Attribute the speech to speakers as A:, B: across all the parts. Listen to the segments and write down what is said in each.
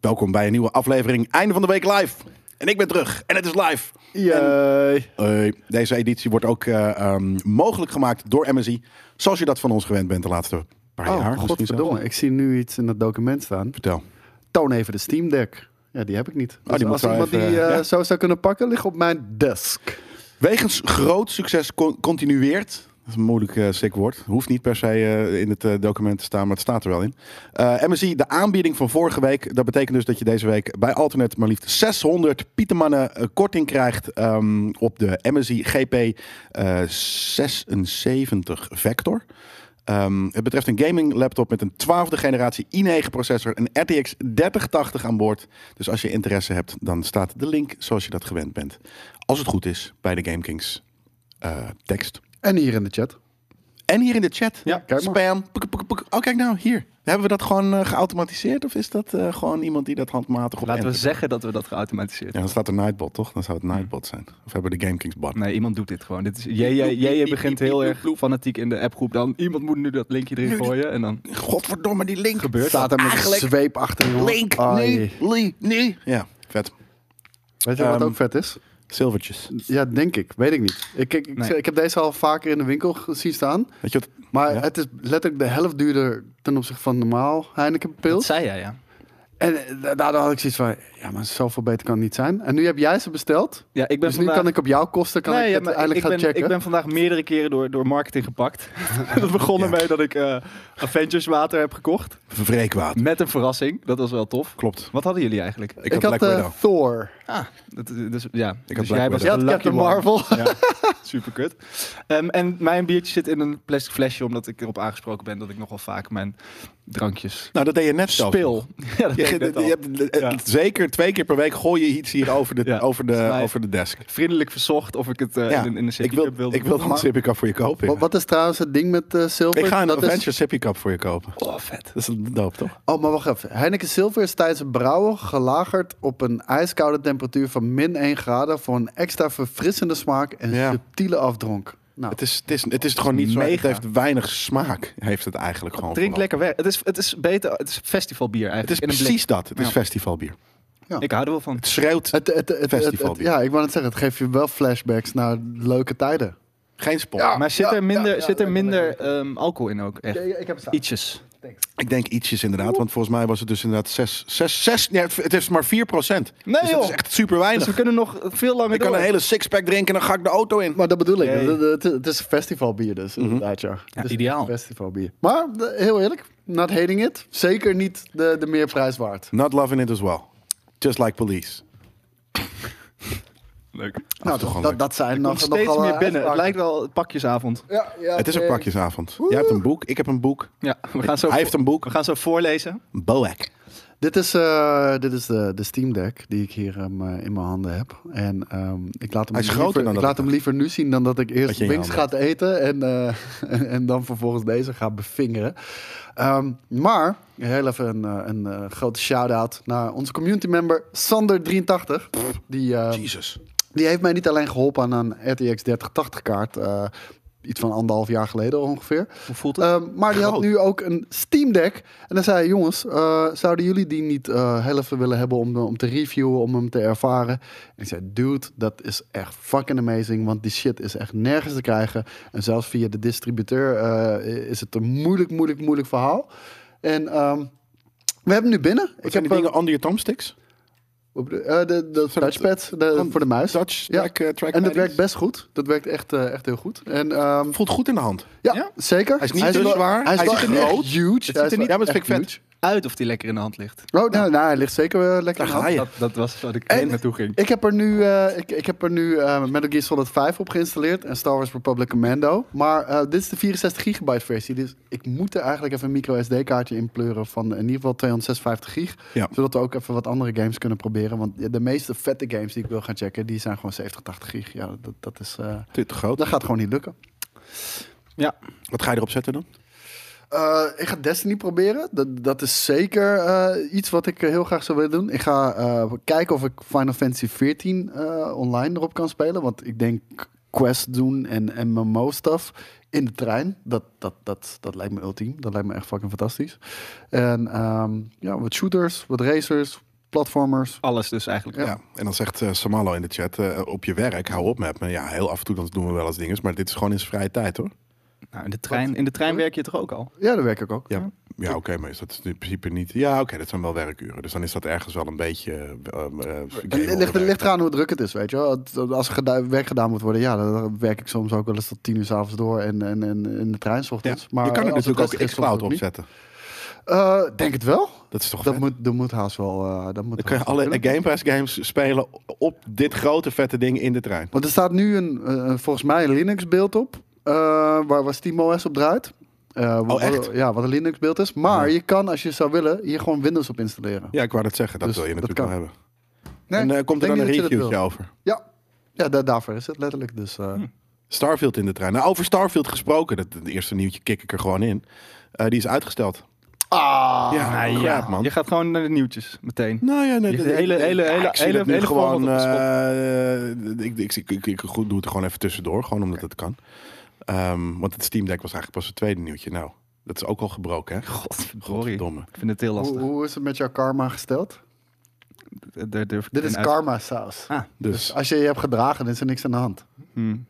A: Welkom bij een nieuwe aflevering Einde van de Week Live. En ik ben terug en het is live.
B: Yay.
A: Eh, deze editie wordt ook eh, ehm, mogelijk gemaakt door MSI. Zoals je dat van ons gewend bent de laatste paar jaar.
B: Oh,
A: misschien
B: godverdomme.
A: zelfs.
B: Ik zie nu iets in dat document staan.
A: Vertel.
B: Toon even de Steam Deck. Ja, die heb ik niet. Dus
A: Oh, die moet
B: als
A: zo
B: iemand
A: even,
B: die eh,
A: ja.
B: zo zou kunnen pakken, ligt op mijn desk.
A: Wegens groot succes con- continueert. Dat is een moeilijk eh sick woord. Hoeft niet per se eh, in het eh, document te staan, maar het staat er wel in. Eh, MSI, de aanbieding van vorige week. Dat betekent dus dat je deze week bij Alternate maar liefst 600 Pietermannen eh, korting krijgt ehm, op de MSI GP eh, 76 Vector. Ehm, het betreft een gaming laptop met een 12e generatie i9 processor, een RTX 3080 aan boord. Dus als je interesse hebt, dan staat de link zoals je dat gewend bent. Als het goed is bij de GameKings eh, tekst.
B: En hier in de chat.
A: En hier in de chat.
B: Ja, kijk maar.
A: Spam. Puk, puk, puk. Oh, kijk nou, hier. Hebben we dat gewoon eh, geautomatiseerd of is dat eh, gewoon iemand die dat handmatig op
C: Laten we
A: enter-
C: zeggen dat we dat geautomatiseerd
A: Ja, dan staat er Nightbot, toch? Dan zou het Nightbot zijn. Of hebben we de GameKings bot?
C: Nee, iemand doet dit gewoon. Dit is, jij, jij, jij begint heel erg fanatiek in de appgroep. Dan iemand moet nu dat linkje erin gooien. En dan
A: Godverdomme, die link.
C: gebeurt
B: Staat
C: dat.
B: er met
A: Eigenlijk-
B: een zweep achter, jongen.
A: Link,
B: Ai.
A: nee, li- nee. Ja, vet.
B: Weet je wat
A: Ehm,
B: ook vet is?
A: Zilvertjes.
B: Ja, denk ik. Weet ik niet. Ik, ik, ik,
C: Nee.
B: ik heb deze al vaker in de winkel gezien staan.
A: Weet je wat?
B: Maar
A: Ja.
B: het is letterlijk de helft duurder ten opzichte van normaal Heineken pils.
C: Dat zei jij, ja.
B: En eh, da- daardoor had ik zoiets van, ja, maar zoveel beter kan het niet zijn. En nu heb jij ze besteld.
C: Ja, ik ben
B: Dus nu
C: vandaag...
B: kan ik op jouw kosten kan
C: Nee,
B: ik
C: ja,
B: het
C: maar
B: eindelijk
C: ik
B: gaan
C: ben,
B: checken.
C: Ik ben vandaag meerdere keren door, door marketing gepakt. dat begon
A: Ja.
C: ermee dat ik eh, Avengers water heb gekocht.
A: Vreekwaad.
C: Met een verrassing. Dat was wel tof.
A: Klopt.
C: Wat hadden jullie eigenlijk?
A: Ik,
B: Ik
A: had
B: had
A: Black
B: eh,
A: Widow.
B: Thor.
C: Ah, dat, dus, ja. dus
A: Black
C: jij
A: Widow.
C: was de
B: Je had
C: lucky
B: Captain
C: one.
B: Marvel.
C: Ja, super kut. Ehm, en mijn biertje zit in een plastic flesje, omdat ik erop aangesproken ben dat ik nogal vaak mijn drankjes
A: Nou, dat deed je net zo.
C: speel. Ja, dat
A: Je,
C: deed ik
A: je
C: net al.
A: hebt,
C: Ja.
A: Zeker twee keer per week gooi je iets hier over de,
C: Ja,
A: over de,
C: volgens mij.
A: over de desk.
C: Vriendelijk verzocht of ik het eh, in, een- in een
A: ik
C: sippy cup
A: wil,
C: wilde
A: ik wil
C: doen.
A: dan een sippy cup voor je kopen. ja.
B: Wat, wat is trouwens het ding met eh zilver?
A: ik ga een
B: Dat is-
A: Adventure sippy cup voor je kopen.
C: Oh, vet.
A: Dat is een doop, toch?
B: Oh, maar wacht even. Heineken zilver is tijdens het brouwen gelagerd op een ijskoude temperatuur van min 1 graden voor een extra verfrissende smaak en
A: Ja.
B: subtiele afdronk. Nou,
A: Het is, het is, het is gewoon niet zo. Het
C: Mega.
A: heeft weinig smaak, heeft het eigenlijk gewoon.
C: Drink
A: vooral.
C: lekker weg. Het is, het is beter, het is festivalbier
A: Het
C: eigenlijk.
A: is
C: in een blik.
A: precies dat. Het is
C: Ja.
A: festivalbier.
C: Ik hou er wel van.
A: Het schreeuwt
B: het, het, het, het-
A: Festivalbier.
B: het- ja, ik wou net zeggen, het geeft je wel flashbacks naar leuke tijden.
A: geen spot.
C: Maar zit
B: ja,
C: er minder,
B: ja, ja,
C: zit er
B: lekker,
C: minder
B: lekker,
C: ehm, alcohol in ook? Echt?
B: ik heb staan.
C: Ietsjes. Dus
A: Ik denk ietsjes inderdaad, want volgens mij was het dus inderdaad 6. 6, 6 nee, het is maar 4 procent.
C: Nee,
A: dus dat
C: joh.
A: is echt super
C: Dus
A: weinig.
C: we kunnen nog veel langer
A: ik kan
C: door.
A: een hele sixpack drinken en dan ga ik de auto in.
B: Maar dat bedoel ik.
C: Jee.
B: Het, het- het is festivalbier dus,
A: Mhm.
B: inderdaad, ja. Het is
C: ideaal.
B: Festivalbier. Maar de- heel eerlijk, not hating it. Zeker niet de, de meerprijs waard.
A: Not loving it as well. Just like police.
C: Leuk.
A: toch
B: Nou, dat,
A: wel leuk.
B: dat, dat zijn nog,
C: Nog steeds
B: nogal,
C: meer
B: eh,
C: binnen. Het
B: uitspraken.
C: lijkt wel pakjesavond.
B: Ja, ja,
A: het is ook
B: eh,
A: pakjesavond. Jij hebt een boek, ik heb een boek.
C: Ja, we gaan zo
A: Hij heeft een boek.
C: We gaan zo voorlezen.
A: Boek.
B: Dit is, eh, dit is de, de Steam Deck die ik hier ehm, eh, in mijn handen heb. En ehm, ik laat hem,
A: Hij is groter
B: liever,
A: dan
B: ik
A: dat
B: laat
A: ik
B: hem liever nu zien dan dat ik
A: Wat
B: eerst
A: je in je
B: Wings ga
A: handen
B: eten en, eh, en, en dan vervolgens deze ga bevingeren. Ehm, maar heel even een, eh, een eh, grote shout-out naar onze community member Sander83. Die, eh,
A: Jesus.
B: die heeft mij niet alleen geholpen aan een RTX 3080 kaart. eh, iets van anderhalf jaar geleden ongeveer.
C: Hoe voelt het?
B: Ehm, maar die had
A: Groot.
B: nu ook een Steam Deck. En dan zei hij, jongens, eh, zouden jullie die niet eh, heel even willen hebben om, eh, om te reviewen, om hem te ervaren? En ik zei, dude, dat is echt fucking amazing, want die shit is echt nergens te krijgen. En zelfs via de distributeur eh, is het een moeilijk, moeilijk, moeilijk verhaal. En ehm, we hebben hem nu binnen.
A: Ik heb die
B: eh,
A: dingen onder je thumbsticks.
B: op de, eh, de, de
A: Sorry,
B: touchpad de,
A: Van-
B: voor de muis.
A: Touch,
B: Ja.
A: track, eh, track
B: en dat
A: IDs.
B: werkt best goed. Dat werkt echt, eh, echt heel goed. En ehm,
A: Voelt goed in de hand.
B: ja,
C: Ja?
B: zeker.
A: Hij is niet te
B: wel-
A: zwaar.
B: Hij is
A: Hij
B: wel
A: ziet er niet echt
B: groot. Huge.
A: ziet
B: Hij
A: er
B: is wel
A: niet- ja, maar het
B: echt
A: vind ik vet.
B: huge.
C: Uit of die lekker in de hand ligt.
B: Oh, nou, nou, hij ligt zeker eh, lekker
A: Daar ga
B: in hand.
A: je.
C: Dat, dat was waar ik
B: En-
C: naartoe ging.
B: Ik heb er nu, eh, ik, ik heb er nu eh, Metal Gear Solid 5 op geïnstalleerd en Star Wars Republic Commando. Maar eh, dit is de 64 gigabyte versie, dus ik moet er eigenlijk even een micro SD kaartje in pleuren van eh, in ieder geval 256 gig.
A: Ja.
B: Zodat we ook even wat andere games kunnen proberen, want ja, de meeste vette games die ik wil gaan checken, die zijn gewoon 70, 80 gig. Ja, dat, dat is, eh,
A: Dit te groot.
B: dat gaat gewoon niet lukken.
C: Ja,
A: Wat ga je erop zetten dan?
B: Eh, ik ga Destiny proberen. Dat, dat is zeker eh, iets wat ik eh, heel graag zou willen doen. Ik ga eh, kijken of ik Final Fantasy XIV eh, online erop kan spelen. Want ik denk quest doen en MMO-stuff in de trein. Dat, dat, dat, dat lijkt me ultiem. Dat lijkt me echt fucking fantastisch. En ehm, ja, wat shooters, wat racers. platformers.
C: Alles dus eigenlijk.
A: Ja. en dan zegt eh, Samalo in de chat, eh, op je werk, hou op met me. Ja, heel af en toe dan doen we wel eens dingen, maar dit is gewoon in zijn vrije tijd hoor.
C: Nou, in, de trein, in de trein werk je toch ook al?
B: Ja, daar werk ik ook.
A: Ja, ja oké, maar is dat in principe niet... Ja, oké, dat zijn wel werkuren. Dus dan is dat ergens wel een beetje... eh, ehm, eh,
B: En Het ligt, het ligt eraan hoe druk het is, weet je wel. Het- Als er geda- werk gedaan moet worden, ja, dan werk ik soms ook wel eens tot tien uur s'avonds door en, en, en in de trein 's
A: Ja,
B: ochtends. Maar
A: je kan er
B: als het
A: natuurlijk ook
B: rustig is,
A: xCloud
B: soms ook niet.
A: opzetten.
B: Eh, denk het wel.
A: Dat is toch
B: Dat
A: vet?
B: moet, dat moet haast wel. eh,
A: Dan
B: dat moet
A: kun je
B: haast wel
A: alle
B: kunnen.
A: Game Pass games spelen op dit grote vette ding in de trein.
B: Want er staat nu een, eh, volgens mij een Linux beeld op, eh, waar, waar SteamOS op draait. Eh, wat-
A: Oh, echt?
B: Ja, wat een Linux beeld is. Maar
A: Ja.
B: je kan, als je zou willen, hier gewoon Windows op installeren.
A: Ja, ik wou dat zeggen. Dat
B: Dus
A: wil je
B: dat
A: natuurlijk wel
B: kan.
A: hebben.
B: Nee,
A: en eh, komt er
B: ik
A: dan een
B: denk niet dat je dat
A: reviewtje
B: wil.
A: over?
B: Ja, ja da- daarvoor is het letterlijk. Dus, eh,
A: Hm. Starfield in de trein. Nou, over Starfield gesproken. Dat, het eerste nieuwtje kik ik er gewoon in. Eh, die is uitgesteld.
B: Ah,
A: Ja,
C: Nou
A: crap, man.
C: Je gaat gewoon naar de nieuwtjes meteen.
A: Nou ja, nee,
C: Je-
A: dat-
C: de hele- hele-
A: ja,
C: hele-
A: Ah, ik zie
C: hele-
A: dat nu
C: hele format
A: gewoon.
C: op de spot.
A: eh, ik, ik, ik, ik, ik goed, doe het er gewoon even tussendoor, gewoon omdat het kan. Ehm, want het Steam Deck was eigenlijk pas het tweede nieuwtje. Nou, dat is ook al gebroken, hè?
C: Godverdorie.
A: Godverdomme.
C: Ik vind het heel
B: hoe,
C: lastig.
B: hoe is het met jouw karma gesteld?
C: D- Daar durf ik
B: Dit
C: geen
B: is
C: uit-
B: karma saus.
C: Ah,
A: Dus.
B: Als je je hebt gedragen, dan is er niks aan de hand.
C: hmm.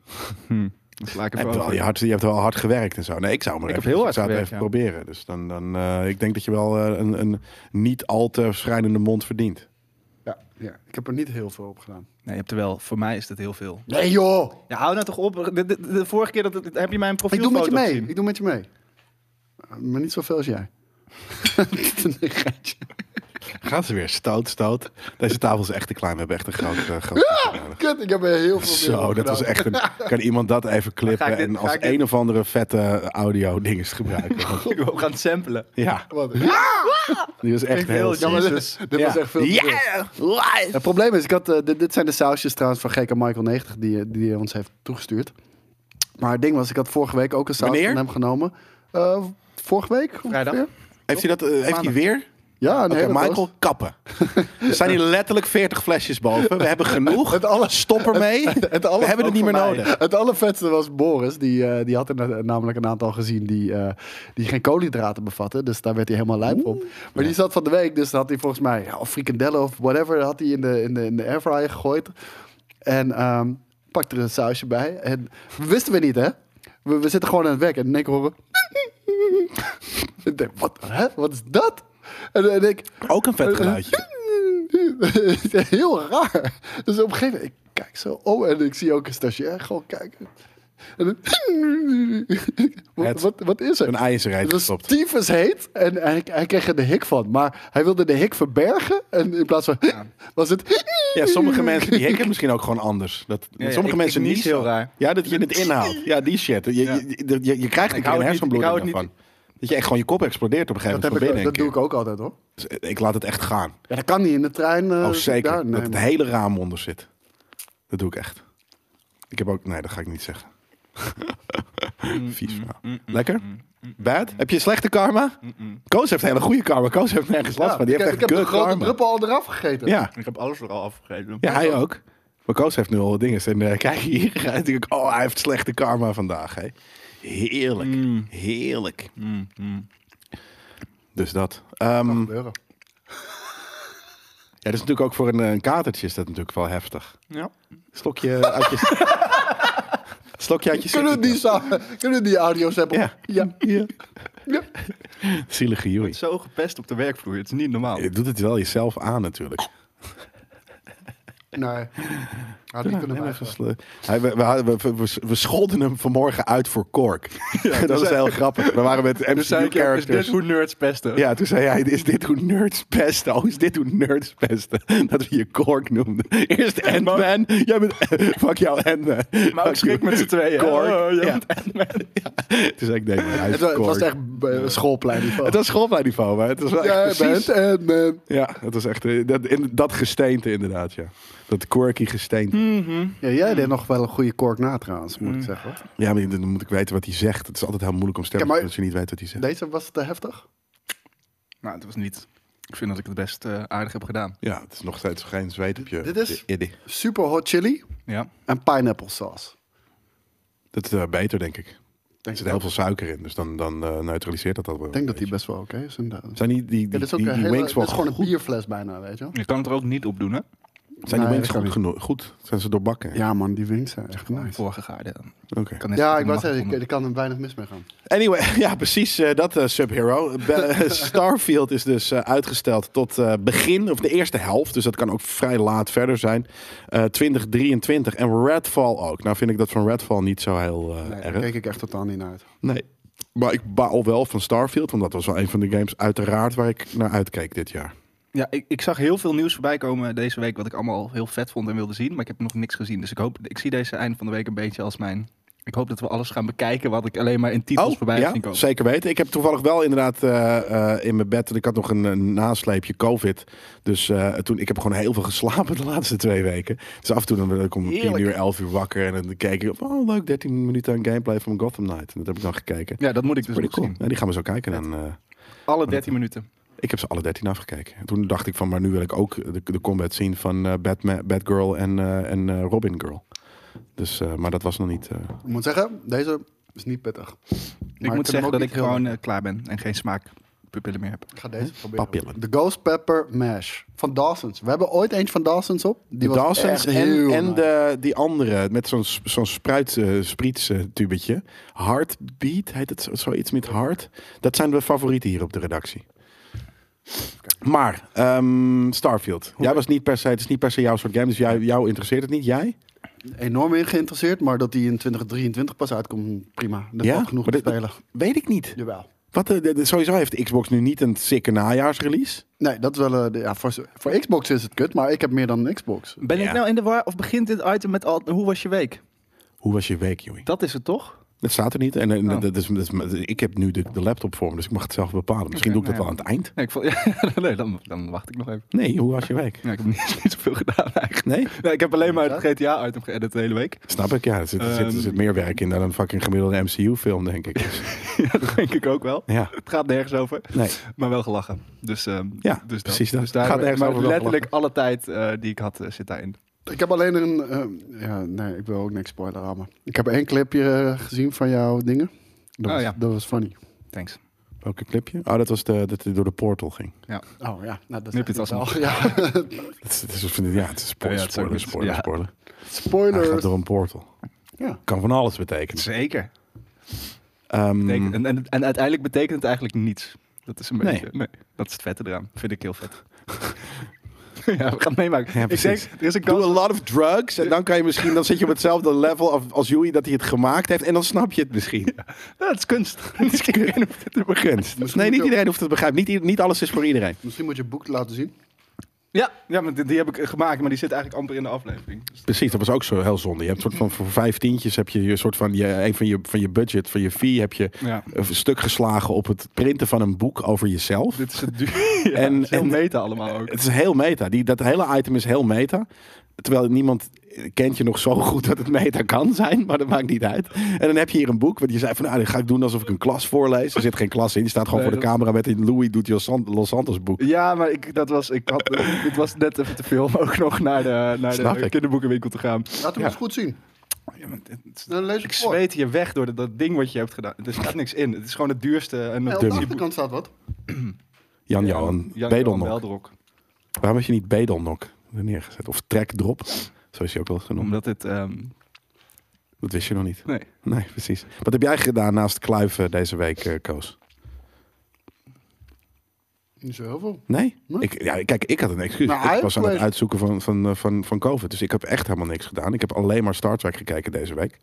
C: Hmm. Dan sla ik
A: Je
C: even
A: hebt, wel,
C: over.
A: je, hard, je hebt wel hard gewerkt en zo. Nee, ik zou maar
C: Ik
A: even,
C: heb heel hard
A: ik zou het
C: gewerkt,
A: even proberen. Dus dan, dan eh, ik denk dat je wel eh, een, een niet al te schrijnende mond verdient.
B: Ja, ja, ik heb er niet heel veel op gedaan.
C: Nee, je hebt er wel. Voor mij is dat heel veel.
B: Nee joh,
C: Ja, hou nou toch op. De, de- de- de vorige keer dat, het- heb je mijn
B: ik
C: profielfoto
B: doe met je mee.
C: gezien?
B: Ik doe met je mee. Eh, Maar niet zoveel als jij. Nee, geitje.
A: Gaat ze weer stout, stout. Deze tafel is echt te klein. We hebben echt een groot... eh, groot
B: Kut, ik heb er heel veel meer
A: Zo,
B: op
A: dat was
B: gedaan.
A: echt een... Kan iemand dat even
C: Ga
A: klippen
C: ik dit-
A: en
C: ga
A: als
C: ik dit-
A: een of andere vette audio dinges gebruiken? Want-
C: Ik wil gaan samplen.
A: Ja,
B: Wat?
A: die was echt
C: Vind ik
A: heel...
C: heel
B: Ja, maar
C: Jezus.
B: dit, dit was
A: Ja.
B: echt veel te veel.
A: Yeah! Live!
B: Het probleem is, ik had, eh, dit, dit zijn de sausjes trouwens van GK Michael 90 die, eh, die hij ons heeft toegestuurd. Maar het ding was, ik had vorige week ook een saus
A: Wanneer?
B: van hem genomen. Eh, vorige week? ongeveer?
C: Vrijdag.
A: Heeft hij dat eh, heeft hij
C: Maandag.
A: weer?
B: Ja, een
A: Oké,
B: hele
A: Michael,
B: doos.
A: kappen. Er zijn hier letterlijk 40 flesjes boven. We hebben genoeg.
B: Het alle-
A: Stop ermee.
B: Het alle-
A: We hebben het
B: ook
A: niet meer
B: voor mij.
A: nodig.
B: Het allervetste was Boris. Die, eh, die had er na- namelijk een aantal gezien die, eh, die geen koolhydraten bevatten. Dus daar werd hij helemaal lijp op. Maar die zat van de week, dus had hij volgens mij... Ja, of frikandellen of whatever, had hij in de, in de, in de airfryer gegooid. En ehm pakte er een sausje bij. En wisten we niet, hè? We, we zitten gewoon aan het werk en in één keer horen we- ik denk, wat, hè? wat is dat? En, en ik...
A: Ook een vet geluidje.
B: Heel raar. Dus op een gegeven moment, ik kijk zo om en ik zie ook een stagiair gewoon kijken. En dan,
A: Het-
B: wat, wat, wat is er?
A: Een ei in zijn reet
B: Het was
A: gestopt.
B: tyfus heet en hij, hij kreeg er de hik van. Maar hij wilde de hik verbergen en in plaats van was het...
A: Ja, sommige mensen die hikken misschien ook gewoon anders. Dat,
C: ja,
A: sommige
C: ik-
A: mensen
C: ik nies
A: niet
C: heel
A: zo.
C: raar.
A: Ja, dat je het inhaalt. Ja, die shit. Je, je, je, je krijgt een keer
C: hou
A: een
C: het niet- ik hou
A: hersenbloeding
C: het
A: ervan.
C: niet.
A: Dat je echt gewoon je kop explodeert op een gegeven
B: Dat, heb
A: moment.
B: ik,
A: van
B: dat
A: binnen
B: doe ik ook altijd hoor.
A: een keer. Dus ik laat het echt gaan.
B: Ja, dat kan niet in de trein. eh,
A: Oh, zeker.
B: daar- nee,
A: dat het
B: man.
A: hele raam onder zit. Dat doe ik echt. Ik heb ook... Nee, dat ga ik niet zeggen.
B: Mm,
A: Vies verhaal. Lekker? Bad? Heb je slechte karma? Koos heeft hele goede karma. Koos heeft nergens last
B: Mm, Ja,
A: van. Die
B: ik,
A: heeft
B: ik
A: echt
B: heb de
A: good
B: grote
A: karma.
B: druppel al eraf gegeten.
A: Ja.
C: Ik heb alles er al afgegeven.
A: Ja, hij ook. Maar Koos heeft nu al wat dingen. En eh, kijk hier, hij natuurlijk, oh, hij heeft slechte karma vandaag. Hè. Heerlijk,
B: Mm.
A: heerlijk. Dus dat. Ehm,
B: Gebeuren.
A: ja, dat is natuurlijk ook voor een, eh, een katertje is dat natuurlijk wel heftig.
C: Ja.
A: Slokje uit je... Slokje uit je
B: Kunnen we die, samen- kunnen we die audio's hebben?
A: Ja.
B: ja.
A: Ja.
B: ja.
A: Zielige joei.
C: Zo gepest op de werkvloer. Het is niet normaal. Dus
A: Je doet het wel jezelf aan natuurlijk.
B: Nee. Had die kunnen
A: Nee,
B: wij
A: maar gesle- Hij, we, we, hadden- we, we- we- we scholden hem vanmorgen uit voor kork. dat was heel grappig. We waren met
C: Dus zei
A: MCU
C: ik, ja, is dit
A: characters.
C: hoe nerds pesten?
A: Ja, toen zei hij, is dit hoe nerds pesten? Oh, is dit hoe nerds pesten? Dat we je kork noemden. Eerst Ant-Man. Jij bent... Fuck jou, Ant-Man.
C: Maar ook
A: Fuck
C: schrik
A: you.
C: met z'n tweeën.
A: Kork.
C: Oh, jij
A: Ja.
C: bent Ant-Man.
A: Toen zei ik, nee, maar hij is
B: Het, wa- het
A: kork.
B: was echt eh, schoolpleinniveau.
A: Het was schoolpleinniveau, maar het was wel
B: Jij
A: echt precies...
B: bent en man.
A: Ja, het was echt... eh, Dat, in, dat gesteente inderdaad, ja. Dat quirky gesteente.
B: Hmm. Ja, jij deed nog wel een goede kork na trouwens, moet ik zeggen.
A: Ja, maar dan moet ik weten wat hij zegt. Het is altijd heel moeilijk om stemmen
B: Ja, maar-
A: als je niet weet wat hij zegt.
B: Deze was te heftig.
C: Nou, het was niet... Ik vind dat ik het best eh, aardig heb gedaan.
A: Ja, het is nog steeds geen zweet op je...
B: Dit is-
A: je iddy.
B: Super hot chili
C: Ja.
B: en pineapple sauce.
A: Dat is eh, beter, denk ik. Er
B: Denk
A: zit
B: ik
A: heel
B: ook.
A: veel suiker in, dus dan, dan eh, neutraliseert dat dat wel.
B: Ik denk
A: een
B: dat die
A: beetje.
B: best wel oké is. inderdaad.
A: Zijn die, die,
B: Ja,
A: die,
B: dit is ook
A: die,
B: een
A: die
B: hele,
A: wings
B: dit
A: wel
B: is gewoon een
A: goed?
B: bierfles bijna, weet je wel.
C: Je kan het er ook niet op doen, hè?
A: Zijn die
B: Nee,
A: wings
B: dat
A: goed
B: kan
A: genoeg? Goed? Zijn ze doorbakken?
B: Ja man, die wings zijn echt nice.
C: Vorige gaarde.
A: Oké.
C: Kan net
B: Ja,
C: zo
B: ik wou
C: goed in
B: zeggen,
C: de magnum.
B: er kan er weinig mis mee gaan.
A: Anyway, ja, precies eh, dat eh, Sub-Hero. Be- eh, Starfield is dus eh, uitgesteld tot eh, begin, of de eerste helft. Dus dat kan ook vrij laat verder zijn. Eh, 2023. En Redfall ook. Nou vind ik dat van Redfall niet zo heel eh,
B: Nee, daar
A: erg.
B: keek ik echt totaal niet naar uit.
A: Nee. Maar ik baal wel van Starfield, want dat was wel een van de games uiteraard waar ik naar uitkeek dit jaar.
C: Ja, ik, ik zag heel veel nieuws voorbij komen deze week, wat ik allemaal heel vet vond en wilde zien. Maar ik heb nog niks gezien. Dus ik hoop, ik zie deze einde van de week een beetje als mijn. Ik hoop dat we alles gaan bekijken wat ik alleen maar in titels voorbij heb
A: Oh, ja,
C: zien komen.
A: zeker weten. Ik heb toevallig wel inderdaad eh, eh, in mijn bed, ik had nog een, een nasleepje COVID. Dus eh, toen, ik heb gewoon heel veel geslapen de laatste twee weken. Dus af en toe dan ben ik om 10 uur, 11 uur wakker. En dan keek ik, oh leuk, 13 minuten aan gameplay van Gotham Knight. En dat heb ik dan gekeken.
C: Ja, dat moet ik dus
A: Pretty
C: nog
A: cool.
C: zien.
A: Ja, die gaan we zo kijken. En, eh,
C: Alle 13 minuten.
A: ik heb ze alle 13 afgekeken. En toen dacht ik van, maar nu wil ik ook de, de combat zien van eh, Batman, Batgirl en, eh, en eh, Robin Girl. Dus, eh, maar dat was nog niet... eh,
B: Ik moet zeggen, deze is niet pittig. Maar
C: Ik moet
B: vind hem
C: zeggen
B: ook
C: dat
B: niet
C: ik
B: heel
C: gewoon eh, klaar ben en geen smaakpupillen meer heb.
B: Ik ga deze proberen.
A: Papillen.
B: De Ghost Pepper Mash van Dawson's. We hebben ooit eentje van Dawson's op. Die
A: De
B: was
A: Dawson's
B: echt
A: en,
B: heel
A: en
B: nice.
A: de, die andere met zo'n s- zo'n spruit, eh spriets eh, tubetje. Heartbeat heet het zo- zoiets met hart. Dat zijn de favorieten hier op de redactie. Maar ehm, Starfield. Jij was niet per se, het is niet per se jouw soort game, dus jij, jou interesseert het niet. Jij?
B: Enorm in geïnteresseerd, maar dat die in 2023 pas uitkomt, prima. Dat
A: Ja?
B: valt genoeg
A: Maar
B: te
A: dit-
B: spelen.
A: Weet ik niet.
B: Jawel.
A: Wat, eh, de- de- sowieso heeft de Xbox nu niet een sikke najaarsrelease.
B: Nee, dat is wel... eh, de- ja, voor, voor Xbox is het kut, maar ik heb meer dan een Xbox.
C: Ben
A: Ja.
C: ik nou in de war of begint dit item met al, hoe was je week?
A: Hoe was je week, Joey?
C: Dat is het toch?
A: Dat staat er niet. En, en
C: Oh.
A: dat is, dat is- ik heb nu de, de laptop voor me, dus ik mag het zelf bepalen. Misschien
C: Oké,
A: doe ik dat
C: nou
A: wel aan het eind.
C: Nee, ik vond, ja, nee dan, dan wacht ik nog even.
A: Nee, hoe was je week?
C: Ja, ik heb niet, niet zoveel gedaan eigenlijk.
A: Nee?
C: Nee, ik heb alleen maar het GTA-item geëdit de hele week.
A: Snap ik, ja. Er zit, er zit, er
C: Ehm.
A: zit meer werk in dan een fucking gemiddelde MCU-film, denk ik. Dus,
C: ja, dat denk ik ook wel.
A: ja,
C: Het gaat nergens over.
A: nee.
C: Maar wel gelachen. Dus, ehm,
A: Ja,
C: dus
A: precies dat.
C: Dus daar
A: Gaat
C: heb ik-
A: ergens
C: maar
A: over wel
C: letterlijk alle tijd eh, die ik had eh, zit daarin.
B: Ik heb alleen een... eh, ja, nee, ik wil ook niks spoileren, maar... Ik heb één clipje eh, gezien van jouw dingen. Dat,
C: Oh,
B: was,
C: ja.
B: dat was funny.
C: Thanks.
A: Welke clipje? Oh, dat was de, dat hij door de portal ging.
B: Oh ja, nou, dat is
C: Nip het als
B: wel. Ja.
A: Dat is, dat is- vind ik- ja, het is spoor-
C: Ja, het is ook
A: spoiler,
C: niet-
A: spoiler,
C: ja.
A: spoiler. Hij gaat
B: Spoilers.
A: door een portal.
B: Ja.
A: Kan van alles betekenen.
C: Zeker.
A: Ehm,
C: En, en, en uiteindelijk betekent het eigenlijk niets. Dat is een
A: Nee.
C: beetje... Nee. dat is het vette eraan. Vind ik heel vet. ja, we gaan het meemaken.
A: Ja,
C: ik denk,
A: precies.
C: er is een
A: Doe
C: kans...
A: a lot of drugs en dan kan je misschien, dan zit je op hetzelfde level af- als Joey dat hij het gemaakt heeft en dan snap je het misschien.
C: Ja, het is kunst. Niet iedereen hoeft het te begrijpen.
A: Kunst. Nee, niet iedereen hoeft het te begrijpen. Niet, i- niet alles is voor iedereen.
B: Misschien moet je het boek laten zien.
C: Ja, ja maar die, die heb ik gemaakt, maar die zit eigenlijk amper in de aflevering. Dus-
A: Precies, dat was ook zo heel zonde. Je hebt soort van voor vijf tientjes heb je je soort van je, een van je, van je budget, van je fee heb je
C: ja.
A: een stuk geslagen op het printen van een boek over jezelf.
C: Dit is het duur. Ja,
A: En-
C: en,
A: en-
C: meta allemaal ook.
A: Het is heel meta. Die, dat hele item is heel meta. Terwijl niemand kent je nog zo goed dat het meta kan zijn, maar dat maakt niet uit. En dan heb je hier een boek, want je zei van nou, dit ga ik doen alsof ik een klas voorlees. Er zit geen klas in, je staat gewoon
C: Nee,
A: voor de
C: dat-
A: camera met een Louis doet je Los Sant- Los Santos boek.
C: Ja, maar ik, dat was, ik had, het was net even te veel om ook nog naar de, naar
A: Snap
C: de
A: ik.
C: kinderboekenwinkel te gaan.
B: Laat hem
A: Ja.
B: eens goed zien.
C: Ja, maar dit- het is-
B: Dan lees ik,
C: ik
B: voor.
C: zweet je weg door dat, dat ding wat je hebt gedaan. Er staat niks in. Het is gewoon het duurste. En
B: Nee,
C: het
B: op de achterkant staat wat.
A: Jan-Johan, Bedelnok.
C: Belderok.
A: Waarom heb je niet Bedelnok er neergezet? Of Trekdrop, zo is hij ook wel eens genoemd.
C: Omdat het... ehm,
A: Dat wist je nog niet.
C: nee.
A: Nee, precies. Wat heb jij gedaan naast kluiven deze week, eh, Koos?
B: Niet zo heel veel.
A: Nee?
B: Nee.
A: Ik, ja, kijk, ik had een excuus.
B: Nou, hij
A: ik
B: heeft
A: was aan het
B: geweest.
A: uitzoeken van, van, eh, van, van COVID. Dus ik heb echt helemaal niks gedaan. Ik heb alleen maar Star Trek gekeken deze week.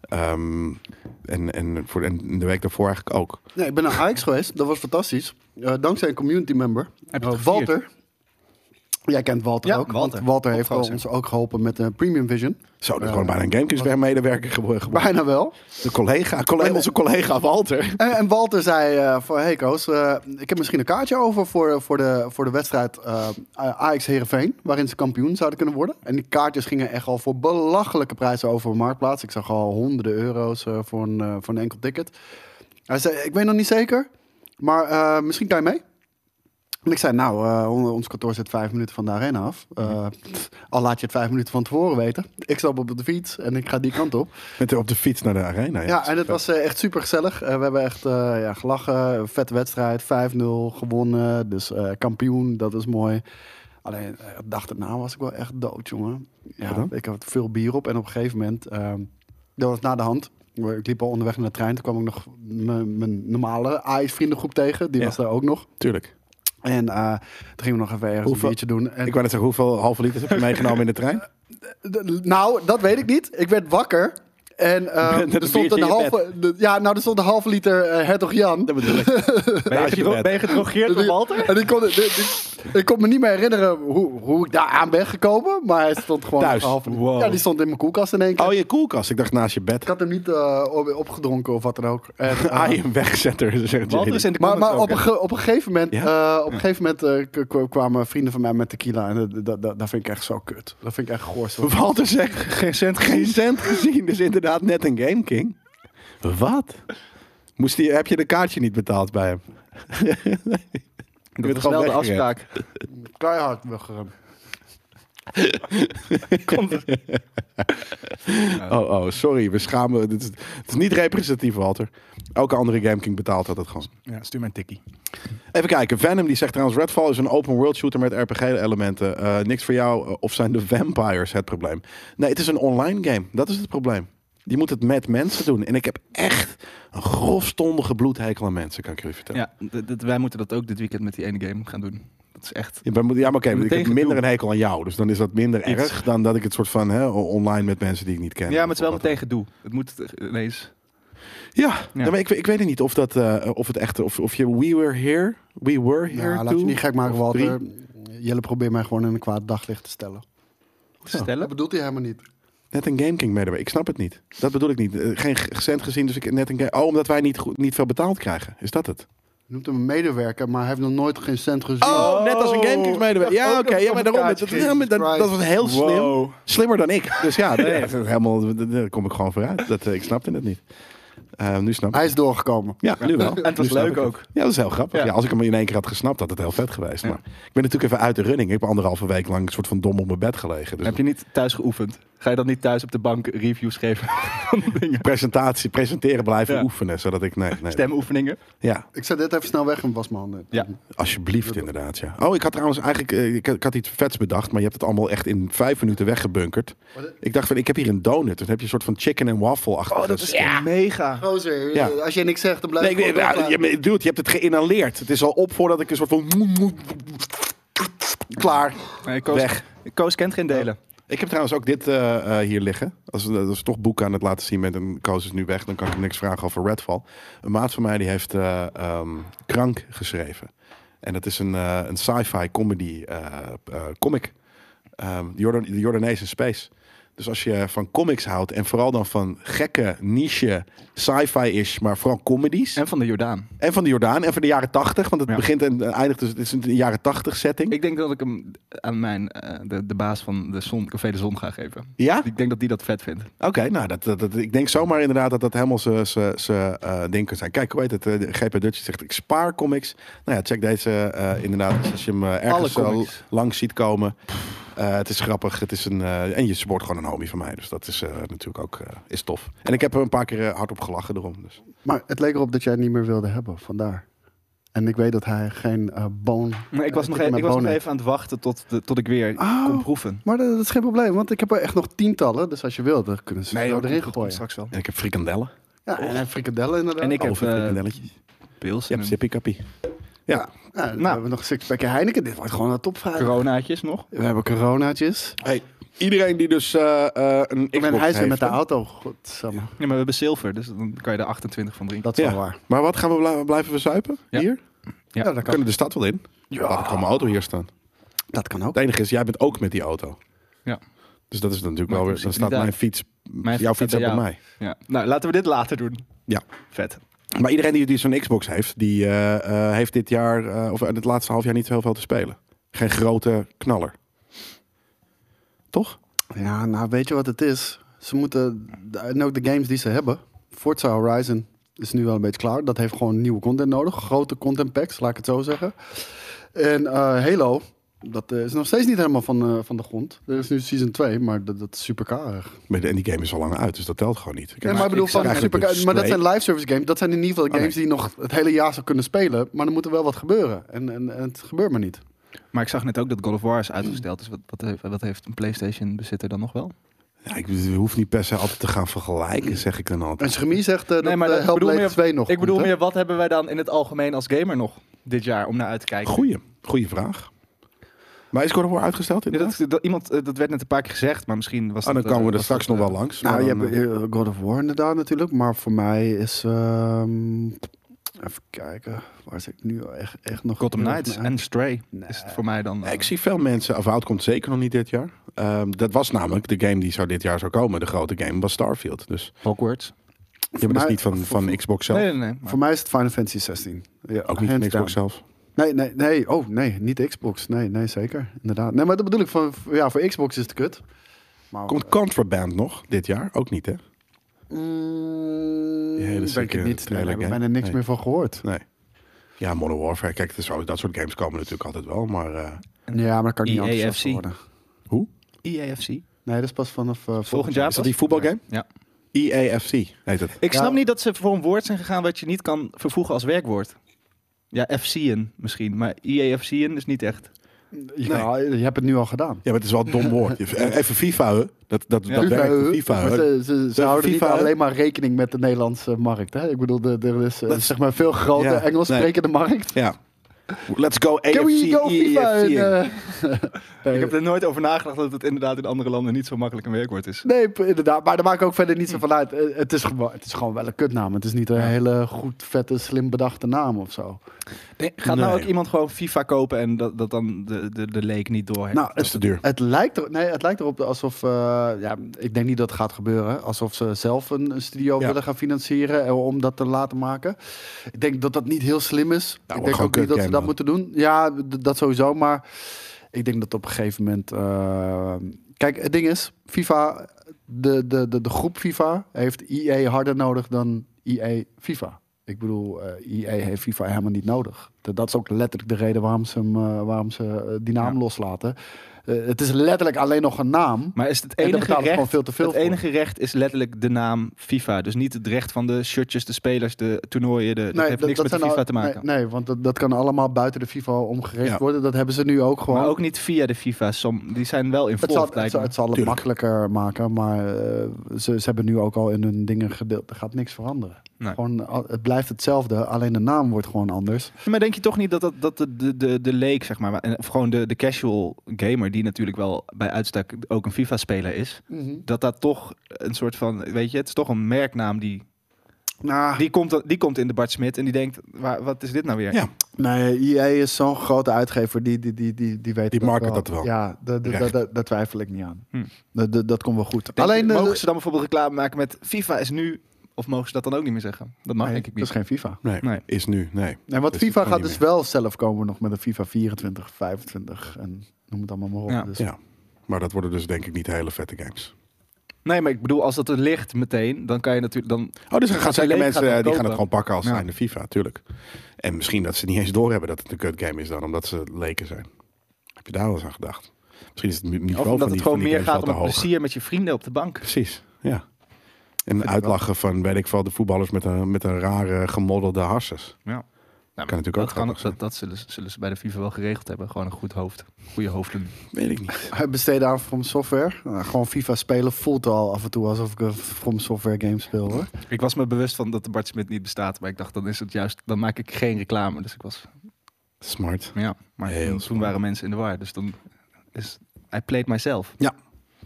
A: Ehm, en, en, voor, en de week daarvoor eigenlijk ook.
B: Nee, ik ben naar Ajax geweest. Dat was fantastisch. Eh, dankzij een community member.
C: Heb je het
B: Eh, Walter. Jij kent Walter
C: Ja,
B: ook.
C: Walter.
B: Want Walter heeft
C: Topgozer.
B: ons ook geholpen met eh, Premium Vision.
A: Zo, dat is
B: Ja.
A: gewoon bijna een GameKings-medewerker geworden.
B: Bijna wel.
A: De collega, collega, onze collega Walter.
B: En, en Walter zei eh, van... Hey Koos, eh, ik heb misschien een kaartje over voor, voor, de, voor de wedstrijd eh Ajax Herenveen, Waarin ze kampioen zouden kunnen worden. En die kaartjes gingen echt al voor belachelijke prijzen over de marktplaats. Ik zag al honderden euro's eh, voor, een, eh, voor een enkel ticket. Hij zei, ik weet nog niet zeker. Maar eh, misschien kan je mee. En ik zei, nou, eh, on- ons kantoor zit vijf minuten van de arena af. Eh, pff, al laat je het vijf minuten van tevoren weten. Ik stap op de fiets en ik ga die kant op.
A: Met op de fiets naar de arena. Ja,
B: Ja, en het was eh, echt super gezellig. we hebben echt eh, ja, gelachen. Vette wedstrijd. 5-0 gewonnen. Dus eh, kampioen, dat is mooi. Alleen, eh, de dag daarna was ik wel echt dood, jongen.
A: Wat
B: Ja,
A: dan?
B: ik had veel bier op en op een gegeven moment... ehm, dat was na de hand. Ik liep al onderweg naar de trein. Toen kwam ik nog mijn mijn normale AIS-vriendengroep tegen. Die
A: Ja.
B: was daar ook nog.
A: tuurlijk.
B: En eh, toen gingen we nog even ergens
A: Hoeveel-
B: een biertje doen. En
A: Ik wou net zeggen, hoeveel halve liters heb je meegenomen in de trein?
B: D- Nou, dat weet ik niet. Ik werd wakker. En eh,
A: Met een
B: er stond
A: biertje
B: een
A: in je
B: halve, de- ja, nou, er stond een halve liter eh, Hertog Jan.
A: Dat bedoel ik.
C: Ben je,
A: Naast je
C: gedro-
A: bed.
C: ben je gedrogeerd door
B: Die-
C: Walter?
B: En ik kon, die- die- ik kon me niet meer herinneren hoe, hoe ik daar aan ben gekomen. Maar hij stond gewoon
A: Thuis.
B: een halve liter.
C: Wow.
B: Ja, die stond in mijn koelkast in één keer.
A: Oh, je koelkast. Ik dacht naast je bed.
B: Ik had hem niet eh, op- opgedronken of wat dan ook. En, eh,
A: Ah, je wegzetter, zegt
C: Walter
A: JD.
C: is in de
B: maar
C: comments
B: maar
C: ook,
B: op, een
C: hè.
B: ge- op een gegeven moment,
A: Ja?
B: eh, op een gegeven moment eh, k- k- kwamen vrienden van mij met tequila. En dat, dat, dat, dat vind ik echt zo kut. Dat vind ik echt goor. zo.
A: Walter zegt geen cent, geen cent gezien. Dus inderdaad net een Game King. Wat? Moest die, heb je de kaartje niet betaald bij hem?
C: Dat was wel de afspraak.
B: Keihard weggerend.
C: Komt er.
A: Oh, oh, sorry. We schamen. Dit is, het is niet representatief, Walter. Elke andere Game King betaalt dat het gewoon.
C: Ja, stuur mij een tikkie.
A: Even kijken. Venom die zegt trouwens: Redfall is een open world shooter met RPG-elementen. niks voor jou. eh, Of zijn de vampires het probleem? Nee, het is een online game. Dat is het probleem. Je moet het met mensen doen. En ik heb echt een grofstondige bloedhekel aan mensen, kan ik jullie vertellen.
C: Ja, d- d- wij moeten dat ook dit weekend met die ene game gaan doen. Dat is echt...
A: Ja, maar, moet- ja, maar oké, want ik
C: Meteen
A: heb minder
C: gedoe.
A: een hekel aan jou. Dus dan is dat minder
C: Iets.
A: erg dan dat ik het soort van hè, o- online met mensen die ik niet ken.
C: Ja, maar het is wel
A: Of wat
C: meteen gedoe. Het moet het ineens...
A: dan. Ja, nee, maar ik, ik weet het niet of, dat, eh, of het echt, of, of je We Were Here, We Were Here
B: Ja, Nou, laat
A: too,
B: je niet gek maken,
A: of
B: Walter.
A: drie.
B: Jelle probeert mij gewoon in een kwaad daglicht te stellen. Dat
C: Stellen?
B: bedoelt hij helemaal niet.
A: Net een Game King medewerker. Ik snap het niet. Dat bedoel ik niet. Eh, Geen g- cent gezien, dus ik net een game. Oh, omdat wij niet, goed, niet veel betaald krijgen. Is dat het?
B: Je noemt hem een medewerker, maar hij heeft nog nooit geen cent gezien.
A: Oh, net als een Game King medewerker.
B: Ik
A: Ja,
B: dacht ook
A: oké.
B: dat het
A: ja, maar
B: om
A: daarom.
B: elkaar
A: Dat,
B: ging.
A: ja, maar dat,
B: Christ.
A: dat was heel slim.
C: Wow.
A: Slimmer dan ik. Dus ja, nee, dat is helemaal, dat- daar kom ik gewoon vooruit. Dat, eh, ik snapte het niet. Eh, nu snap ik
B: Hij is doorgekomen.
A: Ja, nu wel.
C: En het was
A: Nu snap
C: leuk
A: ik het.
C: ook.
A: Ja, dat is heel grappig. Ja.
C: Ja.
A: als ik hem in één keer had gesnapt, had het heel vet geweest.
C: Ja.
A: Maar ik ben natuurlijk even uit de running. Ik heb anderhalve week lang een soort van dom op mijn bed gelegen. Dus
C: Heb je niet thuis geoefend? Ga je dan niet thuis op de bank reviews geven van de dingen?
A: presentatie, presenteren blijven
C: Ja.
A: oefenen, zodat ik... Nee, nee.
C: Stemoefeningen?
A: Ja,
B: Ik zet dit even snel weg en was mijn handen.
C: Ja.
A: alsjeblieft inderdaad, ja. Oh, ik had trouwens eigenlijk... eh, Ik, ik had iets vets bedacht, maar je hebt het allemaal echt in vijf minuten weggebunkerd.
B: Wat?
A: Ik dacht van, ik heb hier een donut. Dan heb je een soort van chicken en
C: Oh,
A: waffle achter.
C: mega.
B: Gozer,
A: Ja.
B: als je niks zegt, dan blijf
A: Nee,
B: ik
A: ik- ik-
B: gewoon
A: ja,
B: doorgaan.
A: je- dude, je hebt het geïnhaleerd. Het is al op voordat ik een soort van... Klaar.
C: Koos,
A: Weg.
C: Koos kent geen delen.
A: Ik heb trouwens ook dit eh, eh, hier liggen. Als, we- als we toch boeken aan het laten zien met een Koos is nu weg, dan kan ik hem niks vragen over Redfall. Een maat van mij die heeft eh, ehm, Krank geschreven. En dat is een, eh, een sci-fi comedy eh, eh, comic. Ehm, Jordan, de Jordanees in Space. Dus als je van comics houdt en vooral dan van gekke, niche, sci-fi-ish, maar vooral comedies. En,
C: En van de Jordaan.
A: van de Jordaan en van de jaren tachtig, want het
C: Ja.
A: begint en eindigt dus, het is een jaren tachtig setting.
C: Ik denk dat ik hem aan mijn, eh, de, de baas van de zon, Café de Zon ga geven.
A: ja?
C: Ik denk dat die dat vet vindt.
A: Oké, nou, dat, dat, dat- ik denk zomaar inderdaad dat dat helemaal zijn ding kan zijn. Kijk, hoe heet het? eh, de GP Dutch zegt, ik spaar comics. Nou ja, check deze eh, inderdaad. Dus als je hem eh, ergens
C: Alle
A: eh,
C: comics.
A: langs ziet komen. Eh, het is grappig. Het is een, eh, en je support gewoon een homie van mij. Dus dat is eh, natuurlijk ook eh, is tof. En ik heb er een paar keer eh, hardop gelachen erom. Dus.
B: Maar het leek erop dat jij het niet meer wilde hebben, vandaar. En ik weet dat hij geen eh, boon...
C: Maar ik was,
B: eh,
C: nog,
B: tik
C: e-
B: met
C: ik was nog
B: boon heeft.
C: even aan het wachten tot, de- tot ik weer
B: Oh.
C: kon proeven.
B: Maar dat, dat is geen probleem, want ik heb er echt nog tientallen. Dus als je wilt, dan kunnen ze jou
C: dat
B: erin
C: komt- dat komt
B: gooien.
C: straks wel.
A: En ik heb frikandellen.
B: Ja, en hij frikadellen inderdaad.
C: En ik heb
A: Over
C: eh,
A: frikandelletjes.
C: pils
A: Je hebt
C: en een
A: zippie kappie. Ja.
B: Ja, dan
C: Nou.
B: hebben we nog een sixpackje Heineken. Dit wordt gewoon een topvraag.
C: coronaatjes nog.
B: We hebben coronaatjes.
A: Hey, iedereen die dus eh, eh, een
B: Ik ben
A: Xbox
B: hij is weer
A: heeft,
B: met de
A: hè?
B: auto. Godsamme.
C: Ja, maar we hebben zilver, dus dan kan je er 28 van drinken.
B: Dat is
A: Ja.
B: wel waar.
A: Maar wat gaan we bla- blijven we zuipen?
C: Ja.
A: Hier?
C: Ja,
B: dat
A: Kunnen de stad wel in? Ja. Laat ik gewoon mijn auto hier staan.
B: Dat kan ook.
A: Het enige is, jij bent ook met die auto.
C: Ja.
A: Dus dat is dan natuurlijk
C: Maar
A: wel
C: in
A: weer. Dan staat
C: principe
A: mijn
C: niet
A: fiets.
C: Mijn
A: jouw
C: fiets
A: fiets
C: staat
A: ook bij
C: bij
A: mij.
C: Ja. Nou, laten we dit later doen.
A: Ja.
C: Vet.
A: Maar iedereen die, die zo'n Xbox heeft, die eh, eh, heeft dit jaar, eh, of in het laatste half jaar niet zo heel veel te spelen. Geen grote knaller. Toch?
B: Ja, nou weet je wat het is? Ze moeten, en ook de games die ze hebben. Forza Horizon is nu wel een beetje klaar. Dat heeft gewoon nieuwe content nodig. Grote content packs, laat ik het zo zeggen. En eh, Halo, dat eh, is nog steeds niet helemaal van, eh, van de grond. Er is nu season 2, maar dat, dat is super karig.
A: Maar de- En die game is al lang uit, dus dat telt gewoon niet. Kijk,
B: Nee, maar ik bedoel,
C: ik
B: van
A: zag
B: super
A: het
B: karig. Maar dat
A: display.
B: zijn live service games. Dat zijn in ieder geval
A: nee.
B: games die nog het hele jaar zou kunnen spelen. Maar er moet er wel wat gebeuren. En, en, en het gebeurt maar niet.
C: Maar ik zag net ook dat God of War is uitgesteld. Dus wat, wat, heeft, wat heeft een PlayStation bezitter dan nog wel?
A: Ja, ik bedoel, je hoeft niet per se altijd te gaan
B: Mm.
A: vergelijken, zeg ik dan altijd.
B: En Schemie zegt eh, dat,
C: maar
B: eh,
C: dat- ik bedoel
B: Hellblade
C: meer-
B: 2 nog
C: ik bedoel
B: komt, hè?
C: meer, wat hebben wij dan in het algemeen als gamer nog dit jaar om naar uit te kijken?
A: Goeie, goeie vraag. Maar is God of War uitgesteld?
C: Ja,
A: inderdaad?
C: dat, dat, iemand, eh, dat werd net een paar keer gezegd, maar misschien was
A: Ah, dan
C: dat,
A: komen we
C: eh,
A: er
C: was dat,
A: straks nog
C: eh,
A: wel langs.
B: Nou,
A: maar
B: je
A: dan,
B: hebt
A: eh,
B: eh, God of War inderdaad natuurlijk. Maar voor mij is... ehm, even kijken. Waar zit ik nu echt, echt nog...
C: Gotham Knights en Stray
B: Nee.
C: is het voor mij dan. eh,
A: ik zie veel mensen, of Out komt zeker nog niet dit jaar. Ehm, dat was namelijk de game die zou dit jaar zou komen. De grote game was Starfield. Dus
C: Hogwarts.
A: je hebt
B: mij-
A: dus niet van,
B: voor-
A: van Xbox zelf.
C: Nee, nee, nee. maar-
B: Voor mij is het Final Fantasy 16. Ja,
A: Ook niet van
B: hands
A: Xbox
B: down.
A: zelf.
B: Nee, nee, nee. Oh, nee. Niet Xbox. Nee, nee, zeker. Inderdaad. Nee, maar dat bedoel ik van... Ja, voor Xbox is het kut. Maar,
A: Komt Contraband nog dit jaar? Ook niet, hè?
B: Mm,
A: Die hele
B: denk
A: zieke
B: ik niet. Daar
A: trailer
B: heb ik
A: game.
B: bijna niks
A: Nee.
B: meer van gehoord.
A: Nee. Ja, Modern Warfare. Kijk, het is zo- dat soort games komen natuurlijk altijd wel. Maar eh,
B: Ja, maar daar kan ik niet
C: EA
A: E
B: enthousiast voor
C: FC.
B: worden.
A: hoe?
C: EAFC.
B: Nee, dat is pas vanaf eh,
C: E Volgend jaar.
A: Is dat die voetbalgame?
C: Ja.
A: EAFC heet het.
C: Ik
B: Ja.
C: snap niet dat ze voor een woord zijn gegaan wat je niet kan vervoegen als werkwoord. Ja, FC'en misschien, maar E EAFC'en is niet echt.
B: Ja, je hebt het nu al gedaan.
A: Ja, maar het is wel een dom woord. Je- Even FIFA, hè? Dat, dat,
C: Ja.
A: dat
B: FIFA,
A: werkt.
B: hè?
A: FIFA,
B: Maar
A: hè?
B: ze, ze, ze
A: Ja,
B: houden
A: FIFA,
B: niet
A: hè?
B: alleen maar rekening met de Nederlandse markt. Hè? Ik bedoel, de- de- er is eh,
A: Dat is-
B: zeg maar veel grote
A: ja,
B: Engels sprekende markt.
A: Ja. Let's go AFC,
B: Can we go FIFA?
A: EAFC.
B: En, eh,
C: Ik heb er nooit over nagedacht dat het inderdaad in andere landen niet zo makkelijk een werkwoord is.
B: nee, p- inderdaad. Maar daar maak ik ook verder niet zo van uit. Eh, Het is, gewoon, het is gewoon wel een kutnaam. Het is niet een hele goed, vette, slim bedachte naam of zo.
C: Gaat
A: Nee.
C: nou ook iemand gewoon FIFA kopen en dat, dat dan de, de, de leek niet door heeft?
B: Nou,
A: Dat is te duur.
B: Het lijkt, er, nee, het lijkt erop alsof, eh, ja, ik denk niet dat het gaat gebeuren, alsof ze zelf een, een studio
A: Ja.
B: willen gaan financieren eh, om dat te laten maken. Ik denk dat dat niet heel slim is.
A: wordt
B: ik denk
A: gewoon
B: ook niet dat ze
A: kutgame,
B: dat
A: man.
B: moeten doen. Ja, d- dat sowieso, maar ik denk dat op een gegeven moment... eh, kijk, het ding is, FIFA, de, de, de, de groep FIFA heeft EA harder nodig dan EA FIFA. Ik bedoel, eh EA heeft FIFA helemaal niet nodig. Dat, dat is ook letterlijk de reden waarom ze, hem, eh, waarom ze eh, die naam
C: Ja.
B: loslaten. Eh, het is letterlijk alleen nog een naam.
C: maar is
B: En
C: het
B: daar
C: enige
B: betalen ze gewoon
C: recht?
B: veel te veel
C: het
B: voor.
C: enige recht is letterlijk de naam FIFA. Dus niet het recht van de shirtjes, de spelers, de toernooien. De, dat heeft
B: dat-
C: niks
B: dat
C: met de
B: zijn
C: FIFA
B: al-
C: te maken.
B: Nee, nee, want dat, dat kan allemaal buiten de FIFA omgerecht
A: Ja.
B: worden. Dat hebben ze nu ook gewoon.
C: Maar ook niet via de FIFA. Som, die zijn wel in
B: het, zal,
C: volgt,
B: het,
C: lijkt
B: zal,
C: me.
B: het zal het
A: Tuurlijk.
B: makkelijker maken, maar eh, ze, ze hebben nu ook al in hun dingen gedeeld. Er gaat niks veranderen.
C: Nee.
B: Gewoon, al- het blijft hetzelfde, alleen de naam wordt gewoon anders.
C: Maar denk je toch niet dat, dat, dat de, de, de, de leek, zeg maar, en- of gewoon de, de casual gamer, die natuurlijk wel bij uitstek ook een FIFA-speler is,
A: Mhm.
C: dat dat toch een soort van, weet je, het is toch een merknaam die,
B: Nou,
C: die, komt, die komt in de Bart Smit en die denkt, waar, wat is dit nou weer?
A: Ja.
B: Nee, EA is zo'n grote uitgever. Die, die, die, die, die weet
A: Die
B: dat
A: market dat wel.
B: Ja, da- da- da-
A: Recht.
B: da- daar twijfel ik niet aan.
C: Hm.
B: Da- da- dat komt wel goed.
C: Denk
B: Alleen,
C: je,
B: eh,
C: mogen ze dan bijvoorbeeld reclame maken met FIFA is nu, of mogen ze dat dan ook niet meer zeggen? Dat mag
B: nee,
C: denk ik
B: dat is
C: niet.
B: geen FIFA.
A: Nee,
C: Nee.
A: is nu. Nee.
B: Nee,
A: Dus
B: want
A: dat
B: FIFA
A: kan
B: gaat
A: niet
B: dus wel zelf komen nog met een FIFA 24, 25 en noem het allemaal maar op.
C: Ja.
B: Dus-
A: Ja. Maar dat worden dus denk ik niet hele vette games.
C: Nee, maar ik bedoel, als dat er ligt meteen, dan kan je natuurlijk, dan,
A: Oh, dus er
C: die
A: gaan zeker
C: leek
A: mensen
C: gaat
A: eh,
C: het
A: die gaan
C: kopen.
A: het gewoon pakken als
C: Ja.
A: zijn de FIFA, tuurlijk. En misschien dat ze niet eens doorhebben dat het een kut game is dan, omdat ze leken zijn. Heb je daar wel eens aan gedacht? Misschien is het ni- niveau
C: of
A: van
C: omdat
A: die,
C: het gewoon
A: van die
C: meer
A: games
C: gaat om
A: wel te
C: het
A: hoog.
C: plezier met je vrienden op de bank.
A: Precies, ja. En uitlachen van, weet ik veel, de voetballers met een, met een rare gemoddelde harses.
C: Ja. Nou,
A: Kan natuurlijk ook
C: dat, kan,
A: grappig zijn.
C: dat, dat zullen, ze- zullen ze bij de FIFA wel geregeld hebben. Gewoon een goed hoofd. Goede hoofden.
A: Weet ik niet.
B: Hij besteedde aan From Software. Nou, gewoon FIFA spelen voelt al af en toe alsof ik een From Software game speel hoor.
C: Ik was me bewust van dat de Bart Smit niet bestaat. Maar ik dacht, dan is het juist, dan maak ik geen reclame. Dus ik was,
A: Smart.
C: ja. Maar
A: Heel
C: toen, toen
A: slim.
C: waren mensen in de war. Dus dan is, I played myself.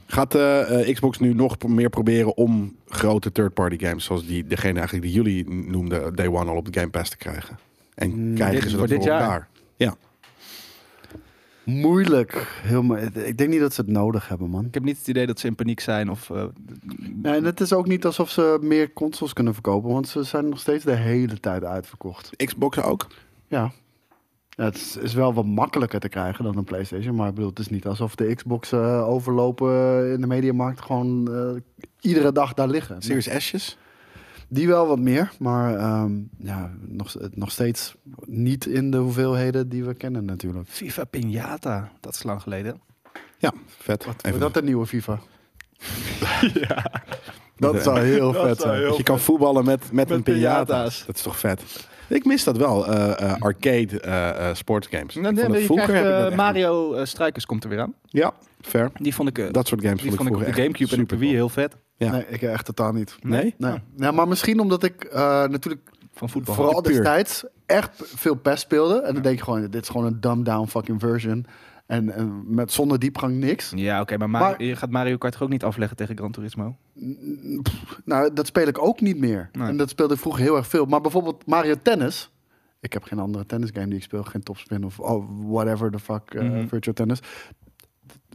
A: Gaat eh, eh, Xbox nu nog pro- meer proberen om grote third-party games, zoals die, degene eigenlijk die jullie noemden, Day One al op de Game Pass te krijgen? En
B: Mm,
A: krijgen
C: dit-
A: ze
C: voor
A: dat voor
C: dit jaar?
A: elkaar?
B: Moeilijk. Heel mo- ik denk niet dat ze het nodig hebben man.
C: Ik heb niet het idee dat ze in paniek zijn. Of, eh,
B: Nee, en het is ook niet alsof ze meer consoles kunnen verkopen, want ze zijn nog steeds de hele tijd uitverkocht.
A: Xbox ook?
B: Ja. Ja, het is, is wel wat makkelijker te krijgen dan een PlayStation. Maar ik bedoel, het is niet alsof de Xbox eh, overlopen in de mediamarkt gewoon eh, iedere dag daar liggen.
A: Series Asjes?
B: Die wel wat meer, maar ehm, ja, nog, nog steeds niet in de hoeveelheden die we kennen natuurlijk.
C: FIFA Pinata, dat is lang geleden.
A: Ja, vet. Even
B: Wordt dat de nieuwe FIFA?
C: ja,
A: Dat
B: Dat zou heel
C: Dat
B: vet
C: zou
B: zijn.
C: heel-
A: Dat je kan voetballen met, met,
C: Met
A: een piñata's.
C: piñata's.
A: Dat is toch vet? Ik mis dat wel, eh, eh, arcade eh eh sportgames. Ik
C: nee,
A: vond dat
C: je
A: vroeger
C: krijgt,
A: heb ik
C: eh,
A: dat echt-
C: Mario eh, Strikers komt er weer aan.
A: Ja, fair.
C: Die vond ik, eh,
A: Dat soort games
C: die
A: vond ik
C: vond ik op
A: vroeger
C: de
A: echt
C: Gamecube en op de
A: super
C: Wii
A: tof.
C: heel vet.
A: Ja.
B: Nee, ik eh, echt totaal niet.
A: Nee?
B: Nee.
C: Ah.
B: Nou, maar misschien omdat ik eh, natuurlijk
C: Van voetbal.
B: vooral
A: puur.
B: destijds echt veel PES speelde. En dan denk je gewoon, dit is gewoon een dumbed down fucking version. En, en met zonder diepgang
A: Mm.
B: niks.
C: Ja, oké, maar, Mario-
B: Maar-
C: je gaat Mario Kart toch ook niet afleggen tegen Gran Turismo?
B: Nou, dat speel ik ook niet meer.
C: Nee.
B: En dat speelde ik vroeger heel erg veel. Maar bijvoorbeeld Mario Tennis. Ik heb geen andere tennisgame die ik speel. Geen topspin of oh, whatever the fuck, eh,
C: Mhm.
B: virtual tennis.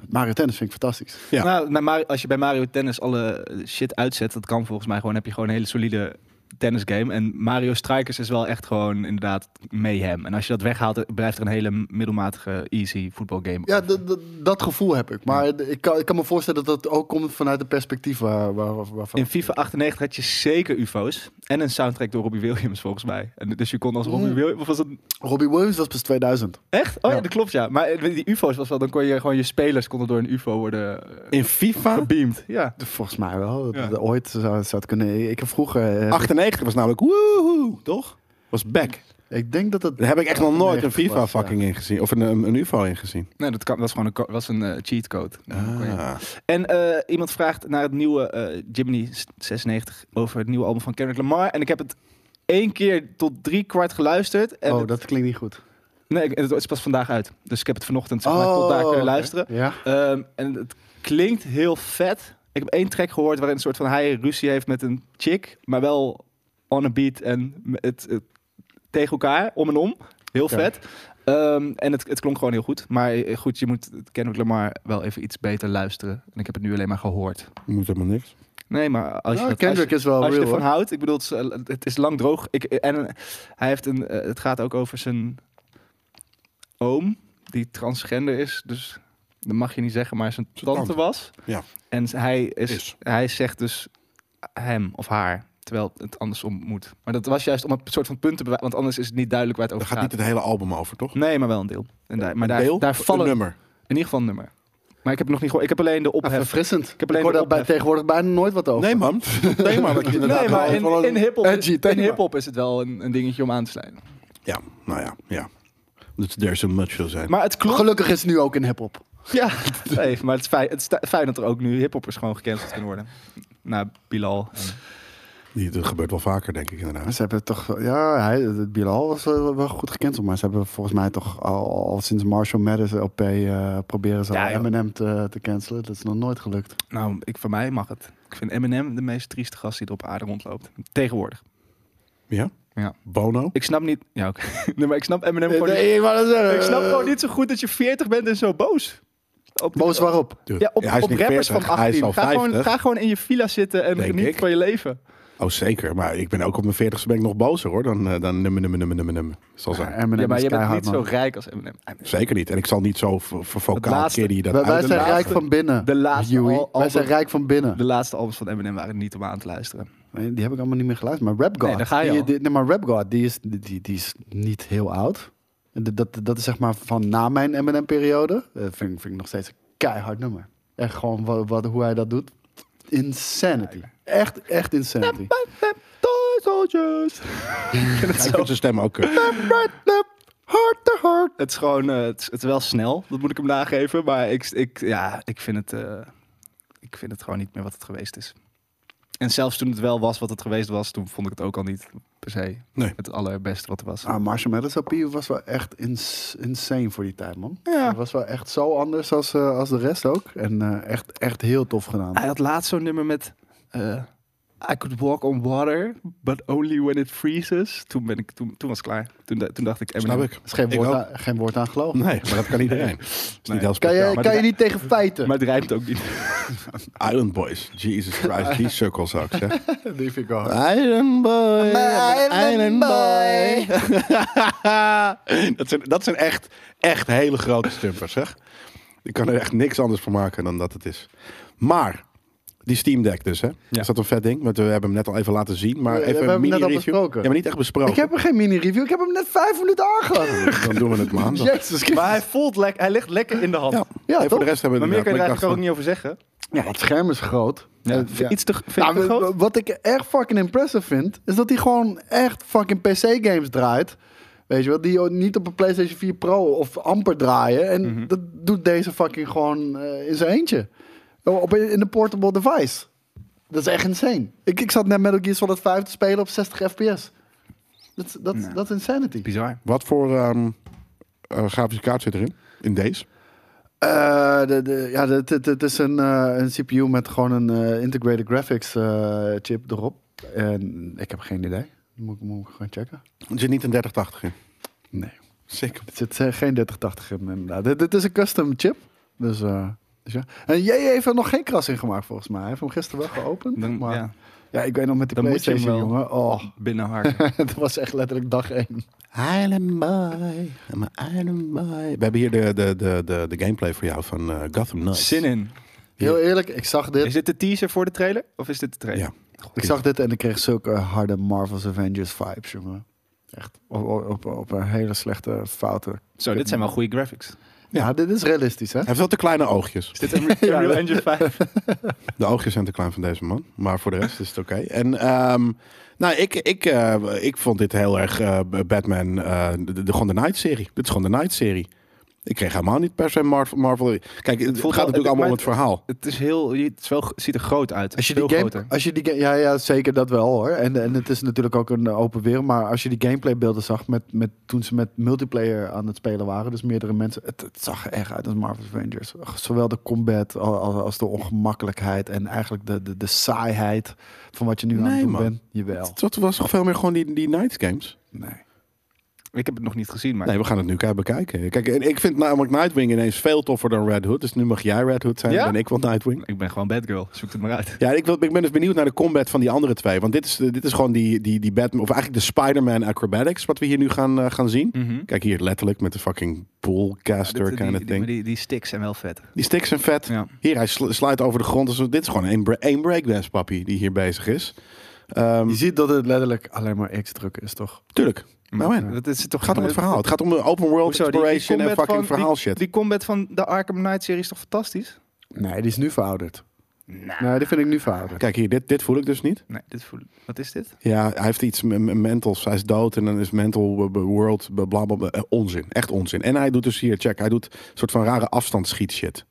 B: Mario Tennis vind ik fantastisch.
A: Ja.
C: Nou, bij Mario- als je bij Mario Tennis alle eh, shit uitzet, dat kan volgens mij gewoon. Heb je gewoon een hele solide tennisgame. En Mario Strikers is wel echt gewoon inderdaad mayhem. En als je dat weghaalt, eh, blijft er een hele middelmatige easy voetbalgame.
B: Ja, d- d- dat gevoel heb ik. Maar d- ik kan, ik kan me voorstellen dat dat ook komt vanuit het perspectief waar, waar, waarvan...
C: In FIFA 98 had je zeker UFO's en een soundtrack door Robbie Williams volgens mij. En dus je kon als Robbie
B: Mm.
C: Williams of was dat
B: Robbie Williams was pas 2000.
C: echt? Oh ja.
B: Ja.
C: dat klopt ja. Maar eh, die UFO's was wel dan kon je gewoon je spelers konden door een UFO worden eh,
A: In FIFA?
C: gebeamd. Ja.
B: Volgens mij wel. Dat
C: Ja.
B: het Ooit zou, zou het kunnen. Ik heb vroeger... eh,
A: 98 was namelijk woehoe, toch? Was back.
B: ik denk dat het...
A: Daar heb ik echt nog nooit een
B: 98
A: FIFA
B: was, ja.
A: fucking in gezien. Of een, een, een UFO in gezien.
C: Nee, dat kan, was gewoon een co- was een eh, cheatcode. En dan kon je-
A: Ah.
C: En eh, iemand vraagt naar het nieuwe eh Jiminy 96 over het nieuwe album van Kendrick Lamar. En ik heb het één keer tot drie kwart geluisterd. En
B: Oh,
C: het-
B: dat klinkt niet goed.
C: nee, ik- het is pas vandaag uit. Dus ik heb het vanochtend zeg maar,
B: Oh,
C: tot daar kunnen
B: oké.
C: luisteren.
B: Ja.
C: Ehm, en het klinkt heel vet. Ik heb één track gehoord waarin een soort van hij ruzie heeft met een chick, maar wel on a beat en m- het, het tegen elkaar, om en om. Heel
B: Ja.
C: vet. Ehm, en het, het klonk gewoon heel goed. Maar eh, goed, je moet het Kendrick Lamar wel even iets beter luisteren. En ik heb het nu alleen maar gehoord.
A: Je moet helemaal niks.
C: Nee, maar als je,
B: Nou,
C: dat-
B: Kendrick
C: als
B: is wel
C: je, als je
B: real,
C: ervan
B: hoor.
C: houdt, ik bedoel, het is, eh, het is lang droog. Ik, en eh, hij heeft een, eh, het gaat ook over zijn oom, die transgender is. Dus dat mag je niet zeggen, maar zijn
A: Zijn tante.
C: tante was.
A: Ja.
C: En z- hij, is,
A: Is.
C: hij zegt dus hem of haar, terwijl het andersom moet. Maar dat was juist om een soort van punt te bewijzen, want anders is het niet duidelijk waar het
A: Daar
C: over
A: gaat
C: gaat.
A: niet het hele album over, toch?
C: Nee, maar wel een deel. En daar, maar
A: Een
C: daar,
A: deel?
C: daar
A: Een
C: vallen, in
A: nummer.
C: ieder geval een nummer. Maar ik heb het nog niet gehoord. Ik heb alleen de
B: Ah,
C: ophef.
B: verfrissend. Ik,
C: heb alleen
B: hoor
C: de
B: daar bij,
C: ophef.
B: tegenwoordig bijna nooit wat over.
A: Nee, man. Het Thema dat je inderdaad
C: Nee, maar
A: wel-
C: in, in hip-hop is,
B: edgy thema.
C: in hip-hop is het wel een, een dingetje om aan te snijden.
A: Ja, nou ja. ja. Dus er zo much zal zijn.
C: Maar het klopt.
B: Gelukkig is het nu ook in hip-hop.
C: Ja, nee, maar het is, fijn, het is sta- fijn dat er ook nu hiphoppers gewoon gecanceld kunnen worden. Na Bilal.
A: Die- Dat gebeurt wel vaker, denk ik inderdaad.
B: Ze hebben toch, ja, hij, Bilal was eh, wel, wel goed gecanceld, maar ze hebben volgens mij toch al, al sinds Marshall Mathers LP eh, proberen ze
C: Ja,
B: al
C: joh.
B: Eminem te, te cancelen. Dat is nog nooit gelukt.
C: Nou, ik, voor mij mag het. Ik vind Eminem de meest trieste gast die er op aarde rondloopt. Tegenwoordig.
A: Ja?
C: Ja.
A: Bono?
C: Ik snap niet... Ja, oké. Nee, maar ik snap Eminem gewoon niet...
B: ik, wou dat zeggen.
C: Ik
A: eh,
C: snap gewoon niet zo goed dat je 40 bent en zo boos. Op
B: Boos waarop?
A: Dude,
C: Ja, op,
A: hij is
C: op
A: niet
C: rappers
A: 40,
C: van 18.
A: Hij is al
C: ga,
A: 50.
C: Gewoon, ga gewoon in je villa zitten en
A: Denk
C: geniet
A: ik.
C: van je leven.
A: Oh, zeker. Maar ik ben ook op mijn 40ste ben ik nog bozer, hoor. Dan, eh, dan nummer, nummer, nummer, nummer, nummer.
C: Ah,
A: Zal zijn.
B: Eminem
C: ja, maar
B: is
C: je bent
B: keihard,
C: niet zo
B: man.
C: rijk als Eminem. Eminem-
A: Zeker niet. En ik zal niet zo v- v- vocaal
C: laatste.
A: keer die dat
B: Wij, wij
A: uit-
B: zijn
C: laatste-
B: rijk van binnen,
C: de laatste
B: Joey.
C: al-
B: wij
C: album-
B: zijn rijk van binnen.
C: De laatste albums van Eminem waren niet om aan te luisteren.
B: Nee, Die heb ik allemaal niet meer geluisterd. Maar Rap God,
C: Nee, daar ga je
B: die,
C: al.
B: die- nee, maar Rap God, die is, die, die is niet heel oud. En Dat, dat, dat is zeg maar van na mijn M&M-periode. Eh, vind, ik- vind ik nog steeds een keihard nummer. Echt gewoon wat, wat, hoe hij dat doet. Insanity. Echt, echt insanity.
C: Toy Soldiers.
A: Ja, Ik vind zijn stem ook... eh,
B: Hard to hard.
C: Het is gewoon, eh, het, is, het is wel snel, dat moet ik hem nageven. Maar ik, ik, ja, ik, vind het, eh, ik vind het gewoon niet meer wat het geweest is. En zelfs toen het wel was wat het geweest was, toen vond ik het ook al niet per se
A: Nee.
C: het allerbeste wat er was.
B: Ah, Marshall Mathers LP was wel echt ins- insane voor die tijd, man.
C: Ja.
B: Dat was wel echt zo anders als, eh, als de rest ook. En eh, echt, echt heel tof gedaan.
C: Hij had laatst zo'n nummer met eh, I could walk on water, but only when it freezes. Toen, ben ik, toen, toen was ik klaar. Toen, da- toen dacht ik, Eminem.
A: Snap ik.
B: Er is geen
A: Ik
B: woord,
A: ook.
B: aan, geen woord aan gelogen.
A: Nee, maar dat kan iedereen. Dat is niet heel
B: Kan
A: speciaal.
B: je,
A: Maar
B: kan je
A: de
B: niet tegen feiten?
C: Maar het rijmt ook niet.
A: Island Boys. Jesus Christ, die sukkelzak, zeg.
B: Die vind ik wel.
A: Island Boy.
B: Island Boy.
A: dat, zijn, dat zijn echt, echt hele grote stumpers, zeg. Ik kan er echt niks anders van maken dan dat het is. Maar Die Steam Deck dus, hè? Is dat een vet ding? Want we hebben hem net al even laten zien. Maar
B: Ja, we
A: even
B: hebben
A: een
B: hem net al
A: mini-review. Ja,
B: besproken.
A: maar niet echt besproken.
B: Ik heb er geen mini-review. Ik heb hem net vijf minuten aangehad.
A: Dan doen we het maandag. Ja,
B: Jezus Christus.
C: Maar hij voelt lekker, hij ligt lekker in de hand.
A: ja,
B: Ja,
A: voor de
B: toch?
A: rest hebben we
C: Maar meer kan je er
A: inderdaad
C: eigenlijk ook
A: met
C: niet over zeggen.
B: Ja, het scherm is groot. Eh, ja.
C: Iets te, vind
B: Nou,
C: ik te groot?
B: w- w- wat ik echt fucking impressive vind, is dat hij gewoon echt fucking PC-games draait. Weet je wel, die niet op een PlayStation 4 Pro of amper draaien. En dat doet deze fucking gewoon eh, in zijn eentje. Oh, Op, in een portable device. Dat is echt insane. Ik, ik zat net Metal Gear Solid 5 te spelen op 60 fps. Dat, is- dat,
C: Nou.
B: dat is insanity.
C: Bizar.
A: Wat voor ehm, eh, grafische kaart zit erin? In deze?
B: Eh, de, de, ja, de- het- het is een, eh, een CPU met gewoon een eh, integrated graphics eh, chip erop. En ik heb geen idee. Moet, ik- moet ik gaan checken?
A: Er zit niet een 3080 in.
B: Nee.
A: Sick.
B: Er zit eh, geen 3080 in inderdaad. Dit, dit is een custom chip. Dus, eh, dus ja. En jij heeft er nog geen kras in gemaakt volgens mij. Hij heeft hem gisteren wel geopend.
C: Dan,
B: maar, ja.
C: ja,
B: ik weet nog met die
C: Dan moet je hem
B: PlayStation, jongen. Oh,
C: binnen hard.
B: dat was echt letterlijk dag één.
A: Island Boy. I'm an Island Boy. We hebben hier de, de, de, de, de gameplay voor jou van eh, Gotham Knights.
C: Zin in.
B: Heel eerlijk, ik zag dit.
C: Is dit de teaser voor de trailer? Of is dit de trailer?
A: Ja.
B: Ik zag dit en ik kreeg zulke harde Marvel's Avengers vibes, jongen. Echt op, op, op, op een hele slechte fouten.
C: Zo, dit zijn wel goede graphics.
B: Ja, dit is realistisch, hè?
A: Hij heeft wel te kleine oogjes.
C: Is dit een Unreal Engine 5?
A: De oogjes zijn te klein van deze man. Maar voor de rest is het oké. En ehm, nou, ik, ik, eh, ik vond dit heel erg eh, Batman, eh, de, de, gewoon de Night serie. Dit is gewoon de Night serie. Ik kreeg helemaal niet per se Marvel. Marvel. Kijk, het
C: wel-
A: gaat natuurlijk allemaal om het verhaal.
C: Het is heel, het is wel, ziet er groot uit.
B: Als je
C: Veel
B: die game,
C: groter.
B: als je die ga- ja, ja, zeker dat wel hoor. En, en het is natuurlijk ook een open wereld. Maar als je die gameplaybeelden zag met, met, toen ze met multiplayer aan het spelen waren, dus meerdere mensen, het, het zag er echt uit als Marvel's Avengers. Zowel de combat al- al- als, de ongemakkelijkheid en eigenlijk de, de, de saaiheid van wat je nu aan
A: Nee,
B: het doen
A: man.
B: bent. Jawel.
A: Dat was toch veel meer gewoon die, die Night games?
B: Nee.
C: Ik heb het nog niet gezien, maar
A: Nee, we gaan het nu ke- bekijken. Kijk, en ik vind namelijk Nightwing ineens veel toffer dan Red Hood. Dus nu mag jij Red Hood zijn
C: Ja?
A: en ik wil Nightwing.
C: ik ben gewoon bad girl. Zoek het maar uit.
A: Ja, ik, wil, ik ben dus benieuwd naar de combat van die andere twee. Want dit is, dit is gewoon die, die, die Batman, of eigenlijk de Spider-Man acrobatics, wat we hier nu gaan, eh, gaan zien. Kijk hier, letterlijk met de fucking poolcaster
C: Mhm. Dit-
A: kind
C: die,
A: of
C: die,
A: thing. Oh, Die,
C: die, die sticks zijn wel vet.
A: sticks zijn vet.
C: Ja.
A: Hier, hij sl- slijt over de grond. Dus dit is gewoon één, bre één breakdance papi die hier bezig is. Ehm,
B: Je ziet dat het letterlijk alleen maar X drukken is, toch?
A: tuurlijk. Nou man,
C: dat is toch
A: het gaat om het verhaal. Het gaat om de open world
C: Hoezo, die- die
A: exploration en
C: combat
A: fucking
C: van-
A: verhaal shit.
C: Die combat van de Arkham Knight serie is toch fantastisch?
B: Nee, die is nu verouderd. Nee, die vind ik nu verouderd.
A: Kijk hier, dit, dit voel ik dus niet.
C: Nee, dit voel, wat is dit?
A: Ja, hij heeft iets m- m- mentals. Hij is dood en dan is mental eh, world bla bla bla. Eh, Onzin, echt onzin. En hij doet dus hier, check, hij doet een soort van rare afstandsschiet shit.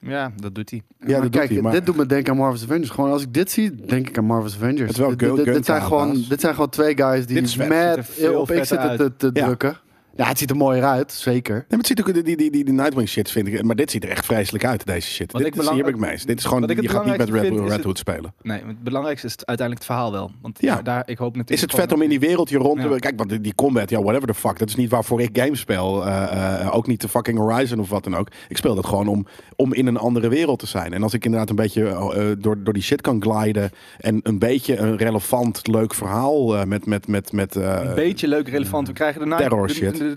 C: Ja, dat doet hij.
A: Ja, dat
B: Maar
A: doet
B: kijk,
A: hij, maar-
B: dit doet me denken aan Marvel's Avengers. Gewoon als ik dit zie, denk ik aan Marvel's Avengers.
A: Het is wel
B: Dit-
A: gun-
B: dit, dit,
A: gun
B: zijn
A: camera's.
B: gewoon, dit zijn gewoon twee guys die
A: Dit is vet.
C: Het ziet er
B: met
C: veel
B: op X
C: vetter
B: zitten te, te
A: Ja.
B: drukken. Eh, Ja, het ziet er mooier uit, zeker.
A: Nee, maar het ziet ook, die, die, die, die Nightwing shit vind ik, maar dit ziet er echt vreselijk uit, deze shit.
C: Wat
A: Dit
C: ik
A: is, hier heb
C: belang-
A: ik meest. Dit is gewoon,
C: wat ik het
A: je gaat niet met Red,
C: belangrijkste vind,
A: Red
C: is het-
A: Hood spelen.
C: Nee, het belangrijkste is het- uiteindelijk het verhaal wel. Want
A: Ja.
C: ja. daar, ik hoop natuurlijk
A: Is het
C: gewoon
A: vet om in die wereld hier rond te...
C: Ja.
A: Kijk, want die- die combat, ja, whatever the fuck. Dat is niet waarvoor ik games speel. Eh, eh, ook niet de fucking Horizon of wat dan ook. Ik speel dat gewoon om, om in een andere wereld te zijn. En als ik inderdaad een beetje eh, eh, door, door die shit kan gliden... en een beetje een relevant, leuk verhaal eh, met... met, met, met eh,
C: een beetje leuk relevant. We krijgen daarna
A: Terror
C: de,
A: shit.
C: De,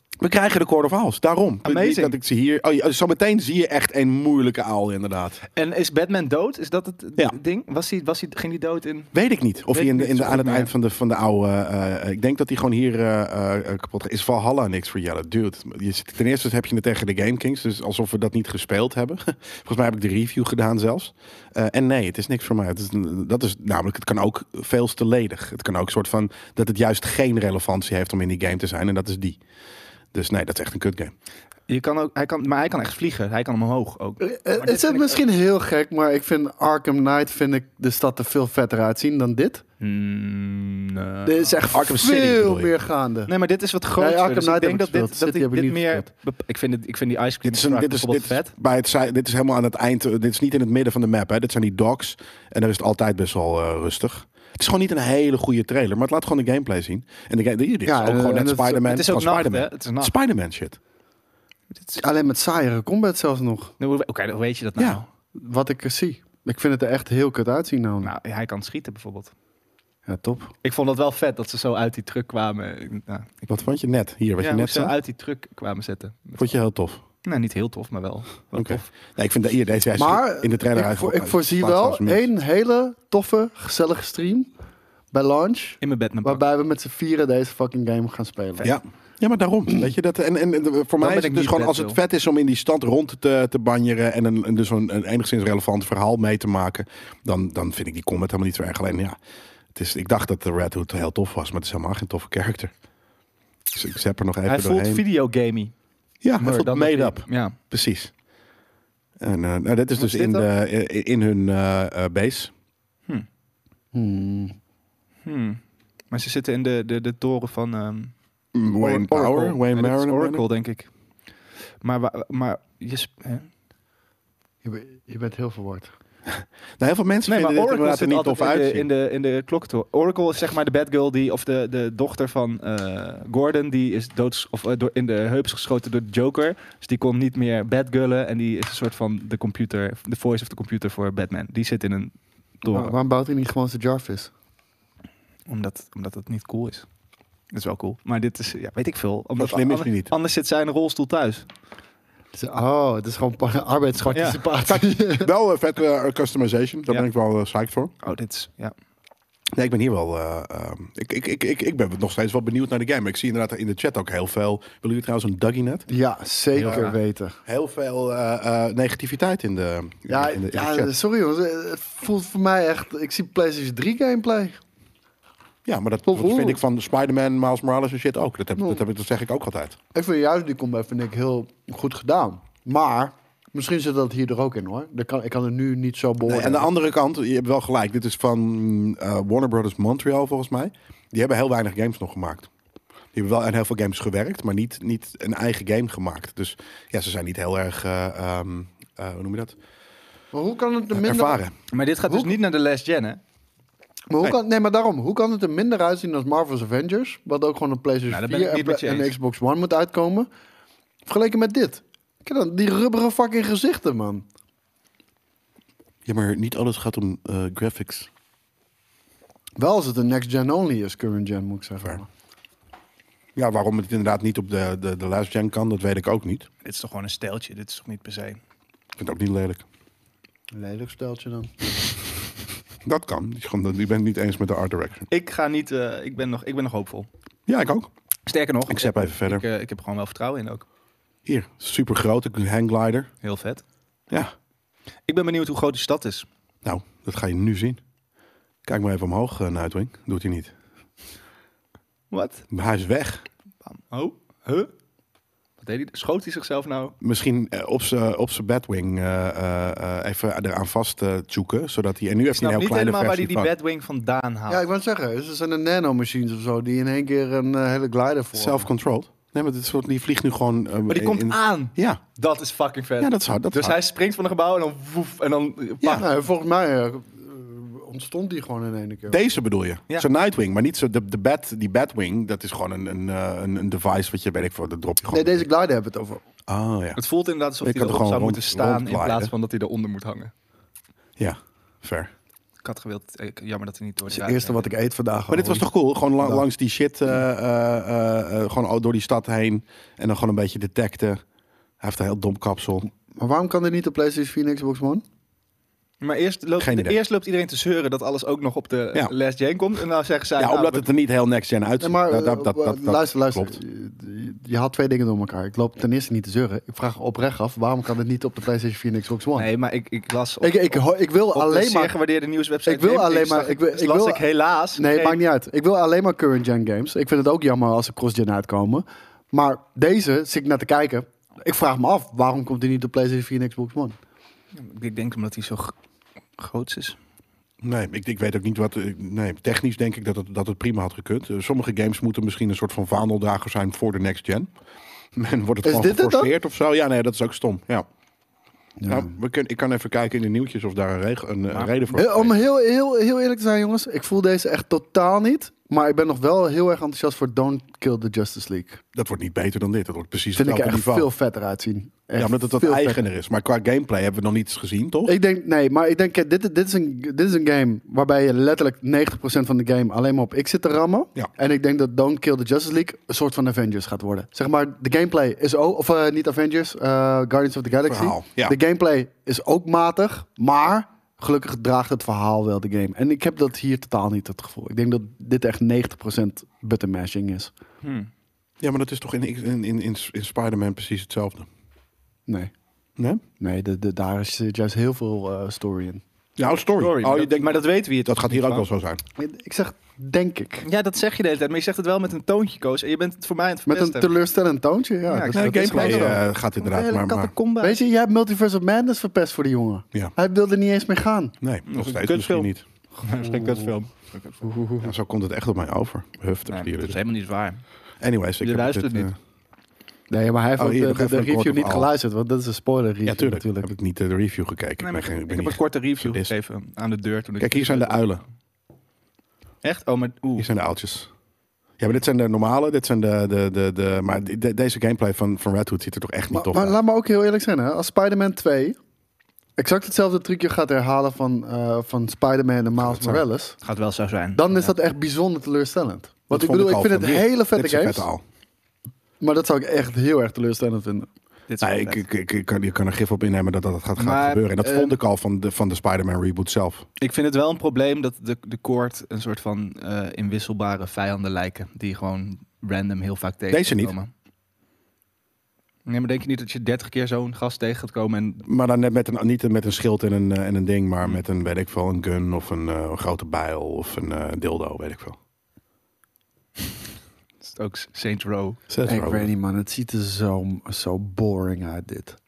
A: we krijgen de Court of Owls, daarom.
C: Amazing.
A: Niet dat ik ze hier... Oh, ja, zometeen zie je echt een moeilijke aal, inderdaad.
C: En is Batman dood? Is dat het
A: Ja.
C: ding? Was hij, was hij, ging hij dood in...
A: Weet ik niet. Of
C: Weet
A: hij in
C: ik
A: de,
C: niet
A: in de,
C: zo
A: aan het
C: goed
A: eind
C: meer.
A: van de, van de oude... eh, eh, ik denk dat hij gewoon hier eh, eh, eh, kapot gaat. Is Valhalla niks voor Jelle? Dude, je, zit- ten eerste heb je het tegen de Game Kings. Dus alsof we dat niet gespeeld hebben. Volgens mij heb ik de review gedaan zelfs. Eh, en nee, het is niks voor mij. Het is, een- dat is namelijk, het kan ook veel te ledig. Het kan ook een soort van dat het juist geen relevantie heeft om in die game te zijn. En dat is die. Dus nee, dat is echt een kut game.
C: Je kan ook, hij kan, maar hij kan echt vliegen. Hij kan omhoog ook.
B: Eh, eh,
C: dit
B: Het
C: vind
B: is
C: ik-
B: misschien heel gek, maar ik vind Arkham Knight vind ik de stad er veel vetter uitzien dan dit.
C: Mm, nee.
B: Dit is echt
A: Arkham City
B: veel
A: bedoel je?
B: meer gaande.
C: Nee, maar dit is wat groter.
B: Arkham
C: dus
B: Knight
C: ik
B: heb ik
C: denk dat
B: gespeeld.
C: dit, dat
B: City
C: ik
B: heb ik
C: dit
B: niet
C: meer...
B: gespeeld.
C: bep- Ik vind, het, ik vind die ice cream
A: Dit is, een,
C: truck
A: dit, is, dit,
C: bijvoorbeeld
A: is,
C: vet.
A: bij het, zij- dit is helemaal aan het eind. eh, Dit is niet in het midden van de map. Hè. Dit zijn die dogs. En daar is het altijd best wel eh, rustig. Het is gewoon niet een hele goede trailer. Maar het laat gewoon de gameplay zien. En de ga- dit dit is
B: Ja,
A: ook
B: eh,
A: gewoon
B: en
A: net
B: het is-
A: Spider-Man.
C: Het is ook
A: gewoon
C: nacht, hè?
A: Spider-Man.
C: Het is nacht.
A: Spider-Man shit.
C: Dit is-
B: Alleen met saaiere combat zelfs nog,
C: Nou, Oké, dan weet je dat nou.
A: Ja.
B: wat ik er zie. Ik vind het er echt heel kut uitzien nou.
C: Nou, hij kan schieten bijvoorbeeld.
B: Ja, top.
C: Ik vond dat wel vet dat ze zo uit die truck kwamen. Nou, ik-
A: Wat vond je net? Hier, wat
C: ja,
A: je
C: hoe
A: net
C: ze
A: zei.
C: uit die truck kwamen zetten.
A: Vond je heel tof.
C: Nou, niet heel tof, maar wel, wel
A: Oké.
C: tof.
A: Nee, ik vind dat hier deze juist
B: Maar
A: in de trailer
B: ik,
A: uit.
B: voor, ik voorzie wel één hele toffe, gezellige stream bij launch.
C: In mijn bed mijn
B: Waarbij we met z'n vieren deze fucking game gaan spelen.
A: Ja. ja, maar daarom. Weet je, dat, en, en, en voor mij
C: ben
A: is het
C: ik
A: dus
C: niet
A: gewoon
C: vet,
A: als het
C: joh.
A: vet is om in die stand rond te, te banjeren en een, en dus een, een enigszins relevant verhaal mee te maken, dan, dan vind ik die comment helemaal niet zo erg. Alleen ja, het is, ik dacht dat de Red Hood heel tof was, maar het is helemaal geen toffe character. Dus ik zet er nog even
C: Hij voelt
A: doorheen.
C: videogamey.
A: ja, hij
C: meer
A: voelt
C: dan dat
A: made
C: hij-
A: up.
C: Ja.
A: Precies. En eh nou, dit is
B: Wat
A: dus
B: is
A: in,
B: dit
A: de, i- in hun eh, eh, base.
B: Hmm.
C: Hmm. Maar ze zitten in de, de, de toren van ehm,
A: Wayne
C: Oracle.
A: Power, Wayne
C: Ja, dit is
A: Marin.
C: Oracle, denk ik. Maar, wa- maar je sp- hè?
B: Je, be- je bent heel verward.
A: Nou, heel veel mensen
C: Nee,
A: vinden
C: maar
A: dit
C: Oracle
A: inderdaad er
C: zit
A: niet
C: altijd
A: tof
C: in de,
A: uit.
C: in de, in de kloktoren. Oracle is zeg maar de bad girl die, of de, de dochter van eh, Gordon, die is doods, of, eh, door, in de heups geschoten door de Joker. Dus die kon niet meer bad girlen en die is een soort van de computer, de voice of the computer voor Batman. Die zit in een toren,
B: Waar- waarom bouwt hij niet gewoon zijn Jarvis?
C: Oh, omdat, omdat het niet cool is. Dat is wel cool. Maar dit is, ja, weet ik veel. Omdat
A: slim is
C: ander-
A: hij niet.
C: Anders zit zij in een rolstoel thuis.
B: Ze- Oh, het is gewoon pa- arbeidsparticipatie.
A: Wel eh, vet eh, customization, daar
C: Ja.
A: ben ik wel eh, psyched voor.
C: Oh, dit is, ja.
A: Nee, ik ben hier wel. eh, ehm, ik, ik, ik, ik, ik ben nog steeds wel benieuwd naar de game. Ik zie inderdaad in de chat ook heel veel. Willen jullie trouwens een Dougie net?
B: ja,
C: Heel
B: zeker
C: graag.
B: weten.
A: Heel veel eh, eh, negativiteit in de,
B: Ja,
A: in de, in de
B: ja,
A: chat.
B: sorry jongens. eh, Het voelt voor mij echt... Ik zie PlayStation 3 gameplay.
A: ja, maar dat,
B: Tot
A: dat vind
B: hoe?
A: ik van Spider-Man, Miles Morales en shit ook. Dat, heb, dat, heb, ik- dat zeg ik ook altijd.
B: Ik vind juist die combat vind ik heel goed gedaan. Maar misschien zit dat hier er ook in hoor. Dat kan, ik kan het nu niet zo
A: Nee,
B: beoordelen.
A: aan de andere kant, je hebt wel gelijk. Dit is van eh, Warner Brothers Montreal volgens mij. Die hebben heel weinig games nog gemaakt. Die hebben wel aan heel veel games gewerkt, maar niet, niet een eigen game gemaakt. Dus ja, ze zijn niet heel erg, eh, ehm, eh, hoe noem je dat?
B: Maar hoe kan het er minder...
A: Ervaren.
C: Maar dit gaat dus
B: Hoe-
C: niet naar de last gen, hè?
B: Maar hoe
A: Nee.
B: Kan, nee, maar daarom. Hoe kan het er minder uitzien als Marvel's Avengers? Wat ook gewoon een PlayStation
C: Nou, daar ben
B: 4 en,
C: ik niet met je
B: Pla- en
C: eens.
B: Xbox One moet uitkomen? Vergeleken met dit. Kijk dan, die rubberen fucking gezichten, man.
A: Ja, maar niet alles gaat om eh, graphics.
B: Wel als het een next-gen only is, current-gen moet ik zeggen.
A: Waar? Ja, waarom het inderdaad niet op de, de, de last gen kan, dat weet ik ook niet.
C: Dit is toch gewoon een steltje, dit is toch niet per se.
A: Ik vind het ook niet lelijk.
B: Lelijk steltje dan.
A: Dat kan. Die is gewoon- Je bent niet eens met de art direction.
C: Ik ga niet, eh, ik, ben nog, ik ben nog hoopvol.
A: Ja, ik ook.
C: Sterker nog,
A: Ik zap even verder.
C: Ik, eh, ik heb er gewoon wel vertrouwen in ook.
A: Hier, super grote hangglider.
C: Heel vet.
A: Ja,
C: Ik ben benieuwd hoe groot die stad is.
A: nou, dat ga je nu zien. Kijk maar even omhoog, uh, Nightwing. Doet hij niet.
C: Wat?
A: Maar hij is weg.
C: Oh, huh? Wat deed hij? Schoot hij zichzelf nou?
A: Misschien eh, op zijn op zijn Batwing eh, eh, eh, even eraan vast eh, zoeken. Zodat hij, en nu
C: Ik
A: heeft hij
C: snap
A: een heel kleine
C: niet helemaal waar hij
A: versie
C: die
A: van.
C: Batwing vandaan haalt.
B: Ja, ik wou het zeggen. Ze zijn de nanomachines of zo die in één keer een eh, hele glider voor.
A: Self-controlled. Nee, maar dit soort, die vliegt nu gewoon... eh,
C: maar die
A: in-
C: komt
A: in-
C: aan.
A: Ja,
C: Dat is fucking vet.
A: ja, dat is hard. Dat is
C: dus
A: hard.
C: hij springt van een gebouw en dan woef, en dan eh,
B: Ja,
C: pak.
B: nou, volgens mij eh, ontstond die gewoon in één keer.
A: Deze bedoel je?
C: Ja.
A: Zo'n Nightwing, maar niet zo de, de bat, die Batwing. Dat is gewoon een, een, eh, een, een device wat je, weet ik voor, dat drop je
B: nee,
A: gewoon.
B: deze glider hebben we het over.
A: Oh ja,
C: Het voelt inderdaad alsof
A: Ik
C: hij
A: had er
C: erop
A: gewoon
C: zou
A: rond-
C: moeten staan in
A: rondglijden.
C: plaats van dat hij eronder moet hangen.
A: ja, ver.
C: Ik had gewild, eh, jammer dat hij niet door
A: Dus
B: Het is het eerste wat ik eet vandaag.
A: Maar dit was
B: gewoon.
A: toch cool? Gewoon la-
B: Ja.
A: langs die shit, eh, eh, eh, eh, gewoon al door die stad heen. En dan gewoon een beetje detecten. Hij heeft een heel dom kapsel.
B: Maar waarom kan dit niet op PlayStation 4 en Xbox One?
C: Maar eerst loopt,
A: Geen idee.
C: eerst loopt iedereen te zeuren dat alles ook nog op de
A: Ja.
C: last gen komt. En nou zeggen zij...
A: ja,
C: nou,
A: omdat
C: we-
A: het er niet heel next-gen uitziet.
B: Nee, maar
A: Dat- dat-
B: eh,
A: dat- dat- dat
B: luister, luister.
A: klopt.
B: Je, je haalt twee dingen door elkaar. Ik loop ten eerste niet te zeuren. Ik vraag oprecht af, waarom kan dit niet op de PlayStation 4 en Xbox One?
C: Nee, maar ik, ik las op,
B: ik, ik, ho- ik wil
C: op de
B: alleen
C: zeer
B: maar...
C: gewaardeerde nieuwswebsite...
B: Ik wil
C: Gamekings
B: alleen maar-
C: zag
B: ik wil- ik
C: las
B: wil-
C: ik helaas...
B: Nee,
C: geen-
B: maakt niet uit. Ik wil alleen maar current-gen games. Ik vind het ook jammer als ze cross-gen uitkomen. Maar deze zit ik naar te kijken. Ik vraag me af, waarom komt die niet op PlayStation 4 en Xbox One?
C: Ik denk omdat hij zo g- groot is.
A: Nee, ik, ik weet ook niet wat... eh, Nee, technisch denk ik dat het, dat het prima had gekund. Eh, Sommige games moeten misschien een soort van vaandeldrager zijn voor de next-gen. En wordt het
B: Is
A: gewoon
B: dit het dan?
A: geforceerd of zo? Ja, nee, dat is ook stom. Ja.
B: Ja.
A: Nou, we kun, ik kan even kijken in de nieuwtjes of daar een, reg- een, eh,
C: Maar-
A: reden voor
B: Eh,
A: is.
B: Om heel, heel, heel eerlijk te zijn, jongens. Ik voel deze echt totaal niet. Maar ik ben nog wel heel erg enthousiast voor Don't Kill the Justice League.
A: Dat wordt niet beter dan dit. Dat wordt precies
B: Vind ik er
A: hetzelfde
B: echt
A: niveau.
B: veel vetter uitzien.
A: ja,
B: Echt
A: omdat het wat
B: veel vetter.
A: eigener is. Maar qua gameplay hebben we nog niets gezien, toch?
B: Ik denk, nee, maar ik denk, eh, dit, dit, is een, dit is een game waarbij je letterlijk 90% van de game alleen maar op ik zit te rammen.
A: Ja.
B: En ik denk dat Don't Kill the Justice League een soort van Avengers gaat worden. Zeg maar, de gameplay is ook, of eh, niet Avengers, eh, Guardians of the Galaxy.
A: Verhaal, ja.
B: De gameplay is ook matig, maar gelukkig draagt het verhaal wel de game. En ik heb dat hier totaal niet het gevoel. Ik denk dat dit echt 90% buttermashing is.
C: Hmm.
A: Ja, maar dat is toch in, in, in, in, in Spider-Man precies hetzelfde?
B: Nee,
A: Nee?
B: nee de, de, daar is zit juist heel veel eh, story in.
A: Ja, story.
C: Sorry,
A: oh, je
C: dat-
A: denkt,
C: maar dat weten we hier
A: dat
C: toch
A: gaat
C: niet
A: hier ook
C: van?
A: wel zo zijn.
B: Ik zeg, denk ik.
C: Ja, dat zeg je de hele tijd, maar je zegt het wel met een toontje, Koos. En je bent het voor mij aan het
B: Met een
C: verpesten.
B: teleurstellend toontje, ja. Dus
C: Ja, ik
B: Dat-
A: Nee,
C: dat is
A: gameplay
C: gewoon
A: eh, gaat
C: Een
A: inderdaad,
C: hele
A: maar... maar
C: catacombe.
B: Weet je, jij hebt Multiverse of Madness verpest voor die jongen.
A: ja.
B: Hij wilde niet eens meer gaan.
A: Nee, nog
C: een
A: steeds misschien
C: kutfilm.
A: niet.
C: Misschien kutfilm.
A: Ja, zo komt het echt op mij over. Huftig
C: Nee,
A: hier
C: dat is
A: dus.
C: helemaal niet waar.
A: Anyways, ik
C: Je
A: heb
C: luistert
A: dit,
C: niet.
A: eh,
B: Nee, maar hij heeft
A: Oh,
B: ook
A: hier,
B: de,
A: nog
B: de-
A: even
B: de
A: een
B: review
A: kort
B: niet
A: verhaal.
B: geluisterd, want dat is een spoiler review
A: ja, tuurlijk.
B: natuurlijk.
A: Heb ik niet eh, de review gekeken.
C: Nee,
A: ik
C: maar
A: ben
C: ik,
A: geen, ik ben
C: heb
A: niet-
C: een korte review
A: sadist.
C: gegeven aan de deur. Toen ik
A: Kijk, hier zijn de uilen.
C: Echt? Oh, maar
A: Hier
C: oeh.
A: zijn de aaltjes. Ja, maar dit zijn de normale. Dit zijn de... de, de, de maar de- de- deze gameplay van, van Red Hood ziet er toch echt niet
B: Maar,
A: tof
B: maar
A: uit.
B: laat me ook heel eerlijk zijn, hè. als Spider-Man 2 exact hetzelfde trucje gaat herhalen van, eh, van Spider-Man en Miles
A: dat zijn.
B: Morales,
C: Het gaat wel zo zijn.
B: dan is
C: Ja.
B: dat echt bijzonder teleurstellend.
A: Dat
B: Want ik
A: vond
B: bedoel, ik,
A: al
B: vind het
A: van dit.
B: hele vette
A: Dit is een
B: games,
A: vette aal.
B: maar dat zou ik echt heel erg teleurstellend vinden.
C: Dit is
A: Nee,
C: wel
A: ik,
C: vet.
A: ik, ik, ik kan, je kan er gif op innemen dat dat gaat gaan
C: Maar,
A: gebeuren. En dat
C: eh,
A: vond ik al van de, van de Spider-Man reboot zelf.
C: Ik vind het wel een probleem dat de, de koord een soort van eh, inwisselbare vijanden lijken. Die gewoon random heel vaak
A: Deze niet.
C: tegenkomen. Nee, maar denk je niet dat je 30 keer zo'n gast tegen gaat komen en
A: Maar dan net met een, niet met een schild en een, eh, en een ding, maar
C: Mm.
A: met een, weet ik veel, een gun of een eh, grote bijl of een eh, dildo, weet ik veel.
C: is het ook Saints Row?
B: Ik weet niet man, het ziet er zo, zo boring uit dit.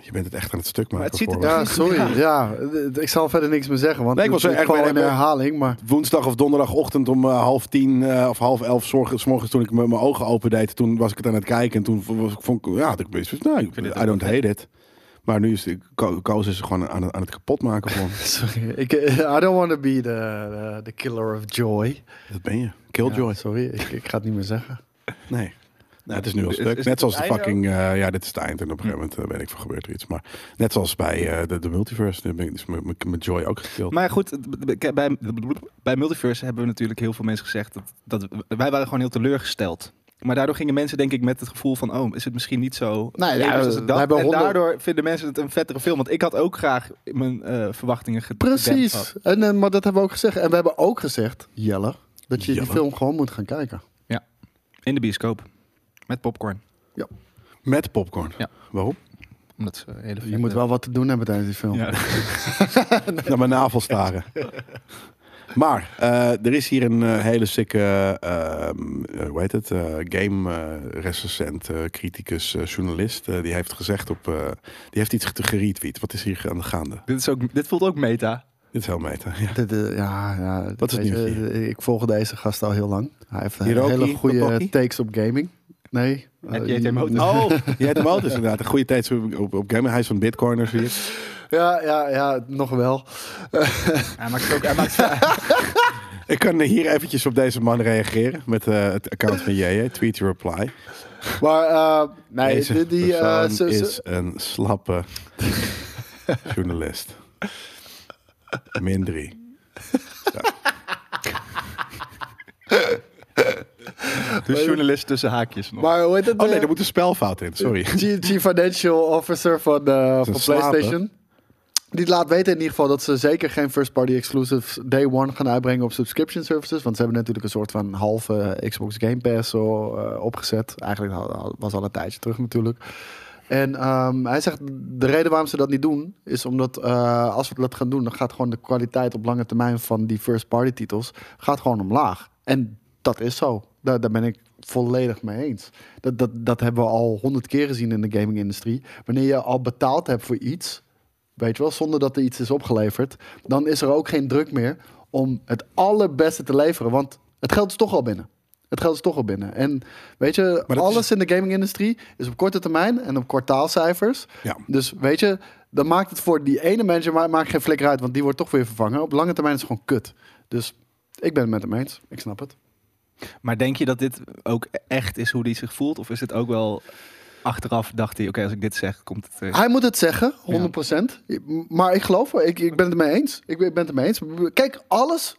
A: Je bent het echt aan het stuk maken.
C: Maar het ziet er
A: voor me.
B: Ja, sorry. Ja. d- d- ik zal verder niks meer zeggen, want
A: Nee, ik
B: het
A: was
B: is
A: echt-
B: gewoon
A: ik
B: een
A: ben-
B: herhaling, maar...
A: Woensdag of donderdagochtend om eh, half tien eh, of half elf, zorg- 's morgens toen ik me- mijn ogen opendeed, toen was ik het aan het kijken en toen v- was, ik- vond ik, ja, had ik best van, nou,
C: vind dit
A: I don't hate it. Maar nu is de ko- Koos is gewoon aan, het- aan het kapotmaken van,
B: Sorry, ik, eh, I don't want to be the, the, the killer of joy.
A: dat ben je, Killjoy.
B: Ja, sorry, ik, ik ga het niet meer zeggen.
A: Nee. Nou, het is nu al
C: Is-
A: stuk.
C: is
A: Net zoals de
C: het einde Hm.
A: fucking... eh, ja, dit is het eind. En op een gegeven moment eh, weet ik van gebeurt er iets. Maar net zoals bij eh, de, de multiverse. daar ben ik- dus is mijn- mijn- mijn Joy ook gekild.
C: Maar goed, het- bij- bij, bij Multiverse hebben we natuurlijk heel veel mensen gezegd dat, dat wij waren gewoon heel teleurgesteld. Maar daardoor gingen mensen denk ik met het gevoel van, oh, is het misschien niet zo
B: Nee, Nou
C: levens
B: ja,
C: als
B: we
C: ik dacht.
B: hebben
C: En
B: honderd-
C: daardoor vinden mensen het een vettere film. Want ik had ook graag mijn eh, verwachtingen gedempt gehad.
B: Precies, en, eh, maar dat hebben we ook gezegd. En we hebben ook gezegd, Jelle, dat je
A: Jelle.
B: die film gewoon moet gaan kijken.
C: In de bioscoop. Met popcorn.
A: Met popcorn.
C: Ja.
A: Waarom?
C: Omdat ze eh, hele
B: Je moet wel wat te doen hebben tijdens die film.
C: Ja.
A: Naar mijn navel staren. maar eh, er is hier een eh, hele sikke... eh, eh, hoe heet het? eh, game eh, recensent, eh, criticus, eh, journalist. eh, die heeft gezegd op... eh, die heeft iets ge- geretweet. Wat is hier aan de gaande?
C: dit, is ook, dit voelt ook meta.
A: Dit is heel meta. Ja.
B: Dit, eh, ja, ja
A: Wat is het
B: weet je,
A: nieuwtje?
B: eh, ik volg deze gast al heel lang. Hij heeft eh,
A: Hiroki
B: hele
A: Totoki?
B: goede takes op gaming. Nee.
C: Heb
B: eh,
C: je het hem ook-
A: Oh, jij hebt hem al. Dus inderdaad een goede tijd op, op, op game. Hij is van Bitcoiners hier.
B: Ja, ja, ja, nog wel.
C: Hij maakt ook... Hij maakt,
A: Ik kan hier eventjes op deze man reageren met eh, het account van JJ, Tweet Your Reply.
B: Maar eh, nee,
A: deze
B: die, die, eh,
A: persoon
B: ze- ze-
A: is een slappe journalist. Min drie. Zo.
C: de journalist tussen haakjes nog.
B: maar hoe heet het?
A: Oh nee,
B: eh,
A: er moet een spelfout in, sorry.
B: Chief, Chief Financial Officer van, eh, van
A: een slaap,
B: PlayStation. Die laat weten in ieder geval dat ze zeker geen first-party exclusives day one gaan uitbrengen op subscription services. Want ze hebben natuurlijk een soort van halve eh, Xbox Game Pass zo, eh, opgezet. Eigenlijk al- al- was al een tijdje terug natuurlijk. En ehm, hij zegt, de reden waarom ze dat niet doen, is omdat eh, als we dat gaan doen, dan gaat gewoon de kwaliteit op lange termijn van die first-party titels gaat gewoon omlaag. En dat is zo. Daar, daar ben ik volledig mee eens. Dat, dat, dat hebben we al honderd keer gezien in de gaming-industrie. Wanneer je al betaald hebt voor iets, weet je wel, zonder dat er iets is opgeleverd, dan is er ook geen druk meer om het allerbeste te leveren. Want het geld is toch al binnen. Het geld is toch al binnen. En weet je,
A: Maar dat is-
B: alles in de gaming-industrie is op korte termijn en op kwartaalcijfers.
A: Ja.
B: Dus weet je, dan maakt het voor die ene manager ma- maakt geen flikker uit, want die wordt toch weer vervangen. Op lange termijn is het gewoon kut. Dus Ik ben het met hem eens. Ik snap het.
C: Maar denk je dat dit ook echt is hoe hij zich voelt? Of is het ook wel achteraf dacht hij, oké, als ik dit zeg, komt het... eh,
B: Hij moet het zeggen, 100%. Maar ik geloof, wel, ik, ik ben het ermee eens. Ik ben het ermee eens. Kijk, alles,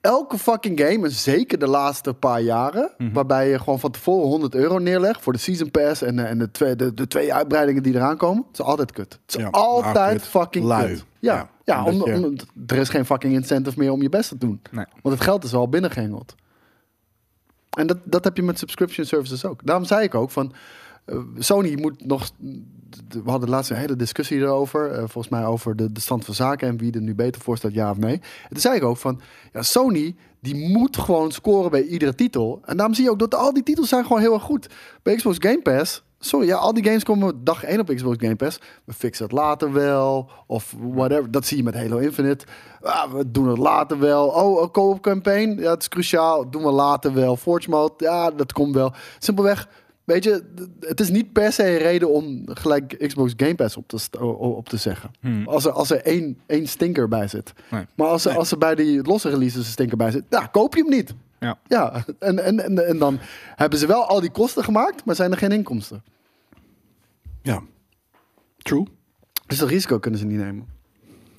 B: elke fucking game, en zeker de laatste paar jaren,
A: Mhm.
B: waarbij je gewoon van tevoren 100 euro neerlegt voor de season pass en, eh, en de, twee, de, de twee uitbreidingen die eraan komen, het is altijd kut. Het is
A: Ja, maar
B: altijd
A: kut.
B: fucking
A: Lui.
B: kut. Ja,
A: Ja,
B: ja,
A: omdat
B: om-
A: je-
B: om- er is geen fucking incentive meer om je best te doen.
C: nee.
B: Want het geld is al binnengehengeld. En dat, dat heb je met subscription services ook. Daarom zei ik ook van... eh, Sony moet nog... We hadden laatst een hele discussie erover. eh, volgens mij over de, de stand van zaken en wie er nu beter voor staat, ja of nee. En toen zei ik ook van... Ja, Sony die moet gewoon scoren bij iedere titel. En daarom zie je ook dat al die titels zijn gewoon heel erg goed. Bij Xbox Game Pass... Sorry, ja, al die games komen dag 1 op Xbox Game Pass. We fixen het later wel. Of whatever. Dat zie je met Halo Infinite. Ah, we doen het later wel. Oh, een co-op campaign. Ja, het is cruciaal. Doen we later wel. Forge mode. Ja, dat komt wel. Simpelweg, weet je, d- het is niet per se een reden om gelijk Xbox Game Pass op te, st- o- op te zeggen. Als er, als er één, één stinker bij zit.
C: Hmm. Nee.
B: Maar als er, als er bij die losse releases een stinker bij zit, nou, koop je hem niet.
C: Ja.
B: Ja, en, en, en, en dan hebben ze wel al die kosten gemaakt, maar zijn er geen inkomsten.
A: Ja. True.
B: Dus dat risico kunnen ze niet nemen.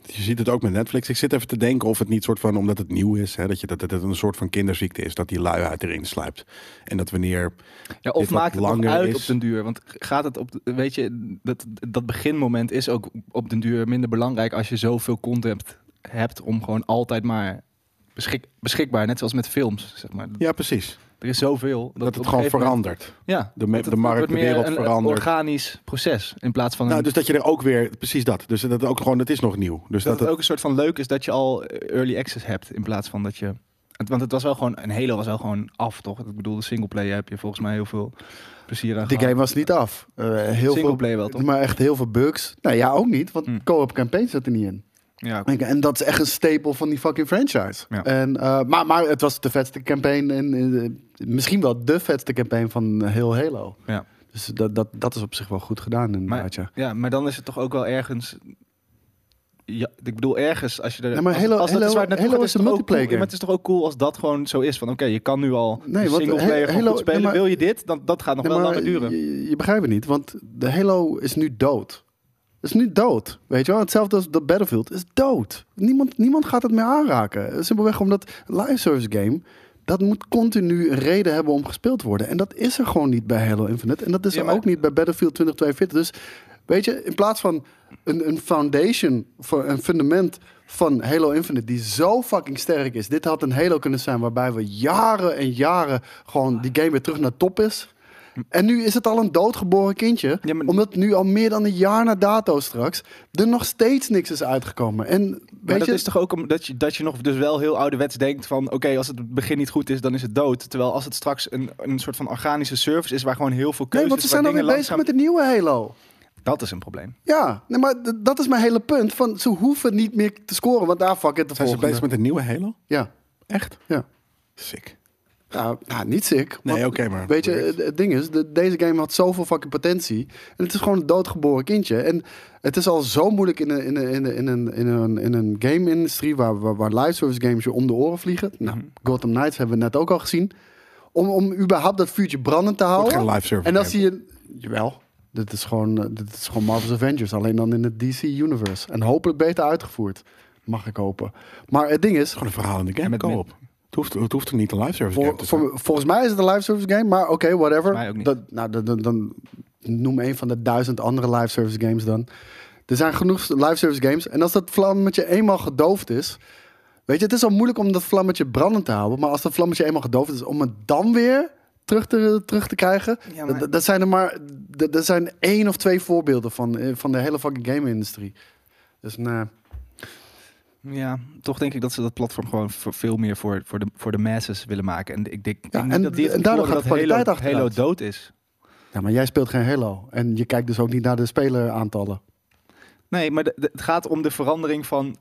A: Je ziet het ook met Netflix. Ik zit even te denken of het niet soort van, omdat het nieuw is, hè, dat, je, dat, dat het een soort van kinderziekte is, dat die luiheid erin sluipt. En dat wanneer.
C: Ja, of
A: dit wat
C: maakt het nog
A: langer
C: uit
A: is.
C: op den duur? Want gaat het op, de- weet je, dat, dat beginmoment is ook op den duur minder belangrijk als je zoveel content hebt om gewoon altijd maar beschik, beschikbaar, net zoals met films, zeg maar.
A: Ja, precies.
C: Er is zoveel.
A: Dat,
C: op
A: het
C: een
A: gewoon
C: gegeven moment-
A: verandert.
C: Ja,
A: De me-
C: dat het-
A: de markt,
C: het wordt
A: de wereld
C: meer een,
A: verandert.
C: Een organisch proces in plaats van een,
A: Nou, dus dat je er ook weer, precies dat. Dus dat het ook gewoon, het is nog nieuw. Dus
C: dat,
A: dat,
C: het ook een soort van leuk is dat je al eh, early access hebt in plaats van dat je het- want het was wel gewoon, een Halo was wel gewoon af, toch? Ik bedoel, de singleplayer heb je volgens mij heel veel plezier aan
B: Die
C: gehad.
B: game was niet af. Eh, heel veel,
C: Singleplayer wel, toch?
B: Maar echt heel veel bugs. Nou ja, ook niet, want
C: Hmm.
B: co-op campaign zat er niet in.
C: Ja,
B: En- En dat is echt een stapel van die fucking franchise.
C: Ja.
B: En, eh, maar, maar het was de vetste campaign. En, eh, misschien wel de vetste campaign van heel Halo.
C: ja.
B: Dus dat, dat, dat is op zich wel goed gedaan inderdaad, ja.
C: Ja, maar dan is het toch ook wel ergens. Ja, ik bedoel, ergens als je er.
B: Ja, maar
C: als,
B: Halo-
C: als dat
B: Halo-
C: is waar het naartoe
B: Halo
C: gaat,
B: is
C: het
B: een
C: toch ook
B: multiplayer
C: cool. Ja, maar het is toch ook cool als dat gewoon zo is van oké, je kan nu al
B: Nee,
C: nee,
B: want,
C: singleplayer
B: eh,
C: gewoon
B: Halo-
C: goed spelen.
B: nee, maar-
C: Wil je dit? Dan, dat gaat nog
B: Nee,
C: wel
B: maar
C: langer duren.
B: Je, je begrijpt het niet, want de Halo is nu dood. Is nu dood, weet je wel? Hetzelfde als de Battlefield is dood. Niemand, niemand gaat het meer aanraken. Simpelweg omdat live service game dat moet continu een reden hebben om gespeeld te worden. En dat is er gewoon niet bij Halo Infinite. En dat is
C: Ja,
B: er
C: maar-
B: ook niet bij Battlefield 2042. Dus weet je, in plaats van een, een foundation, voor een fundament van Halo Infinite... die zo fucking sterk is. Dit had een Halo kunnen zijn waarbij we jaren en jaren... gewoon die game weer terug naar top is. En nu is het al een doodgeboren kindje.
C: Ja, maar-
B: Omdat nu al meer dan een jaar na dato straks... er nog steeds niks is uitgekomen. En weet
C: Maar dat
B: je,
C: is toch ook om- dat je, dat je nog dus wel heel ouderwets denkt van... oké, als het begin niet goed is, dan is het dood. Terwijl als het straks een, een soort van organische service is... waar gewoon heel veel
B: nee,
C: keuzes...
B: want ze
C: waar
B: zijn alweer
C: dingen
B: bezig met
C: langzaam-
B: de nieuwe Halo.
C: Dat is een probleem.
B: Ja, nee, maar d- dat is mijn hele punt. Van, ze hoeven niet meer te scoren, want daar fuck het de
A: zijn ze
B: volgende.
A: bezig met een nieuwe Halo?
B: Ja,
A: Echt?
B: ja.
A: Sick.
B: Nou, nou, niet sick.
A: Nee,
B: want-
A: oké, maar
B: Weet je,
A: weird.
B: het, het ding is, de- deze game had zoveel fucking potentie. En het is gewoon een doodgeboren kindje. En het is al zo moeilijk in een, in een, in een, in een, in een, in een game-industrie... Waar, waar, waar live service games je om de oren vliegen. Nou,
A: Mhm.
B: Gotham Knights hebben we net ook al gezien. Om, om überhaupt dat vuurtje brandend te houden.
A: geen live service
B: En dan
A: game.
B: zie je... Jawel. Dit is, gewoon, eh, dit is gewoon Marvel's Avengers, alleen dan in het DC-universe. En hopelijk beter uitgevoerd. Mag ik hopen. Maar het ding is,
A: Gewoon een verhaal in de game.
C: met-
A: Kom op. Het hoeft, het hoeft er niet een live service
B: Vol-
A: game te zijn.
B: vol- volgens mij is het een live service game, maar oké, whatever.
C: mij ook niet.
B: Dat, nou, dan, dan, dan noem een van de duizend andere live service games dan. Er zijn genoeg live service games. En als dat vlammetje eenmaal gedoofd is. Weet je, het is al moeilijk om dat vlammetje brandend te houden. Maar als dat vlammetje eenmaal gedoofd is, om het dan weer terug te, terug te krijgen.
C: Ja, maar-
B: dat, dat zijn er maar. Dat, dat zijn één of twee voorbeelden van, eh, van de hele fucking game-industrie. Dus nee.
C: Ja, toch denk ik dat ze dat platform gewoon voor- veel meer voor, voor, de, voor de masses willen maken. En ik denk ik denk
B: en-
C: niet dat die het
B: en daardoor
C: gevoel
B: gaat
C: hebben
B: de
C: dat
B: kwaliteit
C: Halo, Halo
B: achteruit.
C: dood is.
B: Ja, maar jij speelt geen Halo. En je kijkt dus ook niet naar de speleraantallen.
C: Nee, maar de- de- het gaat om de verandering van.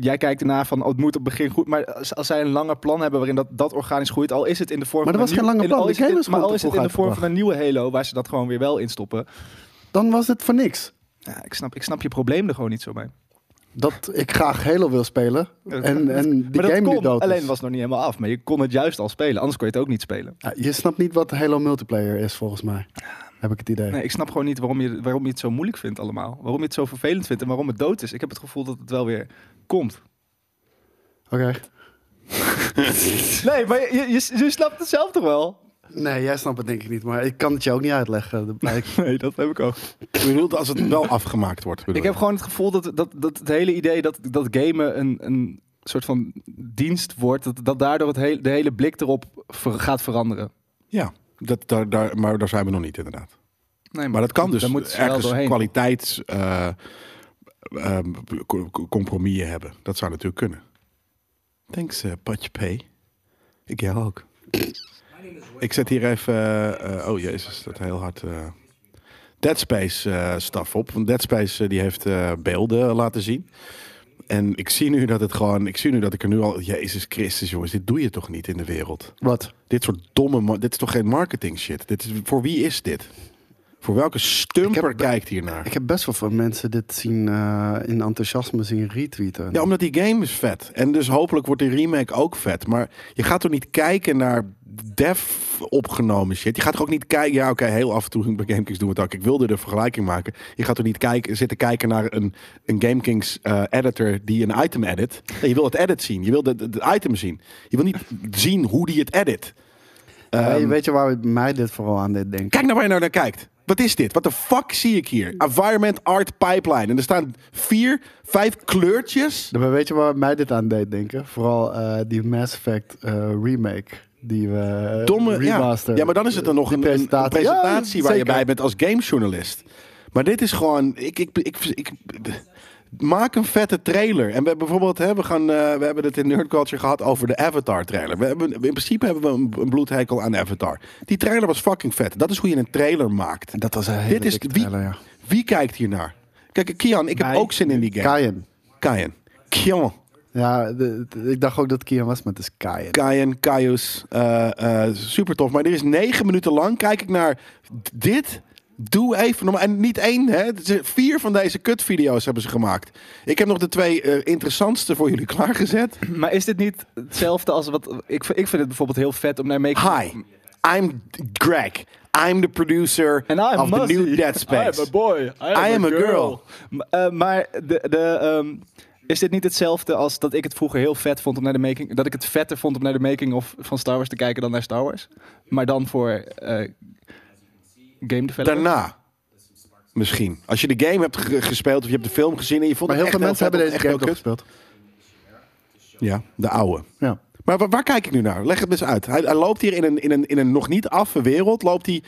C: Jij kijkt ernaar van, oh, het moet op het begin goed. Maar als, als zij een langer plan hebben waarin dat, dat organisch groeit, al is het in de vorm
B: Maar er
C: van.
B: was geen lange
C: langer
B: plan,
C: Al is
B: de
C: het, in-
B: game is
C: maar
B: gewoon
C: al
B: te
C: is het
B: vroeg
C: in de vorm van
B: uitgebracht.
C: een nieuwe Halo, waar ze dat gewoon weer wel in stoppen.
B: Dan was het voor niks.
C: Ja, ik, snap, ik snap je probleem er gewoon niet zo bij.
B: dat ik graag Halo wil spelen.
C: Dat-
B: En, en die
C: maar
B: game
C: dat
B: die
C: kon,
B: dood is.
C: alleen was het nog niet helemaal af. Maar je kon het juist al spelen, anders kon je het ook niet spelen.
B: Ja, je snapt niet wat Halo multiplayer is, volgens mij. Heb ik het idee.
C: Nee, ik snap gewoon niet waarom je, waarom je het zo moeilijk vindt allemaal. Waarom je het zo vervelend vindt en waarom het dood is. Ik heb het gevoel dat het wel weer komt.
B: Oké.
C: Nee, maar je, je, je snapt het zelf toch wel?
B: Nee, jij snapt het denk ik niet, maar ik kan het je ook niet uitleggen. Dat blijkt.
C: Nee, dat heb ik ook.
A: Ik bedoel, als het wel afgemaakt wordt. bedoel
C: Ik heb gewoon het gevoel dat, dat, dat het hele idee dat, dat gamen een, een soort van dienst wordt, dat, dat daardoor het hele de hele blik erop ver- gaat veranderen.
A: Ja, dat, daar, daar, maar daar zijn we nog niet inderdaad.
C: Nee,
A: Maar dat kan dus
C: daar moet ze wel
A: ergens
C: doorheen.
A: kwaliteits... eh, ehm, co- co- compromissen hebben. Dat zou natuurlijk kunnen. Thanks, eh, Patje P. Ik jou ook. Ik zet hier even... eh, eh, oh jezus, dat heel hard... eh, Dead Space eh, staf op. Want Dead Space eh, die heeft eh, beelden laten zien. En ik zie nu dat het gewoon... Ik zie nu dat ik er nu al... Jezus Christus, jongens. Dit doe je toch niet in de wereld?
B: Wat?
A: Dit soort domme. ma- Dit is toch geen marketing shit? Dit is, voor wie is dit? Voor welke stumper
B: Ik heb-
A: kijkt hier naar?
B: Ik heb best wel veel mensen dit zien eh, in enthousiasme zien retweeten.
A: Ja, omdat die game is vet. En dus hopelijk wordt die remake ook vet. Maar je gaat toch niet kijken naar dev opgenomen shit. Je gaat toch ook niet kijken. Ja, oké, heel af en toe bij GameKings doen we het ook. Ik wilde de vergelijking maken. Je gaat toch niet kijken, zitten kijken naar een, een GameKings eh, editor die een item edit. Nee, je wil het edit zien. Je wil het item zien. Je wil niet zien hoe die het edit.
B: Weet je- Eh, weet je waar mij dit vooral aan dit denkt?
A: Kijk nou waar je nou naar kijkt. Wat is dit? Wat de fuck zie ik hier? Environment Art Pipeline. En er staan vier, vijf kleurtjes.
B: Maar weet je waar mij dit aan deed denken? Vooral eh, die Mass Effect eh, remake. Die we eh,
A: Domme ja.
B: remaster.
A: ja, maar dan is het dan nog
B: Die
A: een een- een presentatie,
B: Ja,
A: waar je
B: zeker.
A: bij bent als gamejournalist. Maar dit is gewoon. Ik, ik, ik, ik, maak een vette trailer. En we hebben bijvoorbeeld, hè, we, gaan, eh, we hebben het in Nerd Culture gehad over de Avatar trailer. We hebben, in principe hebben we een, een bloedhekel aan Avatar. Die trailer was fucking vet. Dat is hoe je een trailer maakt.
B: Dat was een hele
A: Dit is
B: dikke
A: wie,
B: trailer, ja.
A: wie kijkt hiernaar? Kijk, Kian, ik heb
C: Wij.
A: ook zin in die game.
B: Kaien.
A: Kayen. Kian.
B: Ja, de- de- ik dacht ook dat het Kian was, maar het is Kaien.
A: Kayen, Kaius. eh, eh, super tof. Maar er is negen minuten lang. Kijk ik naar d- dit. Doe even normaal. En niet één, hè. Het is- Vier van deze kutvideo's hebben ze gemaakt. Ik heb nog de twee eh, interessantste voor jullie klaargezet.
C: Maar is dit niet hetzelfde als wat... Ik, ik vind het bijvoorbeeld heel vet om naar making...
A: Hi, I'm Greg. I'm the producer
C: En I'm
A: of the
C: Muzzy.
A: new Dead Space.
C: I am a boy. I am,
A: I am
C: a,
A: a
C: girl.
A: girl.
C: M- eh, maar de, de, ehm, is dit niet hetzelfde als dat ik het vroeger heel vet vond om naar de making... Dat ik het vetter vond om naar de making of van Star Wars te kijken dan naar Star Wars? Maar dan voor eh, game developers?
A: Daarna. Misschien. Als je de game hebt ge- gespeeld of je hebt de film gezien en je vond
B: Maar heel
A: het
B: veel
A: echt
B: mensen
A: vet
B: hebben
A: of
B: deze
A: echt heel
B: game ook
A: kut.
B: gespeeld.
A: Ja, de oude.
B: Ja.
A: Maar waar, waar kijk ik nu naar? Leg het eens uit. Hij, hij loopt hier in een, in, een, in een nog niet affe wereld. Loopt hij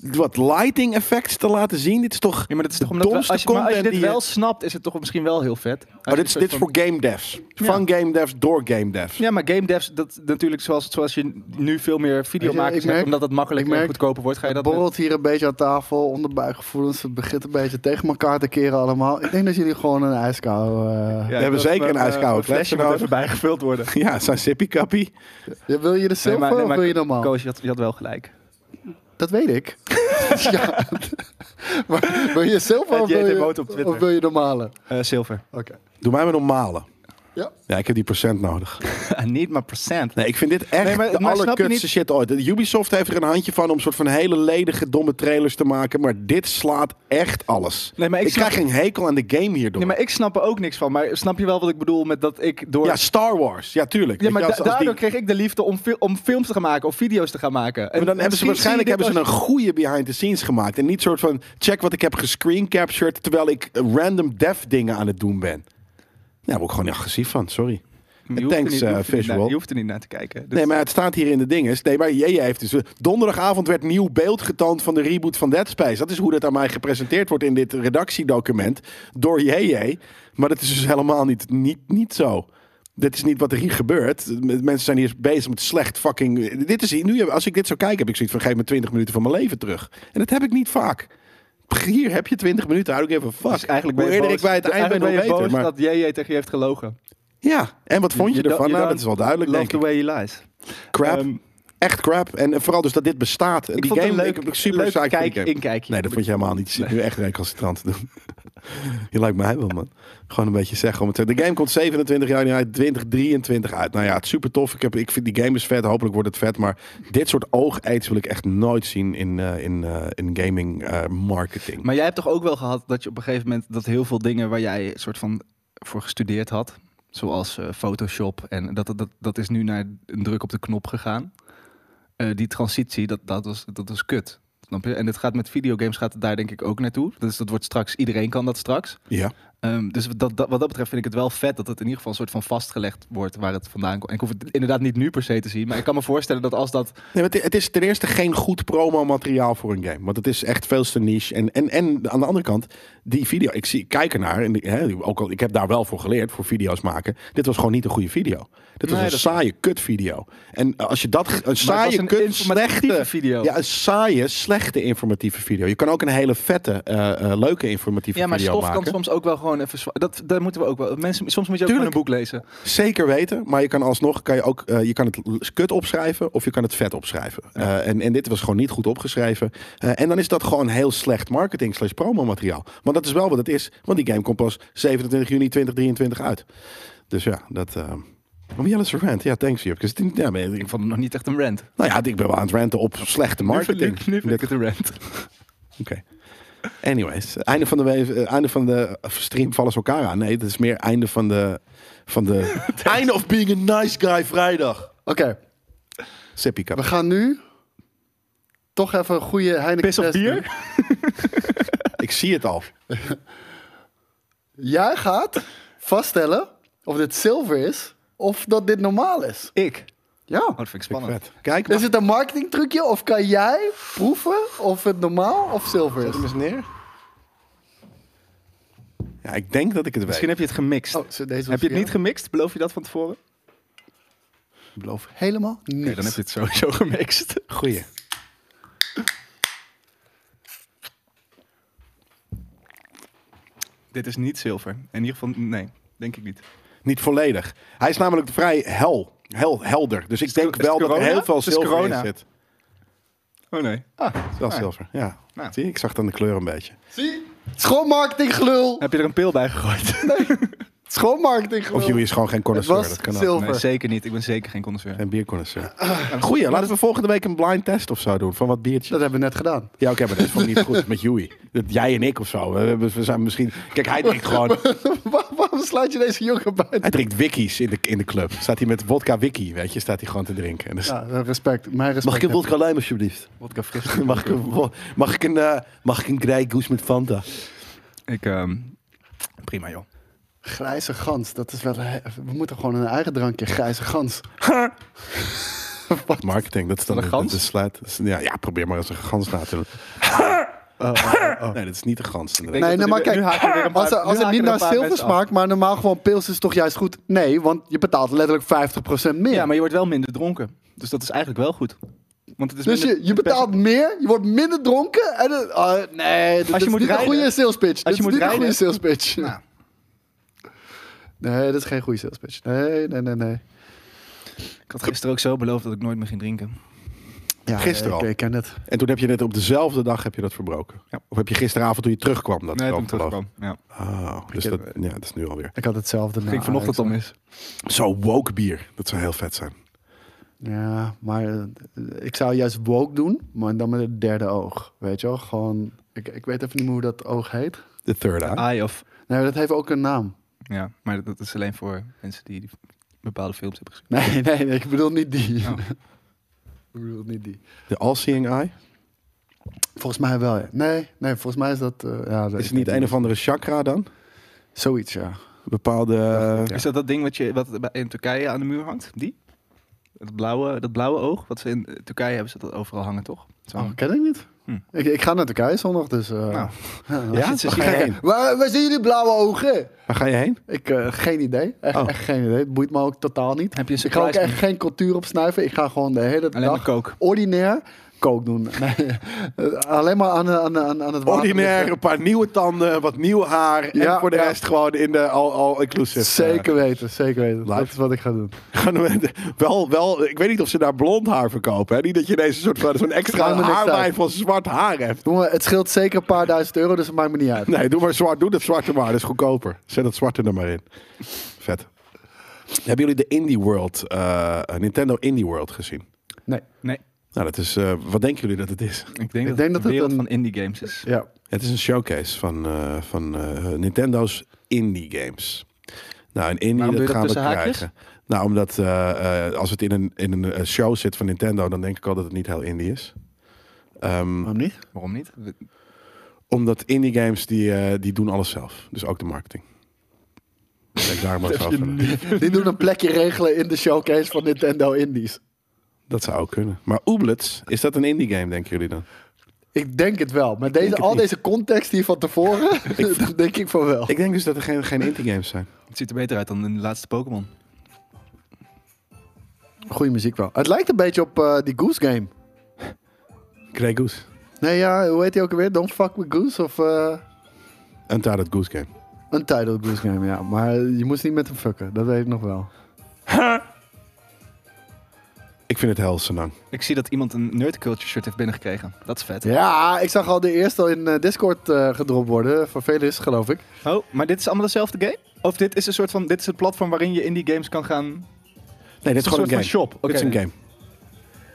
A: wat lighting effects te laten zien? Dit is toch.
C: Ja, maar dat is toch
A: de
C: omdat we-
A: domste
C: als je, maar als je
A: content
C: dit
A: die je-
C: wel snapt, is het toch misschien wel heel vet. Als je
A: Oh,
C: een
A: dit is,
C: soort
A: dit is
C: van-
A: voor game devs. Van game devs door game devs.
C: Ja, maar game devs, dat natuurlijk zoals, zoals je nu veel meer
B: ik
C: videomakers
B: merk-
C: hebt, omdat dat makkelijker
B: ik
C: en
B: merk-
C: goedkoper wordt, ga je dat... met-
B: borrelt hier een beetje aan tafel, onderbuikgevoelens. Het begint een beetje tegen elkaar te keren allemaal. Ik denk dat jullie gewoon een ijskou... eh,
A: We hebben zeker een ijskoude
C: ijskoude
A: klets
C: eh, flesje moet
A: nodig.
C: even bijgevuld worden.
A: Ja, zijn sippy kappie.
B: ja, Wil je de
C: Nee,
B: zilver
C: maar- nee,
B: of
C: maar
B: wil je normaal?
C: Koos, je had, je had wel gelijk.
B: Dat weet ik. ja. maar wil je zilver
C: Het
B: of wil
C: JT
B: je,
C: Boot op Twitter.
B: of wil je normale? Oké.
C: Eh zilver.
A: Doe mij maar normale.
B: Ja.
A: Ja, ik heb die procent nodig.
C: Niet maar procent.
A: Nee, ik vind dit echt
C: Nee,
A: de
C: maar- maar snap je
A: allerkutste
C: niet-
A: shit ooit. Ubisoft heeft er een handje van om soort van hele ledige, domme trailers te maken. Maar dit slaat echt alles.
C: Nee, maar ik
A: ik
C: snap-
A: krijg geen hekel aan de game hierdoor.
C: Nee, maar ik snap er ook niks van. Maar snap je wel wat ik bedoel met dat ik door...
A: Ja, Star Wars. Ja, tuurlijk.
C: Ja,
A: Weet
C: maar
A: je, als-
C: da-
A: als die-
C: daardoor kreeg ik de liefde om, fil- om films te gaan maken of video's te gaan maken. En
A: Maar dan hebben ze
C: misschien
A: waarschijnlijk
C: zie je
A: hebben
C: dit
A: ze een
C: als-
A: goede behind the scenes gemaakt. En niet soort van check wat ik heb gescreen captured terwijl ik random dev dingen aan het doen ben. Nou, daar word ik gewoon agressief van, sorry.
C: Je hoeft er
A: Thanks,
C: niet-
A: eh,
C: je hoeft er niet
A: visual.
C: naar- Je hoeft er niet naar te kijken. Dus-
A: Nee, maar het staat hier in de dinges. Nee, maar JJ heeft dus. Donderdagavond werd nieuw beeld getoond van de reboot van Dead Space. Dat is hoe dat aan mij gepresenteerd wordt in dit redactiedocument door JJ. Maar dat is dus helemaal niet, niet, niet zo. Dit is niet wat er hier gebeurt. M- Mensen zijn hier bezig met slecht fucking. eh, Dit is hier, nu, heb- als ik dit zo kijk, heb ik zoiets van: geef me 20 minuten van mijn leven terug. En dat heb ik niet vaak. Hier heb je 20 minuten. Hou ik even fuck.
C: Dus eigenlijk ben
A: hoe
C: je
A: eerder ik
C: boos-
A: bij het eind ben,
C: eigenlijk
A: hoe
C: ben je
A: beter.
C: boos
A: Maar,
C: dat JJ tegen je heeft gelogen.
A: Ja, en wat vond je,
C: don't-
A: ervan? Nou,
C: don't
A: dat is wel duidelijk.
C: Love
A: Denk
C: the
A: ik.
C: way he lies.
A: Crap.
C: Ehm,
A: echt crap. En vooral dus dat dit bestaat. En
C: Ik
A: die
C: vond het
A: game
C: een leuk,
A: ik heb super
C: leuk
A: saai voor die
C: kijk,
A: game.
C: inkijkje.
A: Nee, dat vond je helemaal niet. Je zit nu echt recalcitrant te doen. je lijkt mij wel, man. Gewoon een beetje zeggen om het te De game komt 27 januari 2023 uit. Nou ja, het is super tof. Ik, heb, ik vind die game is vet. Hopelijk wordt het vet. Maar dit soort oogeets wil ik echt nooit zien in, eh, in, eh, in gaming eh, marketing.
C: Maar jij hebt toch ook wel gehad dat je op een gegeven moment dat heel veel dingen waar jij soort van voor gestudeerd had, zoals eh, Photoshop en dat, dat, dat is nu naar een druk op de knop gegaan. Eh, die transitie, dat, dat, was, dat was kut. Snap je? En het gaat met videogames gaat het daar denk ik ook naartoe. Dus dat wordt straks, iedereen kan dat straks.
A: Ja.
C: Ehm, dus dat, dat- wat dat betreft vind ik het wel vet dat het in ieder geval een soort van vastgelegd wordt waar het vandaan komt. En ik hoef het inderdaad niet nu per se te zien, maar ik kan me voorstellen dat als dat
A: Nee, maar het- het is ten eerste geen goed promo-materiaal voor een game. Want het is echt veel te niche. En, en, en aan de andere kant, die video, ik, zie, ik kijk ernaar. En die- hè, ook al, ik heb daar wel voor geleerd, voor video's maken. Dit was gewoon niet een goede video. Dit was
C: Nee,
A: een
C: dat-
A: saaie kutvideo. En als je dat. Een saaie,
C: een
A: kut,
C: informatieve
A: slechte
C: video.
A: Ja, een saaie, slechte informatieve video. Je kan ook een hele vette, eh, eh, leuke informatieve
C: Ja, maar
A: video
C: stof
A: maken.
C: kan soms ook wel gewoon even. zwa- Dat, daar moeten we ook wel. Mensen, soms moet je ook gewoon een
A: Tuurlijk.
C: boek lezen.
A: Zeker weten, maar je kan alsnog kan je ook, eh, je kan het l- kut opschrijven of je kan het vet opschrijven. Eh, en, en dit was gewoon niet goed opgeschreven. Eh, en dan is dat gewoon heel slecht marketing slash promo materiaal. Want dat is wel wat het is, want die game komt pas 27 juni 2023 uit. Dus ja, dat... eh om Jelle Servant, ja, thanks Jurk. Dus die- Ja, maar-
C: Ik vond het nog niet echt een rant.
A: nou ja, ik ben wel aan het ranten op slechte marketing.
C: Nu vind ik het een rant.
A: Oké. Anyways, einde van de, we- eh, einde van de stream vallen ze elkaar aan. Nee, het is meer einde van de... Van de einde of being a nice guy vrijdag.
B: Oké,
A: Sippie
B: we
A: cup.
B: gaan nu toch even een goede Heineken
C: Piss of
B: test doen.
C: bier?
A: Ik zie het al.
B: Jij gaat vaststellen of dit zilver is of dat dit normaal is.
C: Ik.
B: Ja.
C: Oh, dat vind ik
A: Spannend.
C: spannend.
A: Kijk,
B: Is
A: mag
B: het een marketingtrucje of kan jij proeven of het normaal of zilver is?
A: hem eens neer. Ja, ik denk dat ik het
C: Misschien
A: weet.
C: heb je het gemixt.
B: Oh, zo, deze was
C: heb je
B: voor
C: het
B: jou.
C: niet gemixt? Beloof je dat van tevoren?
B: Ik beloof helemaal niks.
C: Nee, dan heb je het sowieso gemixt.
A: Goeie.
C: Dit is niet zilver. In ieder geval, nee, denk ik niet.
A: Niet volledig. Hij is namelijk vrij hel. Hel, helder. Dus ik denk
C: het
A: wel dat er
C: corona?
A: heel veel
C: Het is
A: zilver in
C: corona.
A: zit.
C: Oh nee.
A: Het is wel
C: Ah.
A: zilver, ja.
C: Nou.
A: Zie je, ik zag het aan de kleur een beetje.
B: Zie? Schoon marketinggelul.
C: Heb je er een pil bij gegooid? Nee,
B: Schoon marketinggelul.
A: Of jullie is gewoon geen connoisseur.
B: was
A: Dat kan ook.
B: zilver.
C: zeker niet. Ik ben zeker geen connoisseur.
A: Geen bierconnoisseur.
C: Ah.
A: Goeie, laten we volgende week een blind test of zo doen. Van wat biertje.
B: Dat hebben we net gedaan.
A: Ja, oké, maar dat is voor niet goed met Joey. Dat jij en ik of zo. We, hebben- we zijn misschien... Kijk, hij drinkt gewoon...
B: Waar- waarom slaat je deze jongen buiten?
A: Hij drinkt wikkies in de, in de club. Staat hij met vodka wiki, weet je. Staat hij gewoon te drinken. En dus- dan-
B: Ja,
C: eh,
B: respect. Mijn respect.
A: Mag ik een
B: heb
A: vodka lime alsjeblieft?
C: Wodka fris.
A: Mag ik een, vo- mag ik een, eh, mag ik een Grey Goose met Fanta?
C: Ik, ehm, prima joh.
B: Grijze gans, dat is wel. We moeten gewoon een eigen drankje, grijze gans.
A: Wat marketing, dat is dan
C: Een
A: dat
C: gans?
A: is slijt- dat is- ja, ja, probeer maar eens een gans na te doen.
C: Oh,
A: Nee, dat is niet een gans. inderdaad.
B: Nee,
C: dat
B: nee,
C: we
B: maar
C: nu-
B: kijk,
C: nu haken we weer een paar-
B: als, er-
C: nu
B: als het
C: haken
B: niet
C: we
B: naar
C: een paar
B: zilver
C: mensen af.
B: smaakt, maar normaal gewoon pils is toch juist goed? Nee, want je betaalt letterlijk 50% meer.
C: Ja, maar je wordt wel minder dronken. Dus dat is eigenlijk wel goed. Want het is
B: dus
C: minder-
B: je, je betaalt meer, je wordt minder dronken en het- ah, nee, dit
C: je
B: is
C: moet
B: niet
C: rijden-
B: een goede sales pitch. Dit
C: als je
B: is
C: moet
B: niet een
C: rijden-
B: goede sales pitch.
C: Nou,
B: Nee, dat is geen goede sales pitch. Nee, nee, nee, nee.
C: ik had gisteren ook zo beloofd dat ik nooit meer ging drinken.
B: Ja,
A: Gisteren
B: ik,
A: al.
B: ik ken het.
A: En toen heb je net op dezelfde dag heb je dat verbroken.
C: Ja.
A: Of heb je gisteravond toen je terugkwam dat
C: Nee, toen ik
A: verbroken, geloof ik?
C: terugkwam. Ja.
A: Oh, dus
B: Ik
A: dat,
B: heb-
A: ja, dat is nu alweer.
B: Ik had hetzelfde. na
C: Ging vanochtend al
B: Ajax.
C: mis.
A: Zo woke bier. Dat zou heel vet zijn.
B: Ja, maar eh, ik zou juist woke doen, maar dan met het derde oog. Weet je wel, gewoon... Ik, ik weet even niet meer hoe dat oog heet.
A: De third eye.
C: Eye of...
B: Nee, dat heeft ook een naam.
C: Ja, maar dat- dat is alleen voor mensen die die bepaalde films hebben
B: Nee,
C: gezien.
B: nee, nee, ik bedoel niet die.
C: Oh.
B: ik bedoel niet die.
A: De all-seeing eye.
B: Volgens mij wel, ja. Nee, nee, volgens mij is dat... eh, ja, dat-
A: Is het niet een of andere chakra dan?
B: Zoiets, ja.
A: Bepaalde... eh,
B: Ja.
C: Is dat dat ding wat, je, wat bij- in Turkije aan de muur hangt? Die? Dat blauwe, dat blauwe oog? Wat ze in eh, Turkije hebben ze dat overal hangen, toch? Zo.
B: Oh, ken ik niet.
C: Hm.
B: Ik, ik ga naar Turkije zondag, dus... eh,
C: Nou.
B: ja.
A: Ja?
C: Zit ze
A: Waar ga je
C: sigaret-
A: heen?
B: Waar, waar zien jullie blauwe ogen?
A: Waar ga je heen?
B: Ik, eh, geen idee. Echt,
A: Oh.
B: echt geen idee. Het boeit me ook totaal niet.
C: Heb je een
B: Ik ga ook
C: surprise?
B: echt geen cultuur opsnuiven. Ik ga gewoon de hele
C: Alleen
B: dag
C: maar kook.
B: ordinair kook doen. Nee, eh, alleen maar aan, aan, aan, aan het water.
A: Ordinair, een paar nieuwe tanden, wat nieuw haar.
B: Ja,
A: en voor de
B: ja.
A: rest gewoon in de all- all-inclusive.
B: Zeker weten, zeker weten.
A: Dus, eh, Live.
B: Dat is wat ik ga doen.
A: Gewoon met- wel, wel, ik weet niet of ze daar blond haar verkopen. Hè? Niet dat je deze soort van zo'n extra
B: Maakt me niks
A: haarlijn
B: uit.
A: van zwart haar hebt.
B: Jongen, het scheelt zeker een paar duizend euro, dus het maakt me niet uit.
A: Nee, doe maar zwart. Doe dat zwarte maar. Dat is goedkoper. Zet dat zwarte er maar in. Vet. Hebben jullie de Indie World, eh, Nintendo Indie World gezien?
B: Nee.
C: Oh, Nee,
A: Nou, dat is, eh, wat denken jullie dat het is?
C: ik denk dat,
B: denk
C: het
B: dat
C: de
B: het
C: wereld
B: een-
C: van indie games is.
B: Ja.
A: Het is een showcase van, eh, van eh, Nintendo's indie games. Nou, een indie
C: Waarom doe je dat
A: gaan we
C: tussen haakjes?
A: krijgen. Nou, omdat eh, eh, als het in een, in een eh, show zit van Nintendo, dan denk ik al dat het niet heel indie is. Ehm,
B: Waarom niet?
C: Waarom niet? We-
A: Omdat indie games die, eh, die doen alles zelf. Dus ook de marketing. Kijk, daarom ook zo van-
B: Die doen een plekje regelen in de showcase van Nintendo Indies.
A: dat zou ook kunnen. Maar Ooblets, is dat een indie game, denken jullie dan?
B: Ik denk het wel. Maar deze,
A: het
B: al
A: niet.
B: deze context hier van tevoren, dat denk ik van wel.
A: Ik denk dus dat er geen, geen indie games zijn.
C: Het ziet er beter uit dan in de laatste Pokémon.
B: Goeie muziek wel. Het lijkt een beetje op eh, die Goose Game.
A: Grey Goose.
B: Nee, ja, hoe heet die ook alweer? Don't Fuck With Goose of... eh,
A: Untitled Goose Game.
B: Een titled Goose Game, ja. Maar je moest niet met hem fucken, dat weet ik nog wel.
A: Ik vind het heel senang.
C: Ik zie dat iemand een nerdculture shirt heeft binnengekregen. Dat is vet.
B: Ja, ik zag al de eerste al in eh, Discord eh, gedropt worden, van Velis, geloof ik.
C: Oh, maar dit is allemaal dezelfde game? Of dit is een soort van, dit is het platform waarin je indie games kan gaan...
A: Nee, dit is
C: Een
A: gewoon
C: soort
A: een game.
C: van shop. Oké.
A: Dit is een game.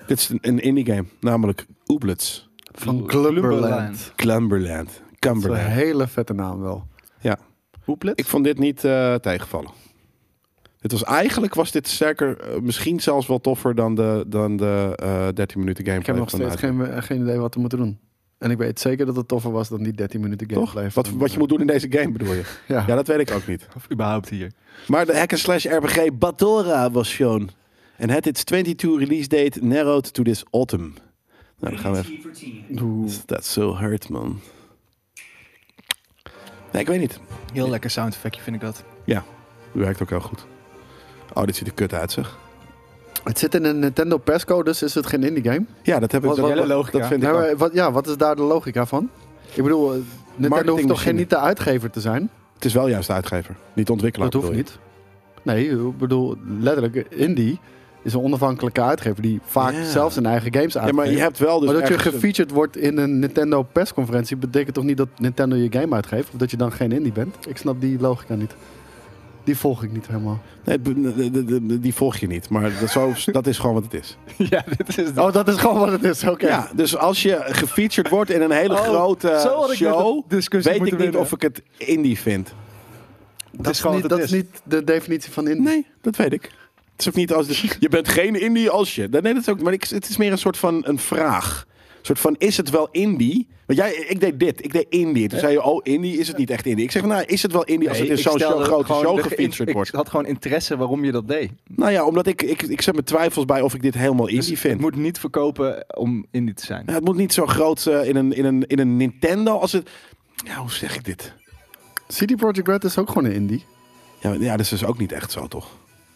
A: Dit is een, een indie game, namelijk Ooblets.
B: Van
C: Clumberland.
B: Clumberland.
A: Clumberland.
B: Dat is een
A: Cumberland.
B: hele vette naam wel.
A: Ja.
C: Hoeplet?
A: Ik vond dit niet eh, tegenvallen. Dit was, eigenlijk was dit sterker, eh, misschien zelfs wel toffer dan de, dan de eh 13 minuten gameplay.
B: Ik heb nog
A: van
B: steeds
A: uit-
B: geen, eh, geen idee wat we moeten doen. En ik weet zeker dat het toffer was dan die 13 minuten
A: Toch?
B: gameplay.
A: Wat,
B: van- eh,
A: wat je moet doen in deze game bedoel je?
B: Ja.
A: Ja, dat weet ik ook niet.
C: Of überhaupt hier.
A: Maar de hack and slash RPG Batora was shown. En had its 22 release date narrowed to this autumn. Nou, dan gaan we even...
B: Oeh.
A: That's so hurt, man. Nee, ik weet niet.
C: Heel lekker sound effectje vind ik dat.
A: Die werkt ook heel goed. Oh, dit ziet er kut uit, zeg.
B: Het zit in een Nintendo Pesco, dus is het geen indie game.
A: Ja, dat hebben we.
B: Wat-
A: dat, dat-
B: wat- Nou,
C: logica.
A: dat vind ik
B: Ja,
A: ook.
B: maar wat, ja, wat is daar de logica van? Ik bedoel, eh, Nintendo hoeft toch
A: Marketingmachine.
B: geen niet de uitgever te zijn?
A: Het is wel juist de uitgever, niet de ontwikkelaar.
B: Dat hoeft
A: bedoel je.
B: niet. Nee, ik bedoel, letterlijk, indie is een onafhankelijke uitgever die vaak
A: Ja.
B: zelf zijn eigen games
A: Ja,
B: uitgeeft.
A: maar je hebt wel dus.
B: maar dat je
A: ergens een-
B: gefeatured wordt in een Nintendo persconferentie betekent toch niet dat Nintendo je game uitgeeft? Of dat je dan geen indie bent? Ik snap die logica niet. Die volg ik niet helemaal.
A: Nee, de- de- de- de- die volg je niet, maar dat, zo, dat is gewoon wat het is.
C: ja, dit is dus
B: Oh, dat is gewoon wat het is. Oké.
A: Ja, dus als je gefeatured wordt in een hele
C: Oh,
A: grote
C: zo had ik net
A: show,
C: de discussie
A: weet ik niet
C: moeten winnen.
A: of ik het indie vind.
B: dat,
C: is
B: is
C: gewoon
B: niet,
C: wat het
B: dat is niet de definitie van indie.
A: Nee, dat weet ik. Het is ook niet als je bent geen indie als je. Nee, dat is ook. Maar ik, het is meer een soort van een vraag. Een soort van is het wel indie? Want jij, ik deed dit, ik deed indie. Toen zei je, oh indie is het niet echt indie. Ik zeg, nou is het wel indie als het in
C: Eh? ik
A: zo'n
C: stelde
A: show, grote
C: gewoon
A: show
C: de geïn-
A: gefeatured wordt?
C: Ik had gewoon interesse waarom je dat deed.
A: Nou ja, omdat ik, ik, ik zet mijn twijfels bij of ik dit helemaal indie
C: Dus het
A: vind.
C: moet niet verkopen om indie te zijn.
A: Ja, het moet niet zo groot eh, in, een, in, een, in een Nintendo als het. Ja, hoe zeg ik dit?
B: CD Projekt Red is ook gewoon een indie.
A: Ja, maar- ja, dat is dus ook niet echt zo, toch?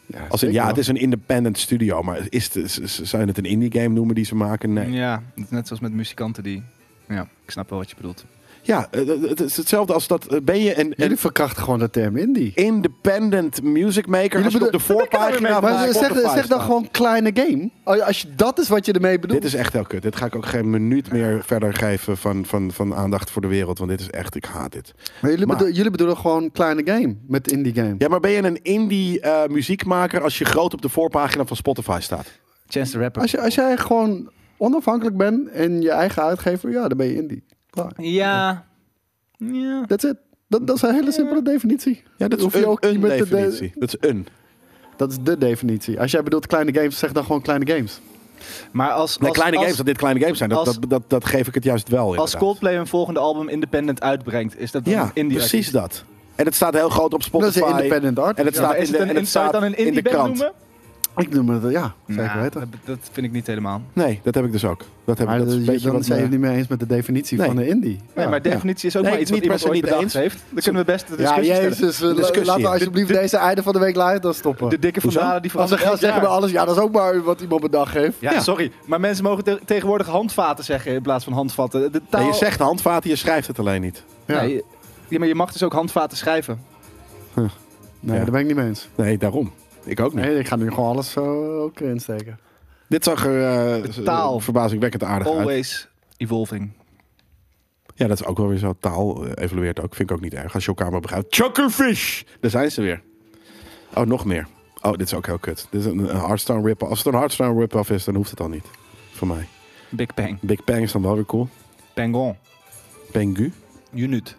B: Ja,
A: Als in, ja, het is een independent studio, maar is het, is- is- zou je het een indie game noemen die ze maken? Nee.
C: Ja, net zoals met muzikanten die... Ja, ik snap wel wat je bedoelt.
A: Ja, eh, eh, het is hetzelfde als dat. eh, Ben je een, een
B: Jullie verkrachten gewoon de term indie.
A: independent music maker? Als je op de voorpagina van
B: Maar zeg,
A: Spotify
B: zeg dan
A: staat.
B: gewoon kleine game. Als- Als je, dat is wat je ermee bedoelt.
A: Dit is echt heel kut. Dit ga ik ook geen minuut meer verder geven van, van, van aandacht voor de wereld. Want dit is echt, ik haat dit.
B: Maar jullie,
A: Maar-
B: bedoel- jullie bedoelen gewoon kleine game met indie game.
A: Ja, maar ben je een indie eh, muziekmaker als je groot op de voorpagina van Spotify staat?
C: Chance the Rapper.
B: Als, je, als jij gewoon onafhankelijk bent en je eigen uitgever, ja, dan ben je indie. Klaar.
C: Ja. Ja.
B: That's it. Dat, dat is een hele simpele definitie.
A: Ja, dat is
B: Hoef je
A: een,
B: ook niet
A: een
B: met de- de-
A: definitie. Dat is een.
B: Dat is de definitie. Als jij bedoelt kleine games, zeg dan gewoon kleine games.
C: Maar als,
A: Nee,
C: als,
A: kleine
C: als,
A: games, dat dit kleine games zijn, dat,
C: als-
A: dat, dat, dat geef ik het juist wel.
C: als
A: inderdaad.
C: Coldplay een volgende album independent uitbrengt, is dat dan
A: Ja,
C: een indie
A: precies dat. En het staat heel groot op
B: Dat is
A: Spotify.
B: een independent art.
A: En het
C: Ja, maar
A: staat
C: is
A: in de,
C: het een,
A: en het
C: zou je
A: staat
C: het dan een
A: in
C: indie
A: de
C: band
A: krant.
C: noemen?
B: Ik noem het, ja, zeker
C: Nou,
B: weten.
C: Dat, dat vind ik niet helemaal.
A: Nee, dat heb ik dus ook. Dat heb ik.
B: Maar
A: Dat is een
B: dat-
A: beetje
B: dan
A: wat
B: zijn
A: me-
B: jullie niet meer eens met de definitie
A: Nee.
B: van de indie.
C: Nee,
B: Ja.
C: maar definitie is ook
A: Nee,
C: maar iets wat
A: niet per
C: iemand
A: se
C: ooit
A: niet
C: bedacht
A: eens.
C: heeft. Dan kunnen we best de
B: Ja,
C: discussie stellen.
B: jezus. we-
A: discussie.
B: Laten we alsjeblieft deze einde van de week live dan stoppen.
C: De dikke van
A: Hoezo?
C: Dalen die
B: Als ze
C: verandert
B: gaan
C: elk
B: zeggen bij
C: jaar.
B: alles, ja, dat is ook maar wat iemand bedacht heeft.
C: Ja,
A: Ja.
C: sorry. Maar mensen mogen te- tegenwoordig handvaten zeggen in plaats van handvatten. De taal...
A: Nee, je zegt handvaten, je schrijft het alleen niet.
B: Ja.
C: Nee, ja, maar je mag dus ook handvaten schrijven.
B: Nee,
A: Ja.
B: daar ben ik niet mee eens.
A: Nee, daarom. Ik ook niet.
B: Nee, ik ga nu gewoon alles zo eh, ook erin steken.
A: Dit zag er eh,
C: De taal.
A: verbazingwekkend aardig uit.
C: Always evolving.
A: Ja, dat is ook wel weer zo. Taal eh, evolueert ook. Vind ik ook niet erg. Als je elkaar maar begrijpt. Chuckerfish! Daar zijn ze weer. Oh, nog meer. Oh, dit is ook heel kut. Dit is een, een Hearthstone rip-off. Als het een Hearthstone rip-off is, dan hoeft het al niet. Voor mij.
C: Big Bang.
A: Big Bang is dan wel weer cool.
C: Pengon.
A: Pengu.
C: Unit.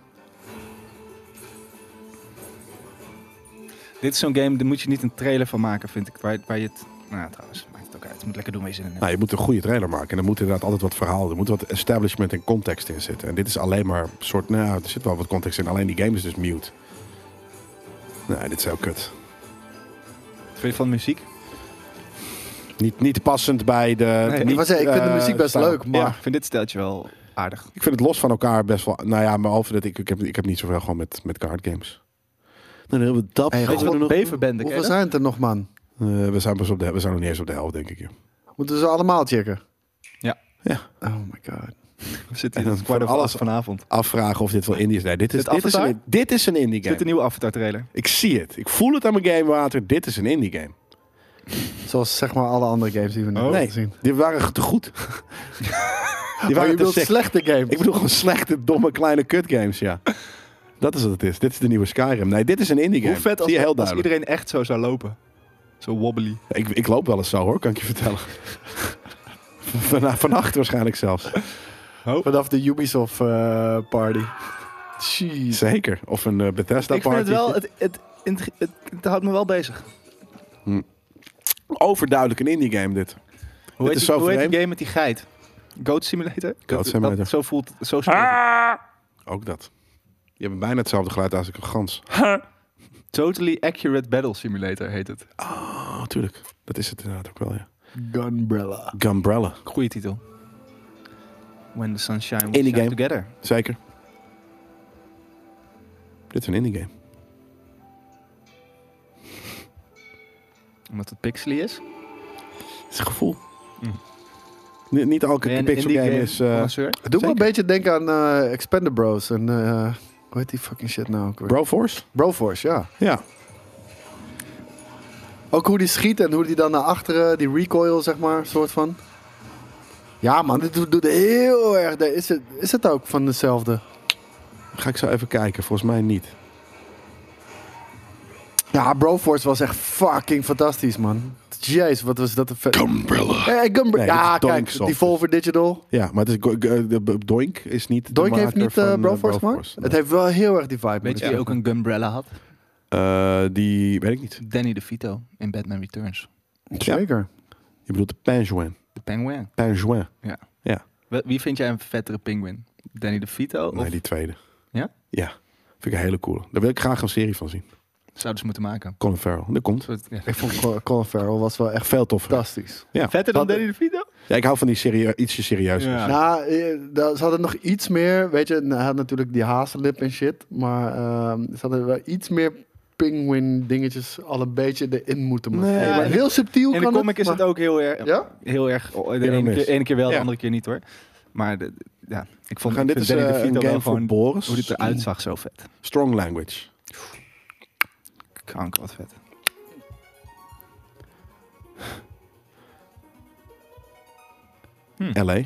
C: Dit is zo'n game, daar moet je niet een trailer van maken, vind ik. Waar, waar je het... Nou, ja, trouwens, maakt het ook uit. Je moet lekker doen waar je zin in hebt.
A: Nou, je moet een goede trailer maken. En er moet inderdaad altijd wat verhaal. Er moet wat establishment en context in zitten. En dit is alleen maar een soort. Nou, er zit wel wat context in. Alleen die game is dus mute. Nee, dit is heel kut.
C: Wat vind je van de muziek?
A: Niet, niet passend bij de.
C: ik
A: niet,
B: Ik, wou zeggen, ik vind de
A: eh,
B: muziek best
A: stijl.
B: leuk, maar...
C: Maar ik vind dit steltje wel aardig.
A: Ik vind het los van elkaar best wel. Nou ja, behalve dat ik, ik, heb, ik heb niet zoveel gewoon met, met card games. Dan hebben we dat.
B: Hey,
A: Weet je
B: God,
A: wat er nog-
C: Beverbende, ken je
B: Hoeveel
C: dat?
B: zijn het er nog, man?
A: Eh, we, zijn pas op de, we zijn nog niet eens op de helft, denk ik. joh.
B: Moeten we ze allemaal checken?
C: Ja.
A: Ja.
B: Oh my god.
C: We zitten
A: En
C: hier
A: dan
C: tot kwart
A: van
C: over
A: alles-
C: acht vanavond.
A: Afvragen of dit wel indie is. Nee, dit is,
C: Is het
A: dit is,
C: Avatar?
A: een, dit is een indie
C: Is dit
A: game.
C: een nieuwe Avatar trailer?
A: Ik zie het. Ik voel het aan mijn gamewater. Dit is een indie game.
B: Zoals zeg maar alle andere games die we nu
C: Oh.
B: hebben
A: Nee,
B: gezien.
A: die waren te goed. die
B: Maar
A: waren
B: je
A: te
B: wilt
A: sick.
B: slechte games.
A: Ik bedoel gewoon slechte, domme, kleine kutgames, ja. Dat is wat het is. Dit is de nieuwe Skyrim. Nee, dit is een indie game.
C: Hoe vet als,
A: Zie je heel
C: als
A: duidelijk.
C: iedereen echt zo zou lopen. Zo wobbly.
A: Ik, ik loop wel eens zo hoor, kan ik je vertellen. Van, eh, vannacht waarschijnlijk zelfs.
B: Vanaf de Ubisoft eh, party. Jeez.
A: Zeker. Of een eh, Bethesda
C: ik vind het
A: party.
C: wel, het, het, het, het, het houdt me wel bezig.
A: Overduidelijk een indie game dit.
C: Hoe
A: Dit
C: heet,
A: is
C: die,
A: zo
C: hoe heet die
A: vreemd.
C: game met die geit? Goat Simulator? Dat- dat-
A: Simulator.
C: zo voelt zo speelt, het.
A: Ook dat. Je hebt bijna hetzelfde geluid als ik een gans.
C: Totally Accurate Battle Simulator heet het.
A: Oh, tuurlijk. Dat is het inderdaad ook wel, ja.
B: Gunbrella.
A: Gumbrella.
C: Goeie titel. When the sunshine will
A: Indie
C: shine
A: game.
C: together.
A: Zeker. Dit is een indie game.
C: Omdat het pixely is.
A: Het is een gevoel.
C: Mm.
A: Ni- Niet elke
C: Ben je een
A: pixel
C: indie
A: game,
C: game
A: is... eh,
C: connoisseur?
B: Doe me
A: Zeker.
B: een beetje denken aan eh Expander Bros. En eh, hoe heet die fucking shit nou ook weer?
A: Broforce?
B: Broforce, ja.
A: Ja.
B: Ook hoe die schiet en hoe die dan naar achteren, die recoil zeg maar, soort van. Ja man, dit doet, doet heel erg. de- Is het, is het ook van dezelfde?
A: Ga ik zo even kijken. Volgens mij niet.
B: Ja, Broforce was echt fucking fantastisch man. Jeez, wat was dat een vet.
A: Gumbrella.
B: Hey, Gumbre-
A: Nee,
B: ja,
A: dit is
B: kijk,
A: Doinksoft.
B: die Volver Digital.
A: Ja, maar het is, go- go- de- de- Doink is niet de
B: Doink heeft
A: maker
B: niet
A: van,
B: eh
A: eh,
B: Broforce gemaakt.
A: Broforce.
B: Het heeft wel heel erg die vibe. moet
C: Weet
B: ik
C: je die ook
B: zeggen.
C: een Gumbrella had?
A: Eh, die weet ik niet.
C: Danny DeVito in Batman Returns.
A: Ja.
B: Zeker.
A: Je bedoelt de Penguin.
C: De penguin.
A: Penguin.
C: Wel- Wie vind jij een vettere penguin? Danny DeVito? Of
A: Nee, die tweede.
C: Ja?
A: Ja. Vind ik een hele coole. Daar wil ik graag een serie van zien.
C: zouden ze moeten maken?
A: Colin Farrell. Dat komt.
C: Een soort- ja.
B: Ik vond Col- Colin Farrell was wel echt
A: Echt veel toffer.
B: fantastisch.
C: Vetter dan
B: Wat-
C: Danny DeVito?
A: Ja, ik hou van die serie, ietsje serieus.
C: Ja.
B: Nou, eh, da- ze hadden nog iets meer, weet je, nou, hij had natuurlijk die hazenlip en shit, maar ehm, ze hadden wel iets meer penguin dingetjes al een beetje erin moeten maken.
A: Nee,
B: Nee,
C: maar-
B: heel subtiel
C: In de
B: kan
C: comic is
B: maar-
C: het ook heel erg...
B: Ja?
C: Heel erg... oh, De
A: Hit or
C: ene
A: miss.
C: keer, ene keer wel, de
A: Ja.
C: andere keer niet hoor. Maar de- de- ja, ik
A: We
C: vond
A: gaan
C: ik
A: dit is
C: vind Danny
A: eh,
C: DeVito
A: een
C: wel
A: game voor
C: gewoon...
A: Boris.
C: Hoe dit eruit zag, zo vet.
A: Strong language.
C: Kanker, wat vet.
A: LA.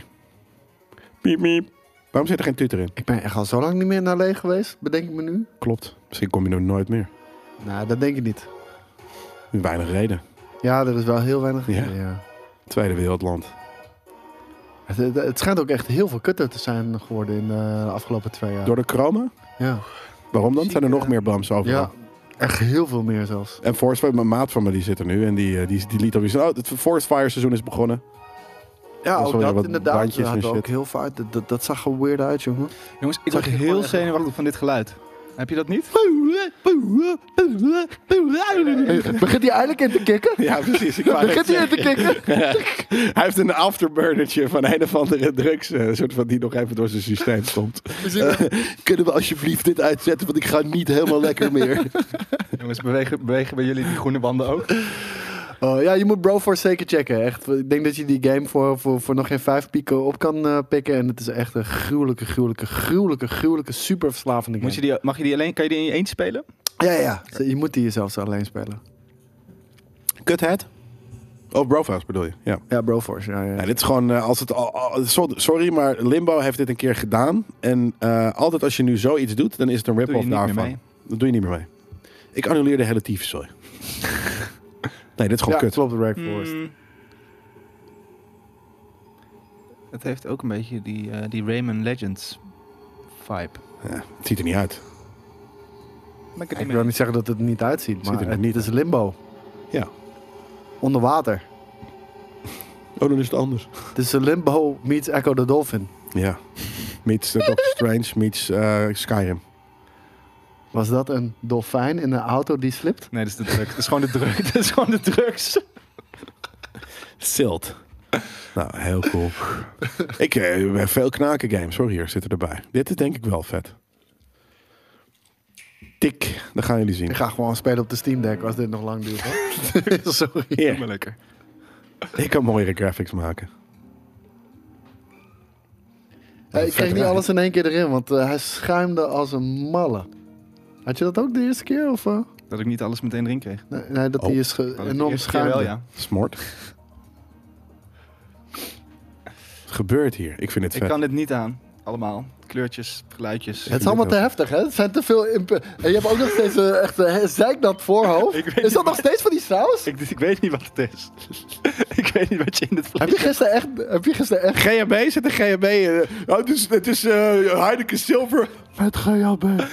A: Piep, piep. Waarom zit er geen tutor in?
B: Ik ben echt al zo lang niet meer naar Lee geweest, bedenk ik me nu.
A: Klopt. Misschien kom je nog nooit meer.
B: Nou, dat denk ik niet.
A: Weinig reden.
B: Ja, er is wel heel weinig.
A: Ja.
B: Ja.
A: Tweede wereldland.
B: Het, het- het schijnt ook echt heel veel kutter te zijn geworden in eh, de afgelopen twee jaar.
A: Door de chroma?
B: Ja.
A: Waarom dan? Zijn er nog meer bums over?
B: ja, echt heel veel meer zelfs.
A: En Forest Fire, mijn maat van me, die zit er nu. En die, eh, die, die liet alweer zien, oh, het Forest Fire seizoen is begonnen.
B: Ja,
A: was wel
B: ook
A: weer
B: dat
A: wat
B: inderdaad.
A: bandjes
B: Dat
A: en
B: had ook
A: shit.
B: heel vaak. Dat, dat, dat zag er weird uit, jongen.
C: Jongens, ik
B: Zag
C: word
B: je
C: heel
B: gewoon echt-
C: zenuwachtig van dit geluid. Heb je dat niet?
B: Begint hij eindelijk in te kikken?
A: Ja, precies. Ik wou net
B: Begint hij in te kikken?
A: Hij heeft een afterburnertje van een of andere drugs. eh, een soort van die nog even door zijn systeem komt.
B: Kunnen we alsjeblieft dit uitzetten, want ik ga niet helemaal lekker meer.
C: Jongens, bewegen, bewegen bij jullie die groene banden ook?
B: Oh, ja, je moet Broforce zeker checken, echt. Ik denk dat je die game voor, voor, voor nog geen vijf pieken op kan eh, pikken. En het is echt een gruwelijke, gruwelijke, gruwelijke, gruwelijke, super verslavende game.
C: Moet je die, mag je die alleen, kan je die in je eentje spelen?
B: Ja, ja, ja. Je moet die jezelf alleen spelen.
A: Cuthead? Oh, Brofhouse bedoel je? Ja.
B: Ja, Broforce, ja, ja.
A: Nee, dit is gewoon, eh, als het al, al- so- sorry, maar Limbo heeft dit een keer gedaan. En eh, altijd als je nu zoiets doet, dan is het een
C: Doe je
A: rip-off
C: niet meer
A: daarvan.
C: mee.
A: Dat doe je niet meer mee. Ik annuleer de hele tief, sorry. nee, dit is
B: ja,
A: gewoon kut.
B: klopt, Broforce.
C: Hmm. Het heeft ook een beetje die, eh, die Rayman Legends vibe.
A: Ja, het ziet er niet uit.
C: Maar
B: Ik wil niet zeggen dat het er niet uitziet,
A: Ziet
B: maar
A: er
B: het
A: niet
B: is limbo.
A: Ja.
B: Onder water.
A: Oh, dan is het anders.
B: Het is limbo meets Echo the Dolphin.
A: Ja. Meets the Doctor Strange, meets eh, Skyrim.
B: Was dat een dolfijn in een auto die slipt?
C: Nee, dat is de druk. Dat is gewoon de druk. Dat is gewoon de drugs.
A: Silt. Nou, heel cool. ik eh, heb veel knaken games hoor, hier zitten erbij. Dit is denk ik wel vet. Tik, dat gaan jullie zien.
B: Ik ga gewoon spelen op de Steam Deck als dit nog lang duurt. hoor. Sorry.
A: Hier,
C: Maar lekker.
A: ik kan mooiere graphics maken.
B: Hey, ik kreeg niet alles in één keer erin, want eh, hij schuimde als een malle. Had je dat ook de eerste keer? Of, eh?
C: Dat ik niet alles meteen erin kreeg.
B: nee, nee, dat
A: Oh.
B: hij is ge-
C: Dat
B: enorm
C: eerste keer
B: schuimde.
C: wel, ja.
A: Smort. Wat gebeurt hier? Ik vind het
C: Ik
A: vet.
C: kan dit niet aan. Allemaal. Kleurtjes, geluidjes.
B: Het is allemaal te heftig, hè? Het zijn te veel... imp- En je hebt ook nog steeds eh, echt een zeiknat voorhoofd.
C: Ik weet
B: Is
C: niet
B: dat nog steeds van die saus?
C: Ik, ik weet niet wat het is. ik weet niet wat je in dit
B: Heb je gisteren echt... Heb je gisteren echt...
A: GHB zit een GHB. eh, oh, het is, het is eh, Heineken Silver.
B: Met GHB.
C: Hebben we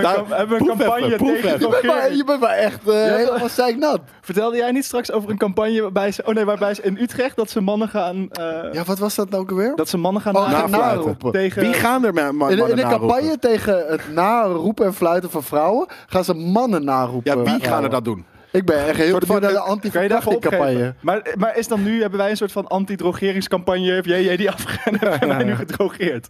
A: Nou,
C: cam- hebben we een
A: proef
C: campagne
A: even, proef
C: tegen
A: even.
B: Je bent maar,
C: drogering?
B: je bent maar echt eh, helemaal zeiknat.
C: Vertelde jij niet straks over een campagne waarbij ze... Oh nee, waarbij ze in Utrecht dat ze mannen gaan... eh,
B: Ja, wat was dat nou ook weer?
C: Dat ze mannen gaan...
B: Oh,
C: nadoen
B: gaan
A: Nafluiten.
B: naroepen.
C: Nou, Tegen...
A: Wie gaan er maar
B: in, in een campagne tegen het naroepen en fluiten van vrouwen gaan ze mannen naroepen.
A: Ja, wie
B: Vrouwen.
A: gaan er dat doen?
B: Ik ben echt heel
A: Soort van
B: benieuwd naar de
C: Kan je dat
B: anti
C: even
B: campagne.
C: opgeven? Maar, maar is dan nu, hebben wij een soort van anti-drogeringscampagne? Heb jij, jij die afgegaan? Hebben wij nu gedrogeerd?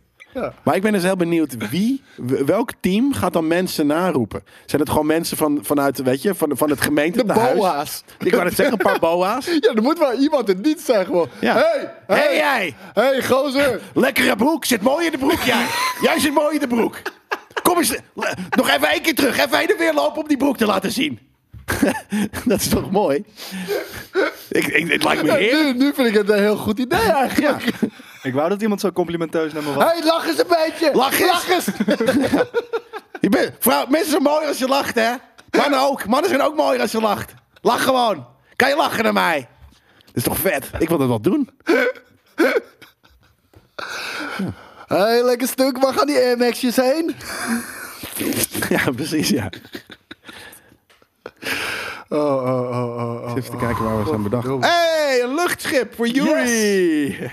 A: Maar ik ben dus heel benieuwd wie, w- welk team gaat dan mensen naroepen? Zijn het gewoon mensen van, vanuit, weet je, van, van het
B: De
A: gemeentehuis?
B: boa's.
A: Ik wou het zeggen, een paar boa's.
B: Ja, er moet wel iemand het niet zeggen. gewoon.
A: Ja.
B: Hey,
A: Hé
B: hey,
A: hey, jij,
B: hey, gozer.
A: lekkere broek, zit mooi in de broek jij. Jij zit mooi in de broek. Kom eens, le- nog even één keer terug, even heen en weer lopen om die broek te laten zien. Dat is toch mooi? Ik, ik, het lijkt me heerlijk.
B: Nu, nu vind ik het een heel goed idee eigenlijk.
C: Ik wou dat iemand zo complimenteus naar me was.
B: Hey, lach eens een beetje.
A: Lach eens.
B: eens.
A: Je bent, vrouw, mensen zijn mooi als je lacht, hè? Mannen ook. Mannen zijn ook mooier als je lacht. Lach gewoon. Kan je lachen naar mij? Dat is toch vet? Ik wil dat wel doen.
B: hey, lekker stuk. Waar gaan die Air Max'jes heen?
A: Ja, precies, ja.
B: Oh, oh, oh, oh, oh.
A: Even te kijken waar we zijn bedacht.
B: verdomme.
A: hey, een luchtschip voor Yuri.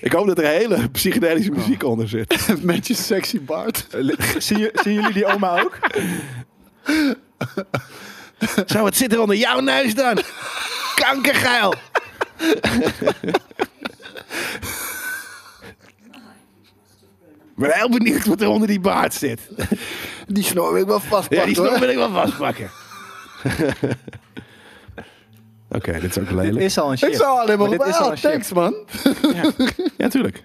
A: Ik hoop dat er hele psychedelische muziek onder zit.
B: Met je sexy baard.
C: zien, ju- zien jullie die oma ook?
A: Zo, wat zit er onder jouw neus dan? Kankergeil. Ik ben heel benieuwd wat er onder die baard zit.
B: Die snor wil ik wel vastpakken
A: Ja, die snor
B: hoor.
A: wil ik wel vastpakken. Oké, dit is ook
C: Dit
A: lelijk.
C: is al een shit.
B: Ik zou alleen maar...
C: dit is al
B: Ah,
C: een shit.
B: thanks man.
A: Ja, tuurlijk.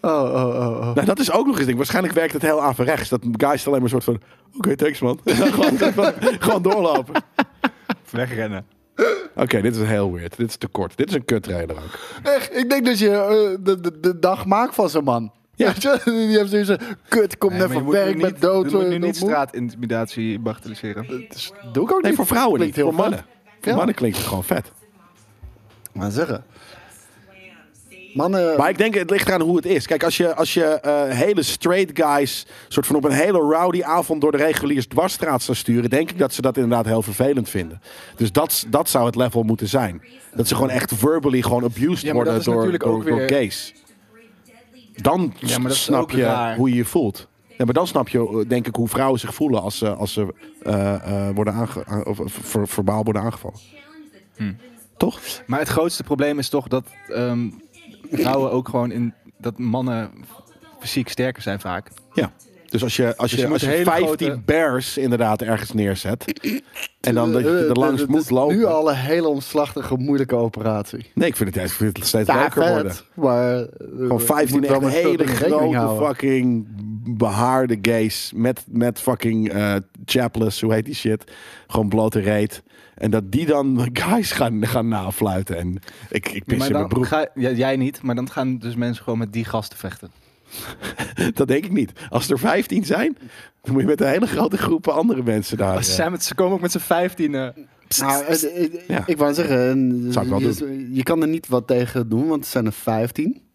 B: Oh, oh, oh, oh.
A: Nou, dat is ook nog eens ding. Waarschijnlijk werkt het heel averechts. Dat guys alleen maar een soort van... Oké, thanks man. En dan gewoon, gewoon- gewoon doorlopen. Oké,
C: Wegrennen.
A: dit is heel weird. Dit is te kort. Dit is een kut trailer ook.
B: Echt, ik denk dat je eh, de, de, de dag maakt van zo'n man.
A: Ja.
B: Weet je, die heeft zoiets van, kut, kom net van werk, ben dood.
C: Je moet
B: eh,
C: nu niet
B: moe.
C: straatintimidatie bagatelliseren.
B: Dat is- doe ik ook
A: Nee,
B: niet.
A: voor vrouwen
B: Klinkt
A: niet.
B: heel
A: Voor mannen.
B: vet.
A: Voor
B: Ja.
A: mannen klinkt het gewoon vet.
B: Maar zeggen. Mannen,
A: Maar ik denk, het ligt eraan hoe het is. Kijk, als je, als je eh, hele straight guys... soort van op een hele rowdy avond... door de reguliers dwarsstraat zou sturen... denk ik dat ze dat inderdaad heel vervelend vinden. Dus dat, dat zou het level moeten zijn. Dat ze gewoon echt verbally gewoon abused
C: maar
A: worden
C: dat is
A: door,
C: natuurlijk
A: door,
C: ook
A: door
C: weer-
A: gays. Dan
C: Ja, maar dat is
A: snap
C: ook
A: je
C: raar.
A: hoe je je voelt. Ja, maar dan snap je, eh, denk ik, hoe vrouwen zich voelen als ze, als ze eh, eh, worden aange aan- of ver- verbaal worden aangevallen. Toch?
C: Maar het grootste probleem is toch dat ehm, vrouwen ook gewoon in dat mannen fysiek sterker zijn vaak.
A: Ja. Dus als je, als je,
C: je moet
A: als je
C: hele
A: 15
C: grote-
A: bears inderdaad ergens neerzet. en dan dat je
B: Eh, eh,
A: er langs
B: het
A: moet
B: is
A: lopen.
B: Nu al een hele omslachtige, moeilijke operatie.
A: Nee, ik vind het, juist- ik vind het steeds
B: Ja,
A: leuker
B: vet,
A: worden.
B: Maar eh,
A: Gewoon 15 echt hele grote
B: fuck.
A: fucking behaarde gays. Met, met fucking eh chapless, hoe heet die shit. Gewoon blote reet. En dat die dan guys gaan, gaan nafluiten. En ik, ik pis
C: Maar
A: in mijn broek.
C: dan ga, ja, jij niet, maar dan gaan dus mensen gewoon met die gasten vechten.
A: Dat denk ik niet. Als er 15 zijn, dan moet je met een hele grote groep andere mensen daar.
C: Ze,
A: eh,
C: zijn met, ze komen ook met z'n vijftiende.
B: Nou, het- het-
A: Ja.
B: Ik wou zeggen, en,
A: Zou ik wel
B: je, je kan er niet wat tegen doen, want het zijn er 15.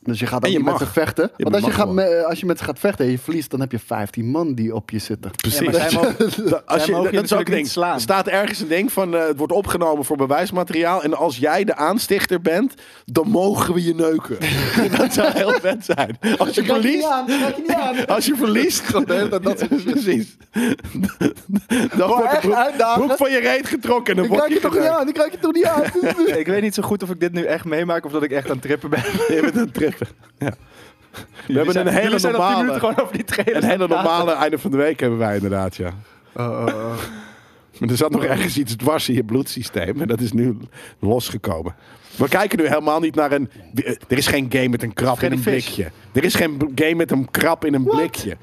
B: Dus je gaat ook
A: je
B: niet met
A: mag.
B: ze vechten.
A: Je
B: want als je,
A: mag
B: gaat
A: gewoon.
B: me- als je met ze gaat vechten en je verliest, dan heb je 15 man die op je zitten.
A: Precies.
C: Ja, maar zij
A: als
C: zij
A: je,
C: mogen
A: dat
C: je
A: is ook
C: natuurlijk
A: een ding.
C: niet slaan.
A: Er staat ergens een ding van eh, het wordt opgenomen voor bewijsmateriaal. En als jij de aanstichter bent, dan mogen we je neuken. dat zou heel vet zijn. Als je verliest,
B: je niet aan.
A: als je verliest,
B: dat- dat-
A: precies. dan wordt de
B: echt
A: broek,
B: uitdagen.
A: broek van je reet getrokken. en Dan
B: Die
A: word
B: krijg je
A: je
B: toch niet
A: geneukt.
B: aan, die krijg je toch niet aan.
C: Ik weet niet zo goed of ik dit nu echt meemaak of dat ik echt aan het trippen ben.
A: Je bent aan het trippen. Ja. We hebben een hele
C: minuut
A: normale,
C: gewoon over die trailer.
A: een hele normale einde van de week hebben wij inderdaad, ja. Maar er zat nog ergens iets dwars in je bloedsysteem. En dat is nu losgekomen. We kijken nu helemaal niet naar een... Er is geen game met een krab in
C: Freddy
A: een
C: Fish.
A: blikje. Er is geen b- game met een krab in een blikje.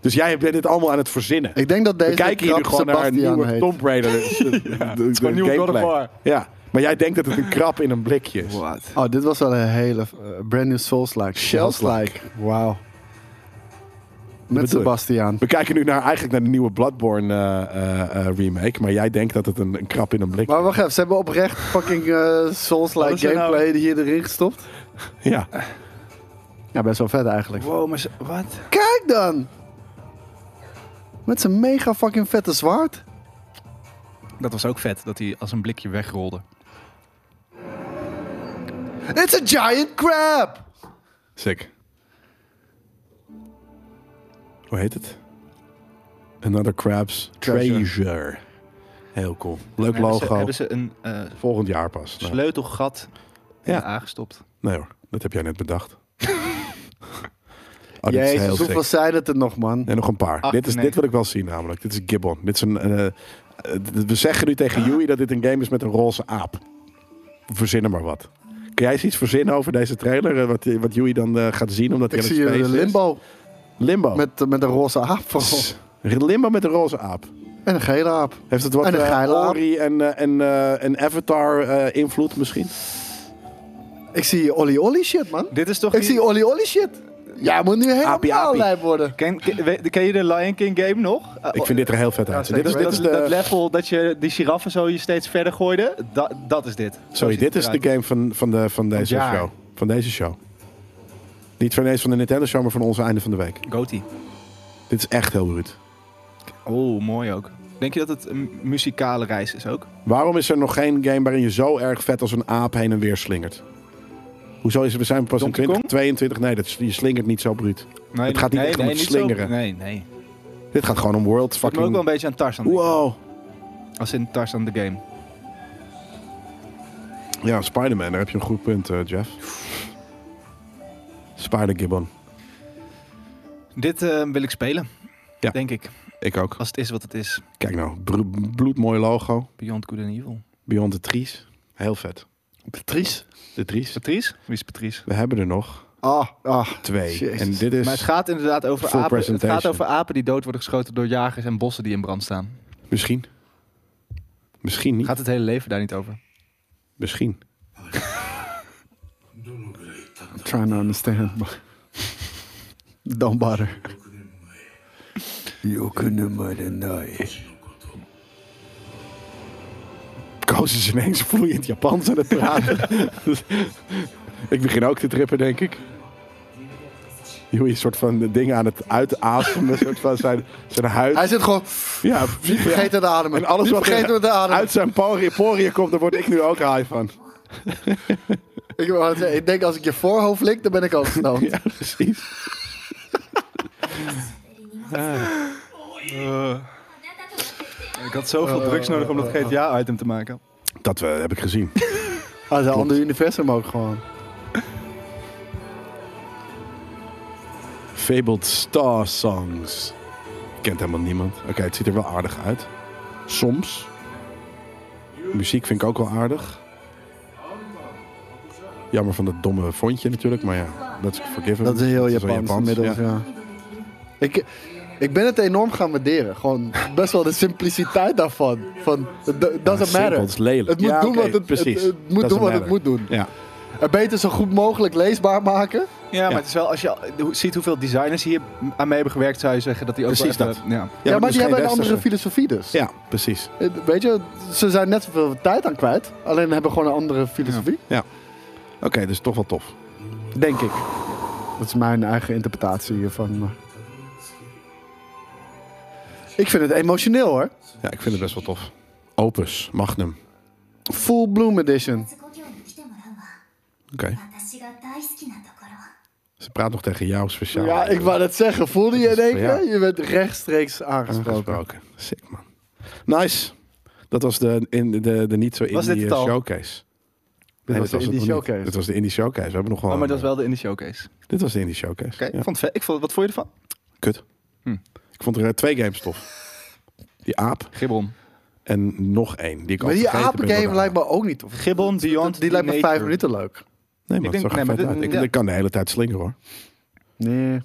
A: Dus jij bent dit allemaal aan het verzinnen.
B: Ik denk dat
A: We
B: deze
A: kijken hier nu
B: krap
A: gewoon naar een
B: Sebastian
A: nieuwe
B: heet.
A: Tomb Raider. ja,
C: is gewoon nieuwe God of War.
A: Ja, maar jij denkt dat het een krab in een blikje is.
B: Oh, dit was wel een hele eh, brand new Souls-like.
A: Shells-like.
B: Shells-like. Wauw.
A: bedoel
B: Met
A: ik?
B: Sebastian.
A: We kijken nu naar, eigenlijk naar de nieuwe Bloodborne eh, eh, eh, remake. Maar jij denkt dat het een, een krab in een blikje
B: Maar wacht even, ze hebben oprecht fucking eh,
C: Wat is
B: Souls-like
C: er nou?
B: gameplay hier erin gestopt.
A: is. Ja.
B: Ja, best wel vet eigenlijk.
C: Wow, maar ze- wat?
B: Kijk dan! Met zijn mega fucking vette zwaard.
C: Dat was ook vet, dat hij als een blikje wegrolde.
B: It's a giant crab!
A: Oh, Sick. Hoe heet het? Another Crab's Treasure.
B: Treasure.
A: Heel cool. Leuk
C: Hebben
A: logo.
C: ze, hebben ze een eh,
A: Volgend jaar pas. Nou,
C: sleutelgat in
A: Ja.
C: aangestopt.
A: nee hoor, dat heb jij net bedacht. oh, dit is heel
B: Jezus,
A: sick.
B: hoeveel zijn het er nog, man?
A: En nog een paar.
C: Acht
A: Dit, is,
C: en
A: dit
C: negen.
A: wil ik wel zien namelijk. Dit is Gibbon. Dit is een, eh, eh, d- we zeggen nu tegen Yui dat dit een game is met een roze aap. Verzin er maar wat. Kun jij eens iets verzinnen over deze trailer? eh, Wat, wat Yui dan eh, gaat zien omdat hij
B: Ik
A: aan het
B: zie een
A: spacen is? Oh.
B: limbo
A: Limbo.
B: met, eh, met een roze aap van.
A: Limbo met een roze aap.
B: En een gele aap.
A: Heeft het wat
B: En een
A: eh,
B: geile aap.
A: Ori en, eh, en, eh, en Avatar eh, invloed misschien?
B: Ik zie Olly Olly shit, man.
C: Dit is toch
B: Ik
C: die-
B: zie Olly Olly shit. Ja, moet nu
A: Aapie,
B: helemaal
A: aapie.
B: lijp worden.
C: Ken, ken, we- ken je de Lion King game nog? Eh,
A: Ik vind dit er heel vet uit.
B: Ja,
A: dit is,
B: zeker.
A: dit
C: dat,
A: is
C: dat
A: de,
C: level dat je die giraffen zo je steeds verder gooide, da- dat is dit. Zo
A: sorry,
C: ziet
A: dit
C: het
A: is de
C: eruit.
A: game van, van, de, van deze
C: jaar.
A: show. Van deze show. Niet van deze van de Nintendo show, maar van onze einde van de week.
C: Goatee.
A: Dit is echt heel bruut.
C: Oh, mooi ook. Denk je dat het een muzikale reis is ook?
A: Waarom is er nog geen game waarin je zo erg vet als een aap heen en weer slingert? Hoezo is het, we zijn pas in
C: Donkey
A: 2022? Nee, dat, is- je slingert niet zo bruut.
C: Nee,
A: Het gaat niet
C: nee,
A: echt om
C: nee,
A: het
C: niet
A: slingeren.
C: Zo, nee, nee. Het
A: Dit gaat gewoon om world
C: doet me ook wel een
A: fucking...
C: beetje aan Tarzan. denken.
A: Wow.
C: Als in Tarzan de game.
A: Ja, Spider-Man, daar heb je een goed punt, eh, Jeff. Spider-Gibbon.
C: Dit eh, wil ik spelen.
A: Ja.
C: Denk ik.
A: Ik ook.
C: Als het is wat het is.
A: Kijk nou, bro- bloedmooi logo.
C: Beyond Good and Evil.
A: Beyond the Trees. Heel vet.
B: Patrice.
A: De Trees.
C: Patrice? Wie is Patrice?
A: We hebben er nog
B: Ah, ah.
A: twee.
B: Jezus.
A: En dit
C: Maar het
A: is
C: gaat inderdaad over
A: Full
C: apen. Het
A: presentation.
C: gaat over apen die dood worden geschoten door jagers en bossen die in brand staan.
A: misschien. Misschien niet.
C: Gaat het hele leven daar niet over?
A: Misschien.
B: I'm trying to understand. but- Don't bother.
A: Koos is ineens vloeiend Japans aan het praten. ik begin ook te trippen, denk ik. Joey is een soort van dingen aan het uitademen. Een soort van zijn, zijn huid.
B: Hij zit gewoon...
A: Ja,
B: Niet vergeten te ademen.
A: En alles
B: Niet
A: wat
B: vergeten
A: er
B: te ademen.
A: uit zijn poriën poriën komt, daar word ik nu ook high van.
B: Ik, wou net zeggen, ik denk als ik je voorhoofd lik, dan ben ik al gesnoond.
A: Ja, precies.
C: Ik had zoveel drugs nodig om dat GTA-item te maken.
A: Dat eh, heb ik gezien.
B: Ah, dat is een ander universum ook gewoon.
A: Fabled Star Songs. Kent helemaal niemand. Oké, het ziet er wel aardig uit. Soms. Muziek vind ik ook wel aardig. Jammer van dat domme fontje natuurlijk, maar ja, dat is forgiven.
B: Dat is heel Japans inmiddels, ja. Ik, ik ben het enorm gaan waarderen. Gewoon best wel de simpliciteit daarvan. Van, it do- doesn't matter.
A: Het is lelijk.
B: Het moet
A: Ja,
B: doen
A: oké,
B: wat het, het-
A: precies.
B: het moet
A: Doesn't
B: doen wat het
A: matter.
B: moet doen.
A: Ja.
B: En beter zo goed mogelijk leesbaar maken.
C: Ja, maar het is wel, als je al- hoe- ziet hoeveel designers hier aan mee hebben gewerkt, zou je zeggen dat die ook
A: Precies
C: wel even- Ja.
B: Ja, maar,
A: het is
B: die
A: geen
B: hebben een andere
A: westerse.
B: filosofie dus.
A: Ja, precies.
B: Eh, Weet je, ze zijn net zoveel tijd aan kwijt. Alleen hebben gewoon een andere filosofie.
A: Oké, dus toch wel tof.
B: Denk ik. Dat is mijn eigen interpretatie hiervan. maar- Ik vind het emotioneel hoor.
A: Ja, ik vind het best wel tof. Opus, Magnum.
B: Full Bloom Edition.
D: 故郷に来てもらうわ
A: Oké.
D: 私が大好きなところ
A: Ze praat nog tegen jou speciaal.
B: Ja, ik wou dat zeggen. Voelde je
A: Dat
B: in
A: is-
B: één keer?
A: ja.
B: Je bent rechtstreeks aangesproken.
A: Aangesproken. Sick, man. Nice. Dat was de, in, de, de niet zo
C: Was dit
A: indie eh,
C: het al?
A: showcase.
B: Dit was de
A: het
B: Indie
A: nog niet.
B: Showcase.
A: Dit was de indie showcase. We hebben nog wel. eh,
C: Oh, maar dat is wel de indie showcase. Oké,
A: Dit was de indie showcase. Ja.
C: ik vond het vet. Ik vond, wat vond je ervan?
A: Kut.
C: Hm.
A: Ik vond er eh, twee games tof. Die aap
C: Gibbon.
A: en nog één. Die ik al
B: Maar die
A: vergeten ben door
B: apengame
A: de
B: lijkt
A: aap.
B: me ook niet. Of
C: Gibbon, Beyond,
B: die lijkt me vijf
C: Nature.
B: minuten leuk.
A: Nee, maar
C: Ik
A: het
C: denk-
A: zag er
C: nee, maar
A: vet
C: dit-
A: uit. Ik,
C: ja.
A: ik kan de hele tijd slingeren hoor.
B: Nee.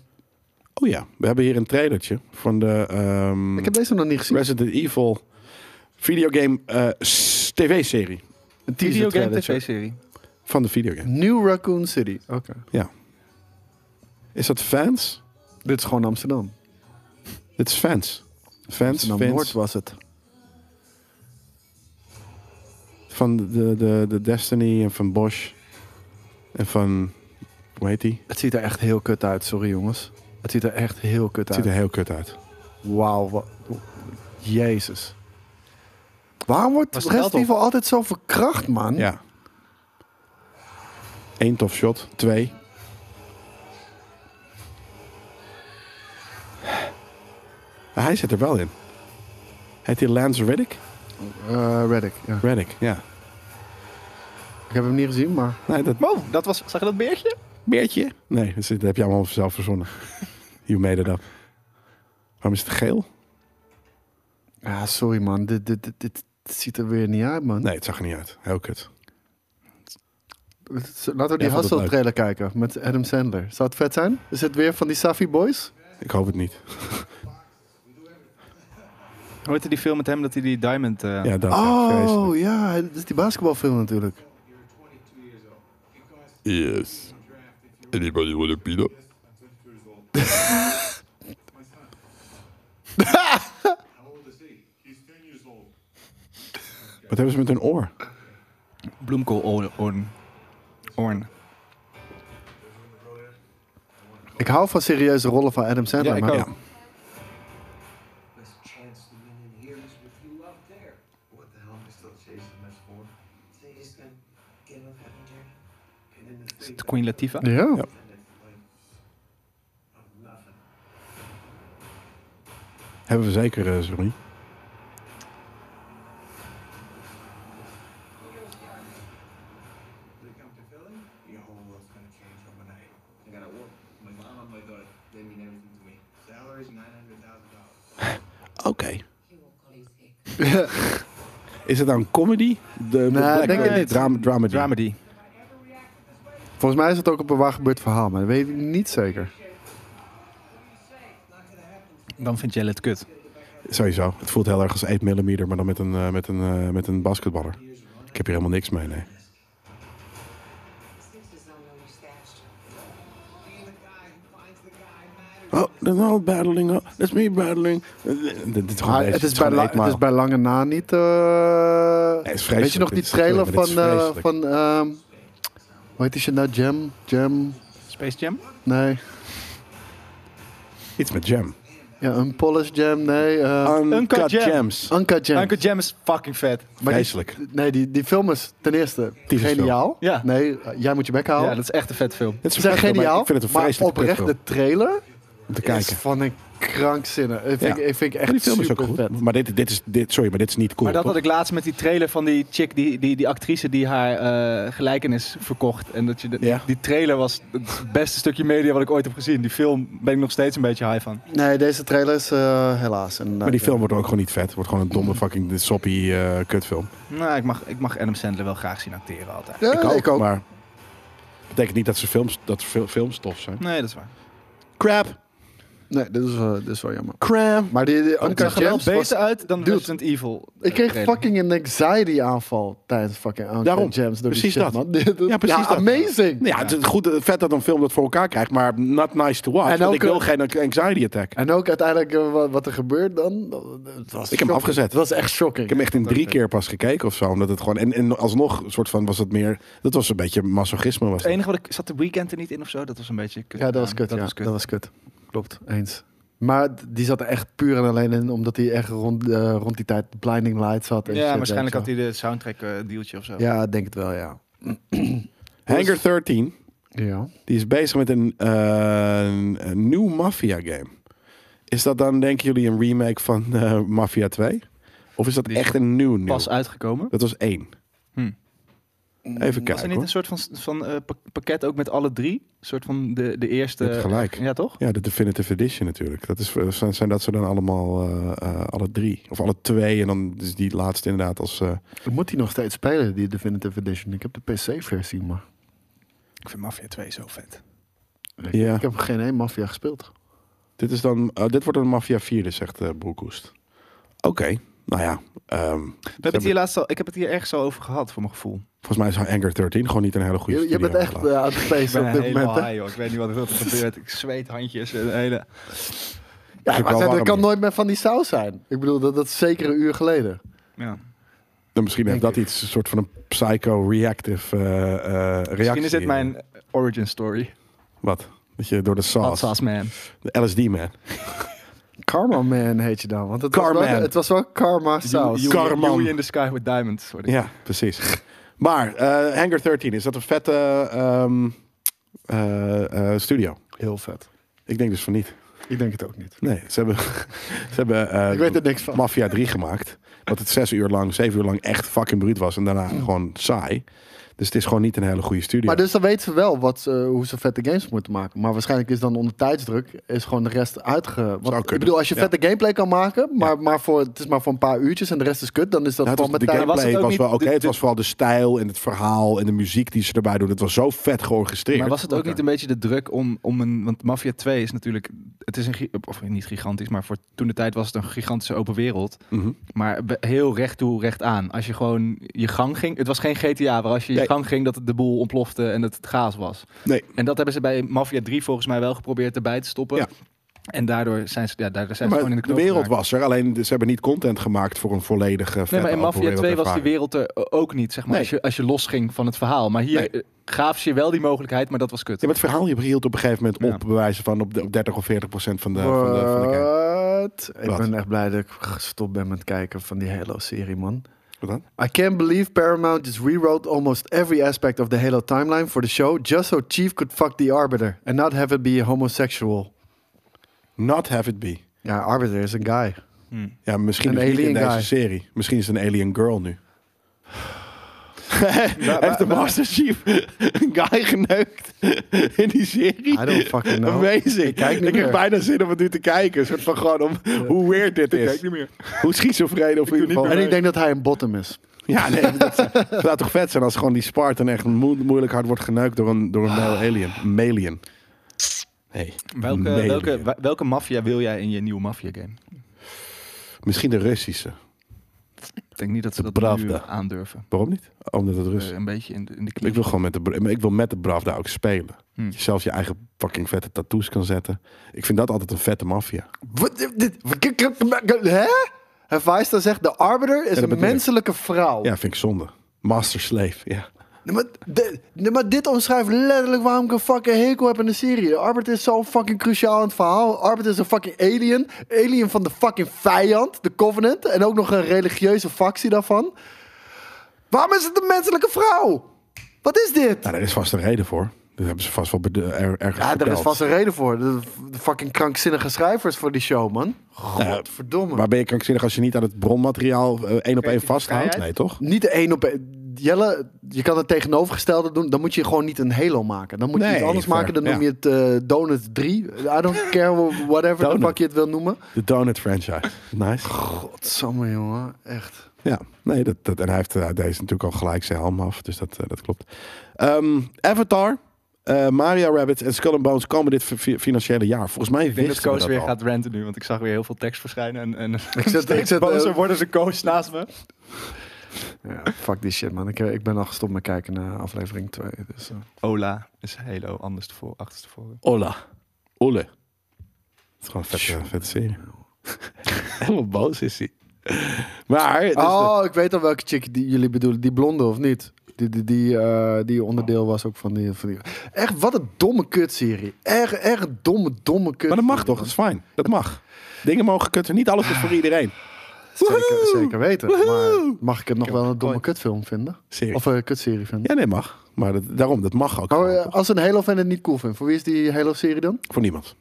A: Oh ja, we hebben hier een trailertje van de ehm,
B: Ik heb deze nog niet gezien.
A: Resident Evil videogame eh, s- tv-serie.
B: Een teaser
C: Videogame
B: trailertje.
C: TV-serie.
A: Van de videogame.
B: New Raccoon City. Oké.
A: Is dat fans?
B: Dit is gewoon Amsterdam.
A: Dit is fans. Fans,
B: Amsterdam Noord
A: fans
B: was het.
A: van de, de, de Destiny en van Bosch. En van, hoe heet die?
B: Het ziet er echt heel kut uit. Sorry jongens. Het ziet er echt heel kut
A: Het
B: uit.
A: ziet er heel kut uit.
B: Wauw. wat- Jezus. Waarom wordt
C: Was het
B: Resident
C: geld op?
B: Evil altijd zo verkracht, man?
A: Ja. Eén tof shot. Twee. Maar Hij zit er wel in. Heet hij Lance Reddick?
B: Eh, Reddick. Ja.
A: Reddick, ja.
B: Ik heb hem niet gezien, maar...
A: Nee, dat
C: Wow, dat was, zag je dat beertje?
A: beertje. Nee, dat heb je allemaal zelf verzonnen. You made it up. Waarom is het geel?
B: Ja, sorry man. Dit, dit, dit, dit ziet er weer niet uit, man.
A: Nee, het zag er niet uit. Heel kut.
B: Het is- Laten we die
A: Ja, vond het
B: Hustle
A: leuk.
B: trailer kijken met Adam Sandler. Zou het vet zijn? Is het weer van die Safi Boys?
A: Ik hoop het niet.
C: Hoort die film met hem dat hij die Diamond... eh,
A: Ja, dat
B: oh, ja. Dat is die basketbalfilm natuurlijk.
E: Yes. Anybody want a peanut?
A: Wat hebben ze met hun oor?
C: Bloemkool Oorn. Oorn.
B: Ik hou van serieuze rollen van Adam
C: Ja,
B: Sandler.
C: ik
B: maar
C: ook.
F: Best chance the minion here is with you up there. What the hell am I still chasing this for? So you just gonna give up, haven't you? Pin in the
C: Is
F: thing
C: het Queen Latifah?
B: Ja.
F: and it's like, I'm nothing.
A: Hebben we zeker, eh, sorry.
F: When it comes to Philly, your whole world's gonna change overnight. I gotta work. My mom and my daughter, they mean everything to me. Salary's nine hundred thousand dollars.
A: Oké. Is het nou een comedy? De, de Black-
B: denk ik
A: eh,
B: niet.
A: Drama, dramedy.
C: Dramedy.
B: Volgens mij is het ook op een waar gebeurd verhaal, maar dat weet ik niet zeker.
C: Dan vind jij het kut.
A: Sowieso. Het voelt heel erg als 8 mm, maar dan met een, eh, met, een, eh, met een basketballer. Ik heb hier helemaal niks mee, nee. Oh, they're all battling. Oh, that's me battling. Eh, Dit dit is gewoon deze-
B: Maar Ah, het, is bij
A: gewoon
B: la-
A: Eight
B: het is
A: Mile.
B: bij lange na niet... eh,
A: het is
B: weet je
A: vreselijk.
B: nog die
A: Dit is
B: trailer
A: vreselijk.
B: van...
A: Dit is vreselijk.
B: eh, van ehm, hoe heet die shit nou? Jam? Jam?
C: Space Jam?
B: Nee.
A: Iets met jam.
B: Ja, Unpolished Jam? Nee. eh
C: Uncut Jam.
A: Jams.
B: Uncut Jam. Oh,
C: Uncle Jam is fucking vet.
B: Maar die-
A: Vreselijk.
B: nee, die, die film is ten eerste
A: Tyfusfilm.
B: geniaal.
C: Ja.
B: Nee, eh, jij moet je bek
C: Ja,
B: houden.
C: dat is echt een vet film.
A: Dit
B: Ze zijn
A: verschrikkelijk, maar
B: geniaal,
A: Ik vind het een
B: maar
A: vreselijk
B: oprecht de trailer
A: om te
B: is
A: kijken.
B: van een krankzinnig. Ik vind,
A: Ja.
B: ik, vind ik
A: Maar
B: echt
A: die film is
B: super
A: ook goed.
B: vet.
A: Maar dit, dit is, dit, sorry, maar dit is niet cool.
C: Maar dat had
A: toch?
C: ik laatst met die trailer van die chick, die, die, die actrice die haar eh, gelijkenis verkocht. En dat je de-
A: Ja.
C: die trailer was het beste stukje media wat ik ooit heb gezien. Die film ben ik nog steeds een beetje high van.
B: Nee, deze trailer is eh, helaas. inderdaad.
A: Maar die film wordt ook gewoon niet vet. Wordt gewoon een domme fucking soppy eh, kutfilm.
C: Nou, ik mag, ik mag Adam Sandler wel graag zien acteren altijd.
B: Ja, Eh, ik ook.
A: Maar betekent niet dat ze films, dat ze fil- films tof zijn.
C: Nee, dat is waar.
A: Crap,
B: Nee, dit is, eh, dit is wel jammer.
A: crap.
B: Maar die, die
C: Het zag
B: Uncut
C: er wel
B: Gems
C: beter
B: was...
C: uit dan
B: Dude.
C: Resident Evil. eh,
B: Ik kreeg
C: trailer.
B: fucking een anxiety aanval tijdens fucking Uncut
A: Daarom.
B: Gems. Door
A: Precies
B: die
A: dat.
B: shit, Man. Dit- dit-
A: Ja, precies dat.
B: Amazing.
A: Ja, het is goed, eh, vet dat een film dat voor elkaar krijgt, maar not nice to watch.
B: En
A: want
B: ook eh,
A: ik wil
B: een-
A: geen anxiety attack.
B: En ook uiteindelijk eh, wat, wat er gebeurt dan. Het was
A: Ik heb hem afgezet.
B: Het was echt shocking.
A: Ik heb hem echt in drie keer pas gekeken of zo. Omdat het gewoon, en, en alsnog een soort van was het meer, dat was een beetje masochisme. Was
C: Het
A: dat.
C: enige wat ik zat de weekend er niet in of zo. Dat was een beetje kut.
B: Ja, dat was kut.
C: Dat
B: ja.
C: was kut.
B: Dat was kut. Klopt, eens. Maar d- die zat er echt puur en alleen in, omdat hij echt rond, eh, rond die tijd Blinding Lights had. en shit,
C: Ja,
B: weet
C: waarschijnlijk
B: je
C: had
B: wel.
C: hij de soundtrack eh, dealtje of zo.
B: Ja, ik denk het wel, ja.
A: Hangar 13,
B: Ja.
A: die is bezig met een, eh, een, een nieuw Mafia game. Is dat dan, denken jullie, een remake van eh, Mafia 2? Of is dat
C: Die is
A: echt een nieuw nieuw?
C: Pas uitgekomen.
A: Dat was één.
C: Hm.
A: Even
C: Was er
A: kijken
C: niet
A: hoor.
C: een soort van, van eh, pak- pakket ook met alle drie? Een soort van de, de eerste...
A: Je hebt gelijk.
C: Ja, toch?
A: Ja, de Definitive Edition natuurlijk. Dat is, eh, zijn, zijn dat ze dan allemaal eh, eh, alle drie? Of alle twee en dan is die laatste inderdaad als... eh,
B: Moet hij nog steeds spelen, die Definitive Edition? Ik heb de PC-versie, maar
C: Ik vind Mafia 2 zo vet.
B: ik,
A: Ja.
B: ik heb geen één Mafia gespeeld.
A: Dit, is dan, eh, dit wordt een Mafia 4, dus zegt eh Broekhoest. Oké, nou ja. ehm,
C: We hebben het hier laatst al, ik heb het hier ergens al over gehad, voor mijn gevoel.
A: volgens mij is Anger 13 gewoon niet een hele goede
B: Je, je
A: studio,
B: bent echt
A: geloof ik.
B: eh, aan het
C: Ik
B: feesten
C: ben
B: op dit moment.
C: helemaal
B: hè?
C: high, joh. Ik weet niet wat er gebeurt. Ik zweet handjes. En de hele...
A: Is
B: Ja,
A: ook
B: maar
A: wel
B: zij-
A: warm
B: dat kan
A: hier.
B: nooit meer van die saus zijn. Ik bedoel, dat, dat is zeker een uur geleden.
C: ja.
A: Dan misschien heeft
B: Denk
A: dat iets, een soort van een psycho-reactive eh, eh, reactie.
C: Misschien is dit mijn eh, origin story.
A: Wat? Dat je door de
C: Hot
A: sauce.
C: sauce man.
A: De LSD man.
B: Karma Man heet je dan. Want het,
A: Karman.
B: was, wel, het was wel Karma saus.
A: you- Karman.
C: Yui in the sky with diamonds. word ik.
A: Ja, precies. Maar eh Hangar 13, is dat een vette ehm, eh, eh, studio?
B: Heel vet.
A: Ik denk dus van niet.
B: Ik denk het ook niet.
A: Nee, ze hebben, ze hebben eh,
B: Ik weet er niks van.
A: Mafia 3 gemaakt. Wat het zes uur lang, zeven uur lang echt fucking bruut was. En daarna gewoon saai. Dus het is gewoon niet een hele goede studio.
B: Mm. Maar dus dan weten ze wel wat, ze- hoe ze vette games moeten maken. Maar waarschijnlijk is dan onder tijdsdruk is gewoon de rest uitge... Want,
A: kunnen.
B: ik bedoel, als je
A: Ja.
B: vette gameplay kan maken, maar, maar voor, het is maar voor een paar uurtjes en de rest is kut, dan is dat
A: Nou, het
B: gewoon
A: was,
B: met
A: de
B: tijd.
C: was het
A: gameplay was, wel
C: ook niet-
A: oké.
C: de-
A: Het
C: de-
A: was vooral de stijl en het verhaal en de muziek die ze erbij doen. Het was zo vet georchestreerd.
C: Maar was het ook
B: Oké.
C: niet een beetje de druk om, om een... Want Mafia 2 is natuurlijk... Het is een... gi- Of niet gigantisch, maar voor toen de tijd was het een gigantische open wereld.
A: Mhm.
C: Maar be- heel recht toe, recht aan. Als je gewoon je gang ging... Het was geen GTA, waar als je je
A: Nee.
C: gang ging dat het de boel ontplofte en dat het gaas was.
A: Nee,
C: En dat hebben ze bij Mafia 3 volgens mij wel geprobeerd erbij te stoppen.
A: Ja.
C: En daardoor zijn ze, ja, daardoor zijn ze
A: maar
C: gewoon in
A: de,
C: de knoop
A: wereld
C: geraakt.
A: was er. Alleen ze hebben niet content gemaakt voor een volledige vette
C: Nee, maar in
A: open
C: Mafia 2 was die
A: wereldervaring.
C: wereld er ook niet, zeg maar.
A: Nee.
C: Als, je, als je losging van het verhaal. Maar hier
A: Nee.
C: eh, gaven ze je wel die mogelijkheid, maar dat was kut.
A: Ja, maar het verhaal je hield op een gegeven moment op,
C: Ja.
A: bij wijze van op, de, op 30 of 40 procent van de, van de, van de game.
B: Wat? Ik
A: Wat?
B: ben echt blij dat ik gestopt ben met kijken van die Halo-serie, man.
A: Wat dan?
B: I can't believe Paramount just rewrote almost every aspect of the Halo timeline for the show just so Chief could fuck the Arbiter and not have it be a homosexual.
A: Not have it be.
B: Ja, Arbiter is een guy.
A: Ja, misschien
B: Een
A: dus niet in
B: alien
A: deze
B: guy.
A: serie. Misschien is het een alien girl nu. Heeft de Master Chief een guy geneukt in die serie?
B: I don't fucking know.
A: Amazing. Ik,
B: kijk niet
A: heb
B: meer.
A: bijna zin om het nu te kijken. Een soort van gewoon om hoe weird dit is.
C: niet meer.
A: Hoe schizofreen of in ieder geval.
B: En ik denk dat hij een bottom is.
A: Ja, nee, dat het zou toch vet zijn als gewoon die Spartan echt mo- moeilijk hard wordt geneukt door een, door een male alien. Malian. Hey,
C: Welke,
A: Malian.
C: welke, wa- welke maffia wil jij in je nieuwe maffia game?
A: Misschien de Russische.
C: Ik denk niet dat ze
A: De
C: dat nu
A: Pravda.
C: aandurven.
A: Waarom niet? Omdat het Rus
C: Eh, een beetje in de, in de
A: Ik wil gewoon met de, bra- maar ik wil met de Bravda ook spelen.
C: Hmm.
A: Dat Je zelf je eigen fucking vette tattoos kan zetten. Ik vind dat altijd een vette maffia.
B: Wat- dit- wat- Hè? Hephaestus zegt, de arbiter is
A: dat
B: een
A: bedoel ik.
B: menselijke vrouw.
A: Ja, vind ik zonde. Master slave, ja.
B: Nee, maar, dit- nee, maar dit omschrijft letterlijk waarom ik een fucking hekel heb in de serie. De arbiter is zo fucking cruciaal in het verhaal. De arbiter is een fucking alien. Alien van de fucking vijand, de Covenant. En ook nog een religieuze factie daarvan. Waarom is het een menselijke vrouw? Wat is dit?
A: Nou, daar is vast een reden voor. Dat hebben ze vast wel bede- er, ergens
B: Ja, daar is
A: verteld.
B: vast een reden voor. De, de fucking krankzinnige schrijvers voor die show, man. Godverdomme.
A: Maar ben je krankzinnig als je niet aan het bronmateriaal eh, één op één
C: Creatieve
A: vasthoudt?
C: vrijheid?
A: Nee, toch?
B: Niet één op één. Jelle, je kan het tegenovergestelde doen. Dan moet je gewoon niet een Halo maken. Dan moet je
A: Nee,
B: iets anders
A: fair,
B: maken. Dan
A: ja.
B: noem je het eh, Donut 3. I don't care whatever de
A: Donut.
B: pak je het wil noemen.
A: De Donut franchise. Nice.
B: Godsamme, jongen. Echt.
A: Ja, nee, dat, dat- en hij heeft eh, deze natuurlijk al gelijk zijn helm af, dus dat, eh, dat klopt. Ehm, Avatar, eh, Mario Rabbit en Skull and Bones komen dit fi- fi- financiële jaar. Volgens mij
C: Ik denk dat
A: wisten we
C: Koos
A: dat
C: weer
A: al.
C: gaat ranten nu, want ik zag weer heel veel tekst verschijnen. En, en
B: Ik zet, ik
A: eh,
B: zet,
C: bozer worden ze Koos naast me.
B: ja, fuck die shit, man. Ik, eh, ik ben al gestopt met kijken naar aflevering 2. Dus, eh.
C: Ola is Halo anders tevoren, achterstevoren.
A: Ola. Ole. Het is gewoon een vette, vette serie. Helemaal boos is hij. Maar, dus de-
B: Oh, ik weet al welke chick die jullie bedoelen. Die blonde of niet? Die, die, die, eh, die onderdeel was ook van die, van die... Echt, wat een domme kutserie. Echt, echt een domme, domme kut.
A: maar dat mag toch, dat is fijn. Dat mag. Dingen mogen kutten, niet alles is voor iedereen.
B: Zeker,
A: Woehoe!
B: zeker weten. Maar mag ik het nog wel een domme kutfilm vinden?
A: Serie.
B: Of een kutserie vinden?
A: Ja, nee, mag. Maar dat, daarom, dat mag ook.
C: Oh,
B: Maar,
A: gewoon,
B: eh,
A: toch?
B: als een Halo-fan het niet cool vindt, voor wie is die Halo-serie dan?
A: Voor niemand.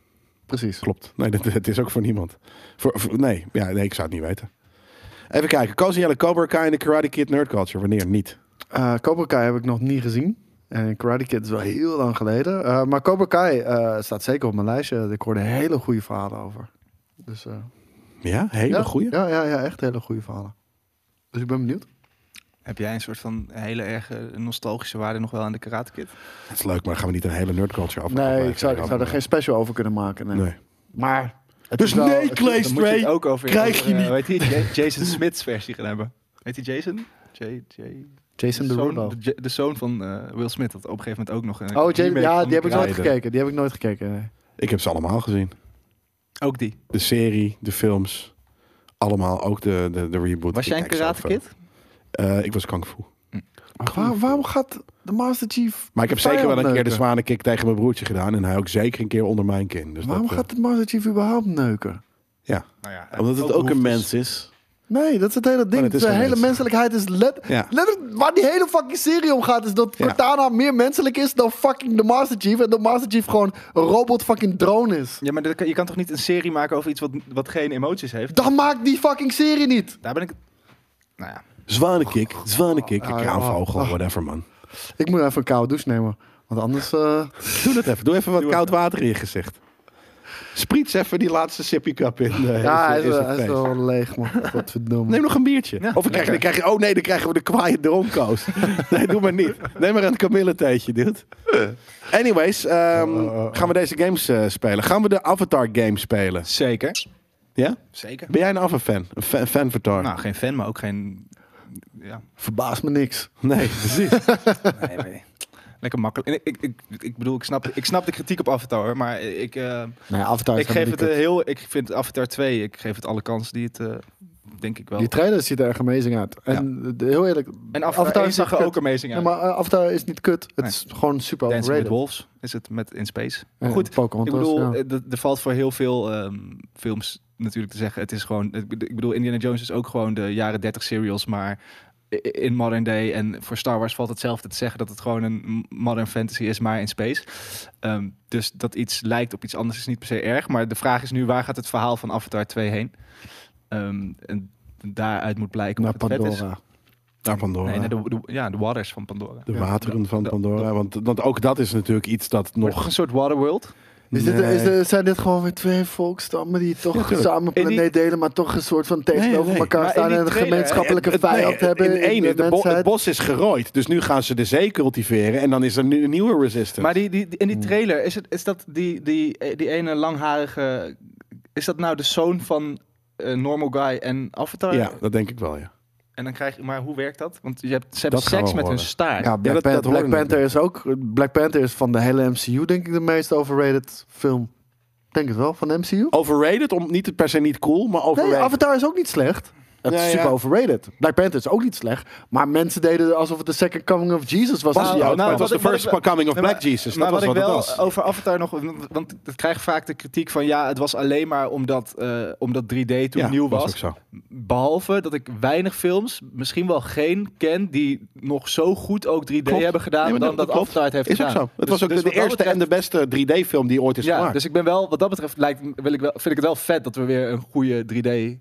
B: Precies.
A: Klopt. Nee, dat, dat is ook voor niemand. Voor, voor- nee. Ja, nee, ik zou het niet weten. Even kijken. Koos en Jelle, Cobra Kai en de Karate Kid Nerd Culture. Wanneer niet?
B: Eh Cobra Kai heb ik nog niet gezien. En Karate Kid is wel heel lang geleden. Eh, maar Cobra Kai eh, staat zeker op mijn lijstje. Ik hoorde hele goede verhalen over. Dus, eh,
A: Ja, hele
B: ja,
A: goeie.
B: Ja, ja, ja, echt hele goede verhalen. Dus ik ben benieuwd.
C: Heb jij een soort van hele erge nostalgische waarde nog wel aan de Karate Kid?
A: Dat is leuk, maar dan gaan we niet een hele Nerd Culture af.
B: Nee, ik zou, ik zou er geen special over kunnen maken. Nee.
A: Nee.
B: Maar... het
A: Dus
B: is wel-
A: nee,
B: het-
A: Clay
C: Dan moet je het
A: Stray.
C: ook over
A: krijg je
C: over, eh,
A: niet.
C: Weet je, Ja- Jason Smith's versie gaan hebben. Weet je Jason? J, J,
B: Jason
C: de, zoon,
B: Derulo.
C: de, J- de zoon van eh, Will Smith had op een gegeven moment ook nog een
B: Oh, Jason,
C: remake
B: ja,
C: van
B: die heb ik nooit
A: Raiden.
B: gekeken. Die heb ik nooit gekeken, nee.
A: Ik heb ze allemaal gezien.
C: Ook die.
A: De serie, de films. Allemaal, ook de, de, de reboot.
C: Was
A: Ik
C: jij een
A: kijk zelf,
C: Karate Kid?
A: eh, eh, ik was kung fu.
B: Waar- waarom gaat de Master Chief.
A: Maar ik heb zeker wel een
B: vijand
A: keer de
B: neuken?
A: zwanenkick tegen mijn broertje gedaan. En hij ook zeker een keer onder mijn kin. Dus
B: Waarom
A: dat, eh,
B: gaat de Master Chief überhaupt neuken?
A: Ja.
C: Nou ja,
A: Omdat
B: Oh,
A: het ook een
C: behoeftes.
A: mens is.
B: Nee, dat is het hele ding.
A: het is
B: de
A: geen
B: hele
A: mens.
B: menselijkheid is let,
A: Ja.
B: letterlijk- Waar die hele fucking serie om gaat, is dat
A: Ja.
B: Cortana meer menselijk is dan fucking de Master Chief. En de Master Chief gewoon een robot fucking drone is.
C: Ja, maar dat kan- je kan toch niet een serie maken over iets wat, wat geen emoties heeft?
B: Dan maakt die fucking serie niet.
C: Daar ben ik... Nou ja.
A: Zwanenkick, zwanenkick, een
B: Ah,
A: kraanvogel,
B: ah, ah.
A: whatever man.
B: Ik moet even een koude douche nemen. Want anders. eh,
A: Doe dat even. Doe even wat
C: Doe
A: koud water in je gezicht. Spriets even die laatste sippy cup in. eh,
B: ja, hij
A: is-
B: is,
A: is
B: wel-
A: het
B: hij is
A: feest.
B: wel leeg, man. Godverdomme.
A: Neem nog een biertje.
C: Ja,
A: of we krijgen, dan krijg je, oh nee, dan krijgen we de kwaaie dronkoos. nee, doe maar niet. Neem maar een kamilletheetje, dude. Anyways, ehm,
B: Oh,
A: gaan we deze games eh, spelen? Gaan we de Avatar game spelen?
C: Zeker.
A: Ja?
C: Zeker.
A: Ben jij een Avatar-fan? Een fan, fanvatar?
C: Nou, geen fan, maar ook geen... Ja.
B: Verbaast me niks.
A: Nee, precies.
C: Nee, nee. Lekker makkelijk. En Ik, ik, ik, ik bedoel, ik snap, ik snap de kritiek op Avatar, hoor, maar ik, eh,
B: Nee, Avatar is
C: ik geef
B: helemaal
C: het
B: niet
C: eh, heel... Ik vind Avatar 2, ik geef het alle kansen die het... eh, denk ik wel.
B: Die trailer ziet er echt amazing uit. En eh, heel eerlijk.
C: En Avatar,
B: Avatar
C: 1
B: is
C: zag er
B: kut.
C: ook amazing
B: Ja,
C: uit.
B: maar eh, Avatar is niet kut. Het
C: Nee.
B: is gewoon super
C: Dancing with
B: overrated.
C: Wolves is het met In Space.
B: Ja,
C: Goed,
B: Pokémon
C: ik
B: Trust,
C: bedoel,
B: ja.
C: eh, d- er valt voor heel veel ehm, films natuurlijk te zeggen. Het is gewoon, ik bedo- ik bedoel, Indiana Jones is ook gewoon de jaren 30 serials, maar i- in modern day en voor Star Wars valt hetzelfde te zeggen dat het gewoon een modern fantasy is, maar in space. Ehm, dus dat iets lijkt op iets anders is niet per se erg, maar de vraag is nu waar gaat het verhaal van Avatar 2 heen? Ehm, en daaruit moet blijken
B: naar
C: of het vet is.
B: Pandora.
A: Naar Nou, Pandora.
C: Nee, naar de, de- ja, de waters van Pandora.
A: de wateren van
C: de-
A: Pandora. Want, want ook dat is natuurlijk iets dat
C: Nog
A: nog...
C: een soort Waterworld.
B: Is dit,
A: Nee.
B: is dit- zijn dit gewoon weer twee volkstammen die toch
A: tuurlijk.
B: samen
C: In die-
B: planeet delen, maar toch een soort van tegenover
A: nee.
B: elkaar
C: Maar in
B: staan
C: die
B: en een
C: trailer,
B: gemeenschappelijke
A: eh, Het- het-
B: vijand
A: nee,
B: hebben?
A: in één,
B: de
A: het, bo- het
B: mensheid?
A: bos is gerooid. Dus nu gaan ze de zee cultiveren. En dan is er nu een nieuwe resistance.
C: Maar die, die, die- in
A: Hmm.
C: die trailer, is, het, is dat die, die, die ene langharige... Is dat nou de zoon van eh, Normal Guy en Avatar?
A: ja, dat denk ik wel, ja.
C: En dan krijg je... Maar hoe werkt dat? Want je hebt, ze
A: Dat
C: hebben
A: gaan
C: seks
A: we
C: met hun
A: horen.
C: staart.
B: Ja, Black,
A: dat-
B: Pan-
A: dat hoor
B: Black
A: ik
B: Panther is ook. Black Panther is van de hele MCU, denk ik, de meest overrated film. Denk het wel, van de MCU?
A: Overrated, om, niet per se niet cool, maar
B: Nee,
A: overrated.
B: Avatar is ook niet slecht. Het
A: Ja,
B: is super
A: ja.
B: overrated. Black Panther is ook niet slecht. Maar mensen deden alsof het de second coming of Jesus was.
A: Was
B: in
A: die
B: die
A: ook?
B: outfit.
A: het was
C: Ah, nou, wat
A: de
C: ik- wat
A: first
C: ik wel-
A: coming of
C: Nee,
A: Black Jesus.
C: maar
A: Dat was
C: wat
A: wat
C: ik
A: het
C: wel
A: was.
C: over Avatar nog... Want het krijgt vaak de kritiek van... Ja, het was alleen maar omdat, eh, omdat 3D toen
A: Ja,
C: nieuw
A: was
C: was.
A: ook
C: Behalve dat ik weinig films, misschien wel geen, ken... die nog zo goed ook 3D
A: Klopt.
C: hebben gedaan...
A: Nee, maar
C: dan dat,
A: klopt.
C: Avatar het heeft
A: Is ook
C: gedaan.
A: zo. Het
C: Dus-
A: was ook
C: dus
A: de,
C: wat dat
A: eerste en de beste 3D-film die ooit is
C: ja,
A: gemaakt.
C: dus ik ben wel, wat dat betreft, lijkt, wil ik wel, vind ik het wel vet dat we weer een goede 3D.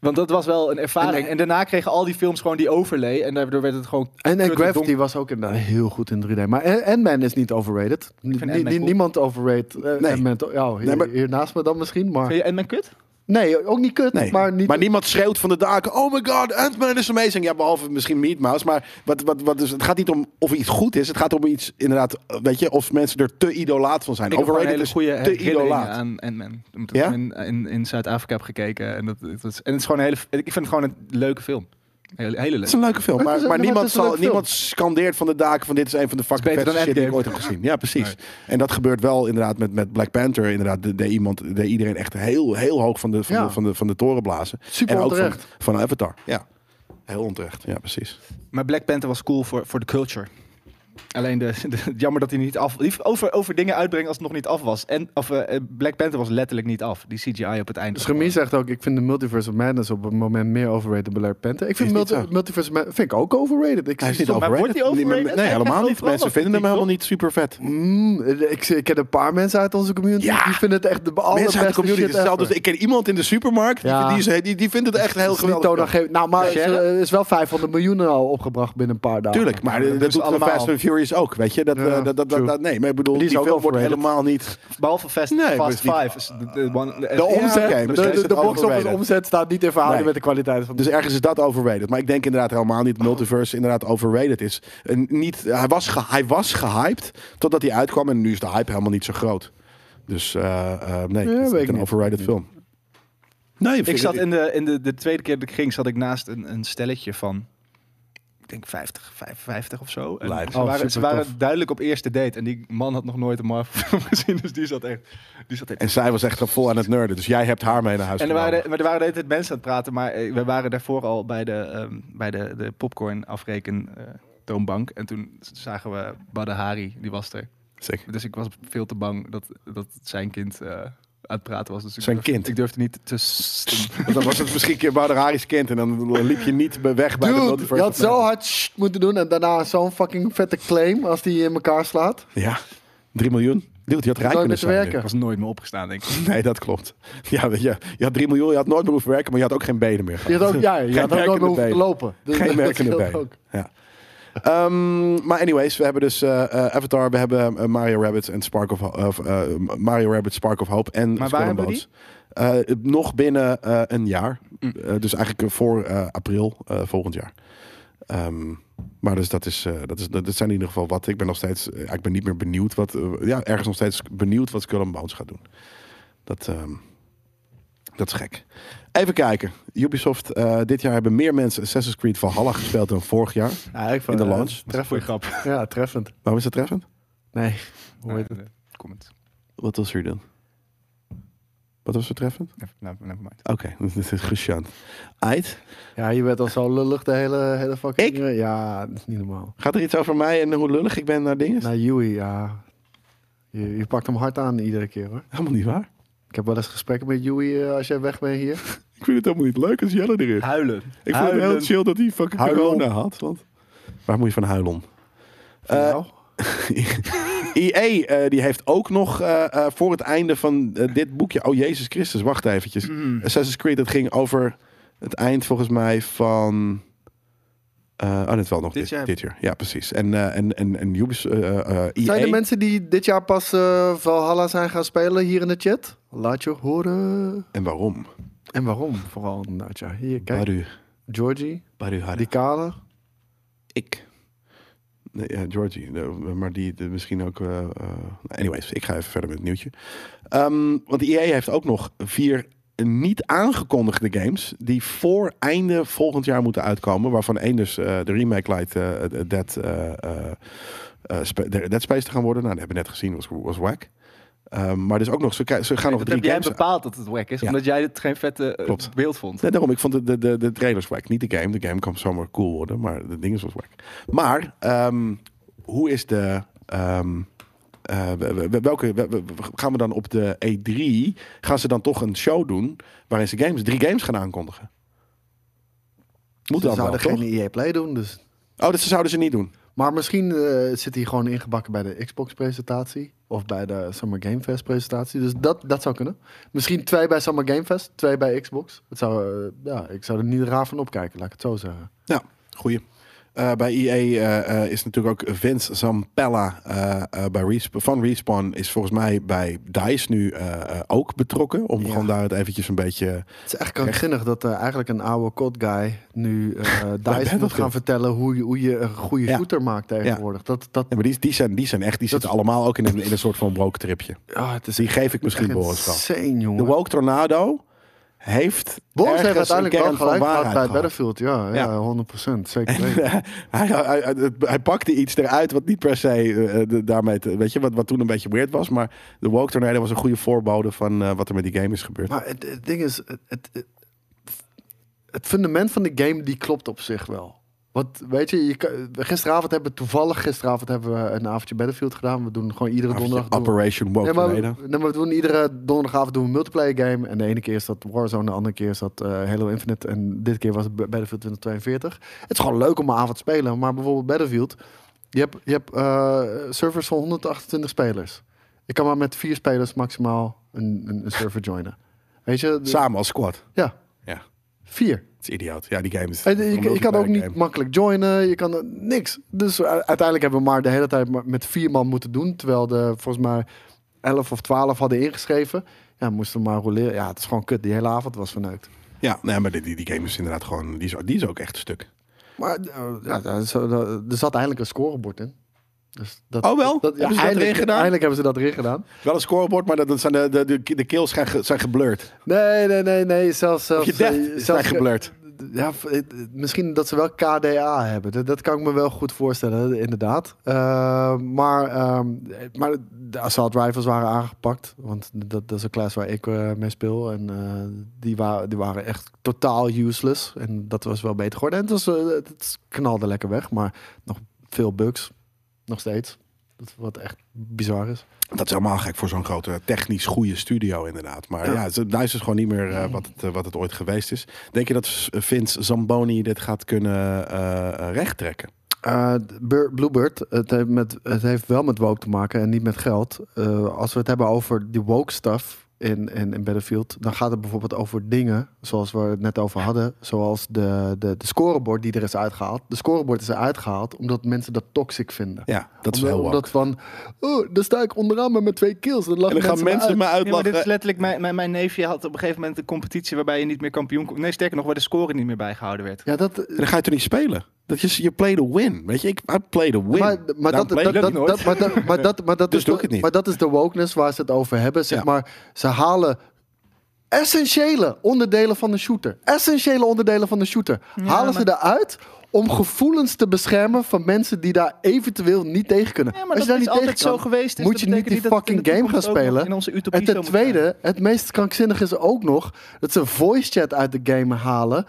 C: Want dat was wel een ervaring. En, daarna kregen al die films gewoon die overlay. En daardoor werd het gewoon.
B: En, en
C: kutte
B: Gravity
C: donker.
B: was ook inderdaad heel goed in 3D. Maar An- Ant-Man is niet overrated. Ni-
C: vind
B: ni-
C: Ant-Man cool.
B: Niemand overrated.
A: Nee.
B: nee. Ant-Man, to- ja, hier,
A: Nee, maar-
B: hier naast me dan misschien. Maar,
C: Vind je Ant-Man kut?
B: nee, ook niet kut.
A: Nee.
B: Maar niet
A: niemand schreeuwt van de daken. Oh my god, Ant-Man is amazing. Ja, behalve misschien Meat Mouse. Maar wat, wat, wat is, het gaat niet om of iets goed is. Het gaat om iets, inderdaad, eh, weet je, of mensen er te idolaat van zijn.
C: Ik heb gewoon een
A: Overrated
C: hele
A: is
C: goede
A: te
C: herinneringen
A: idolaat.
C: aan Ant-Man. Omdat ik
A: Ja?
C: hem in, in, in Zuid-Afrika heb gekeken. En, dat, het is, en het is gewoon een hele. Ik vind het gewoon een leuke film. Hele, hele
A: Het
C: leuk.
A: is een leuke film,
B: Het
A: maar,
B: is een-
A: maar
B: maar
A: niemand,
B: het is een
A: zal,
B: leuke film.
A: niemand scandeert van de daken van dit is een van de fucking
C: beter
A: vetste
C: dan
A: shit die ik ooit
C: Endgame.
A: heb gezien. Ja, precies. En dat gebeurt wel inderdaad met, met Black Panther. Inderdaad, de, de iemand, de iedereen echt heel, heel hoog van de, van,
B: Ja.
A: de, van, de, van de toren blazen.
B: Super
A: en ook van,
B: onterecht.
A: van Avatar. Ja, heel onterecht. Ja, precies.
C: Maar Black Panther was cool voor, voor de culture. Alleen de, de- jammer dat hij niet af. die Over, over dingen uitbrengen als het nog niet af was. En of, eh, eh, Black Panther was letterlijk niet af. Die CGI op het einde.
B: Dus Remy zegt ook, ik vind de Multiverse of Madness op het moment meer overrated dan Black Panther. Ik vind
A: Is niet
B: multi-
A: zo.
B: Multiverse of Madness vind ik ook overrated. Ik,
A: Hij is niet
B: soms-
C: Maar wordt
A: overrated.
C: hij overrated?
A: Nee, Nee,
C: Hij
A: helemaal
C: krijgt
A: niet.
C: overal
A: Mensen
C: wat
A: vinden hem
C: kritiek,
A: helemaal niet super vet.
B: Mm, ik, ik ken een paar mensen uit onze community
A: Ja.
B: die vinden het echt de
A: Mensen uit
B: allerbeste
A: de community
B: shit
A: is hetzelfde. Dus
B: ever.
A: ik ken iemand in de supermarkt, die-
B: Ja.
A: die, is- die, die vindt het echt heel
B: Het is niet
A: geweldig.
B: toonaangevend. Nou, maar
C: Ja,
B: er is, is wel 500 miljoen al opgebracht binnen een paar dagen.
A: Tuurlijk, maar
C: dat
A: dat,
C: doen
A: dat
C: ze
A: doet allemaal.
C: allemaal.
A: Fast and Furious ook, weet je. Dat,
B: Ja,
A: eh, dat, dat, dat,
B: true.
A: dat- nee, maar ik bedoel,
B: Die
A: die,
B: is ook
A: film wordt
B: overrated.
A: helemaal niet...
C: Behalve Fast,
A: Nee,
C: Fast
A: maar-
C: Five. Is de, de, E one- de-
A: De
C: Ja,
A: omzet.
C: oké.
B: De,
A: misschien is
B: de,
A: het
B: de box office
A: overrated.
B: omzet staat niet in verhouding
A: Nee.
B: met de kwaliteit van
A: Dus ergens is dat overrated. Maar ik denk inderdaad helemaal niet. Multiverse inderdaad overrated is. En niet, hij, was ge- hij was gehyped totdat hij uitkwam. En nu is de hype helemaal niet zo groot. Dus eh, eh, nee, het
B: weet
A: is niet
B: ik
A: een
B: niet.
A: overrated film. Nee,
C: Ik zat in, de, in de, de tweede keer dat ik ging, zat ik naast een, een stelletje van, ik denk 50, 55 of zo. En
A: Lijp.
C: ze
B: Oh,
C: waren, ze
B: supertof.
C: waren duidelijk op eerste date. En die man had nog nooit een Marvel film gezien, dus die zat echt... Die zat echt
A: En zij was echt vol aan het nerden. Dus jij hebt haar mee naar huis
C: en er
A: genomen.
C: waren, de- maar er waren de hele tijd mensen aan het praten, maar eh, we waren daarvoor al bij de, ehm, bij de, de popcorn afreken eh, toonbank. En toen zagen we Badahari, die was er.
A: Sick.
C: Dus ik was veel te bang dat, dat zijn kind eh, aan het praten was. Dus ik
A: Zijn
C: durfde-
A: kind?
C: Ik durfde niet te... s-
A: Want dan was het misschien een keer Bader Hari's kind. En dan liep je niet be- weg bij de
B: Dude,
A: multiverse.
B: je had
A: of Madness.
B: zo hard sst moeten doen en daarna zo'n fucking vette claim als die in elkaar slaat.
A: Ja, 3 miljoen. Dude, je had rijk
B: Zou je
A: kunnen
B: met
A: zijn.
B: werken?
C: Ik was nooit meer opgestaan, denk ik.
A: nu. Nee, dat klopt. Ja, weet je, je had 3 miljoen, je had nooit meer hoeven werken, maar je had ook geen benen meer.
B: Je had ook, ja,
A: Geen
B: je had ook nooit
A: werkende
B: meer hoeven te
A: benen.
B: lopen. Dus
A: Geen
B: dat
A: werkende
B: scheelt
A: been.
B: ook.
A: Ja. Ehm, maar anyways, we hebben dus eh, eh, Avatar, we hebben eh, Mario Rabbit en Spark of, Ho- of eh, Mario Rabbit, Spark of Hope en
C: waar
A: Skull and
C: hebben we
A: Bones. Eh, nog binnen eh, een jaar.
C: Mm.
A: Eh, dus eigenlijk eh, voor eh, april eh, volgend jaar. Ehm, maar dus dat, is, eh, dat, is, dat, dat zijn in ieder geval wat. Ik ben nog steeds, eh, ik ben niet meer benieuwd wat, eh, ja, ergens nog steeds benieuwd wat Skull and Bones gaat doen. Dat, ehm, dat is gek. Even kijken. Ubisoft, eh, dit jaar hebben meer mensen Assassin's Creed Valhalla gespeeld dan vorig jaar.
B: Ja, ik
A: In
B: vond-
A: de
B: ja,
A: launch.
C: Tref voor je grap.
B: Ja, treffend.
A: Waarom is dat treffend?
B: Nee. Hoe heet het?
C: Nee, Comment.
A: Wat was er dan? Wat was er treffend?
C: Never, never, never mind.
A: Oké, dat is gesjant. Ait,
B: Ja, je werd al zo lullig de hele, hele fucking... Ja, dat is niet normaal.
A: gaat er iets over mij en hoe lullig ik ben naar dingen?
B: Nou, Yui, ja. Je, je pakt hem hard aan iedere keer, hoor.
A: helemaal niet waar.
B: Ik heb wel eens gesprekken met Yui eh, als jij weg bent hier.
A: Ik vind het helemaal niet leuk als Jelle er is.
C: Huilen.
A: Ik vind het heel chill dat hij fucking
B: Huilen.
A: corona had. Want... Waar moet je van huilen om?
B: Van
A: Eh,
B: jou?
A: EA eh, die heeft ook nog eh, eh, voor het einde van eh, dit boekje... Oh, Jezus Christus, wacht eventjes. Assassin's Creed, dat ging over het eind volgens mij van... eh oh, net wel nog dit,
C: Dit
A: dit jaar.
C: jaar.
A: Ja, precies. En, eh, en, en, en Ubis, eh eh, EA...
B: Zijn er mensen die dit jaar pas eh, Valhalla zijn gaan spelen hier in de chat? Laat je horen.
A: En waarom?
B: En waarom vooral? Nou ja, hier, kijk.
A: Baru,
B: Georgie,
A: Baru Hara.
B: die kale.
A: ik. Nee, ja, Georgie. nee, Maar die de- misschien ook... eh, eh, anyways, ik ga even verder met het nieuwtje. Ehm, want EA heeft ook nog vier niet aangekondigde games... die voor einde volgend jaar moeten uitkomen. Waarvan één dus eh, de remake lijkt eh, eh, Dead, eh, eh, eh, Spa- Dead Space te gaan worden. Nou, dat hebben we net gezien. was, was whack. Ehm, maar dus ook nog, ze, ki- ze gaan nog
C: dat
A: drie
C: heb jij
A: games...
C: bepaald dat het wack is,
A: Ja.
C: omdat jij het geen vette eh,
A: Klopt.
C: beeld vond.
A: Nee, daarom, ik vond de, de, de, de trailers wack. Niet de game. De game kan zomaar cool worden, maar de ding is wat wack. Maar, ehm, hoe is de... ehm, eh, we- we- welke, we- we- we- gaan we dan op de E3, gaan ze dan toch een show doen waarin ze games, drie games gaan aankondigen? Moet
B: Ze
A: dat wel,
B: zouden
A: toch?
B: geen EA Play doen, dus...
A: Oh, dat zouden ze niet doen.
B: Maar misschien eh, zit hij gewoon ingebakken bij de Xbox-presentatie. Of bij de Summer Game Fest-presentatie. Dus dat, dat zou kunnen. Misschien twee bij Summer Game Fest, twee bij Xbox. Het zou, eh, ja, ik zou er niet raar van opkijken, laat ik het zo zeggen.
A: Ja, goeie. Eh, bij EA eh, eh, is natuurlijk ook Vince Zampella eh, eh, bij Resp- van Respawn is volgens mij bij DICE nu eh, eh, ook betrokken. Om
B: Ja.
A: gewoon daar het eventjes een beetje...
B: Het is echt krankzinnig dat eh, eigenlijk een oude COD-guy nu eh DICE moet
A: Battlefield.
B: gaan vertellen hoe je, hoe je een goede
A: Ja.
B: shooter maakt tegenwoordig. Dat, dat,
A: Ja, maar die, die, zijn, die zijn echt, die zitten allemaal ook in een, in een soort van woke tripje.
B: ah, het is
A: Die geef ik misschien
B: echt
A: Boris wel.
B: insane, jongen.
A: De woke tornado heeft
B: Boris heeft
A: ergens een
B: uiteindelijk wel
A: kern van
B: gelijk gehad bij
A: waarheid gehad.
B: Battlefield. Ja,
A: Ja.
B: ja, 100%. Zeker weten.
A: hij, hij, hij, het- hij pakte iets eruit wat niet per se eh, de- daarmee, te- weet je, wat, wat toen een beetje weird was. Maar de woke tornado was een goede voorbode van eh, wat er met die game is gebeurd.
B: Maar het, het ding is, het, het, het- het fundament van de game die klopt op zich wel. Want weet je, je kan- gisteravond hebben we toevallig gisteravond hebben we een avondje Battlefield gedaan. We doen gewoon iedere donderdag. doen we-
A: Operation Woke
B: Nee, maar, we-
A: Tornado.
B: nee, maar we doen iedere donderdagavond doen we een multiplayer game. En de ene keer is dat Warzone, de andere keer is dat eh, Halo Infinite. En dit keer was het B- Battlefield 2042. Het is gewoon leuk om een avond te spelen. Maar bijvoorbeeld Battlefield, je hebt, je hebt eh, servers van 128 spelers. Ik kan maar met vier spelers maximaal een, een, een server joinen. Weet je? de-
A: Samen als squad.
B: Ja,
A: Ja,
B: vier.
A: het is idioot. Ja, die game is...
B: En je, je kan ook niet
A: game.
B: makkelijk joinen, je kan eh, niks. Dus u- uiteindelijk hebben we maar de hele tijd maar met vier man moeten doen. Terwijl de volgens mij 11 of 12 hadden ingeschreven. Ja, moesten we maar roleren. Ja, het is gewoon kut. Die hele avond was verneukt.
A: Ja, nee, maar die, die, die game is inderdaad gewoon... Die is, die is ook echt stuk.
B: Maar eh, ja, daar zo- daar- er zat eindelijk een scorebord in. Dus dat,
A: Oh, wel? Hebben ze dat
B: eindelijk,
A: erin gedaan?
B: Eindelijk hebben ze dat erin gedaan.
A: Wel een scoreboard, maar dat, dat zijn de, de, de, de kills zijn, ge- zijn geblurred.
B: Nee, nee, nee, nee. Zelfs, zelfs,
A: Je death
B: eh,
A: is zijn geblurred.
B: Ja, v- eh, misschien dat ze wel KDA hebben. Dat, dat kan ik me wel goed voorstellen, inderdaad. Eh, maar, ehm, maar de assault rifles waren aangepakt. Want dat, dat is een class waar ik eh, mee speel. En eh, die, wa die waren echt totaal useless. En dat was wel beter geworden. En het, was, eh, het- het knalde lekker weg. Maar nog veel bugs. Nog steeds. Dat, wat echt bizar is.
A: Dat is helemaal gek voor zo'n grote technisch goede studio inderdaad. Maar ja,
B: Ja.
A: het DICE is gewoon niet meer eh, wat, het, eh, wat het ooit geweest is. Denk je dat S- Vince Zamboni dit gaat kunnen eh rechttrekken?
B: Eh, Bur- Bluebird, het heeft, met, het heeft wel met woke te maken en niet met geld. Eh, als we het hebben over die woke stuff in, in, in Battlefield, dan gaat het bijvoorbeeld over dingen zoals we het net over hadden. Zoals de, de, de scorebord die er is uitgehaald. De scorebord is eruit gehaald omdat mensen dat toxic vinden.
A: Ja, dat is
B: Omdat-
A: wel heel
B: Omdat
A: woke.
B: van, oh, daar sta ik onderaan maar met twee kills. Dan,
A: En dan gaan mensen me
C: Ja, maar
A: uitlachen.
C: dit is letterlijk, mijn, mijn, mijn neefje had op een gegeven moment een competitie waarbij je niet meer kampioen kon. Nee, sterker nog, waar de score niet meer bijgehouden werd.
B: Ja, dat,
A: En dan ga je toch niet spelen? Dat is, je play the win. Weet je, ik I play the win.
B: Maar, maar,
A: Daarom
B: dat,
A: play
B: dat,
A: ik
B: dat,
A: nooit.
B: dat- maar, dat, maar, dat, maar, dat
A: Dus
B: is
A: doe
B: de,
A: ik het niet.
B: maar dat is de wokeness waar ze het over hebben. Zeg
A: Ja.
B: maar, ze halen essentiële onderdelen van de shooter. Essentiële onderdelen van de shooter. halen ze eruit om gevoelens te beschermen van mensen die daar eventueel niet tegen kunnen.
C: Ja, maar
B: Als je
C: dat
B: daar
C: is
B: niet tegen
C: altijd zo
B: kan,
C: geweest, dus
B: moet
C: dat
B: je niet
C: betekent
B: die
C: niet dat het in
B: fucking
C: de
B: game gaan
C: toekomst ook nog
B: spelen.
C: in onze utopie
B: en ten
C: zo moet zijn.
B: tweede, het meest krankzinnig is ook nog dat ze voice chat uit de game halen.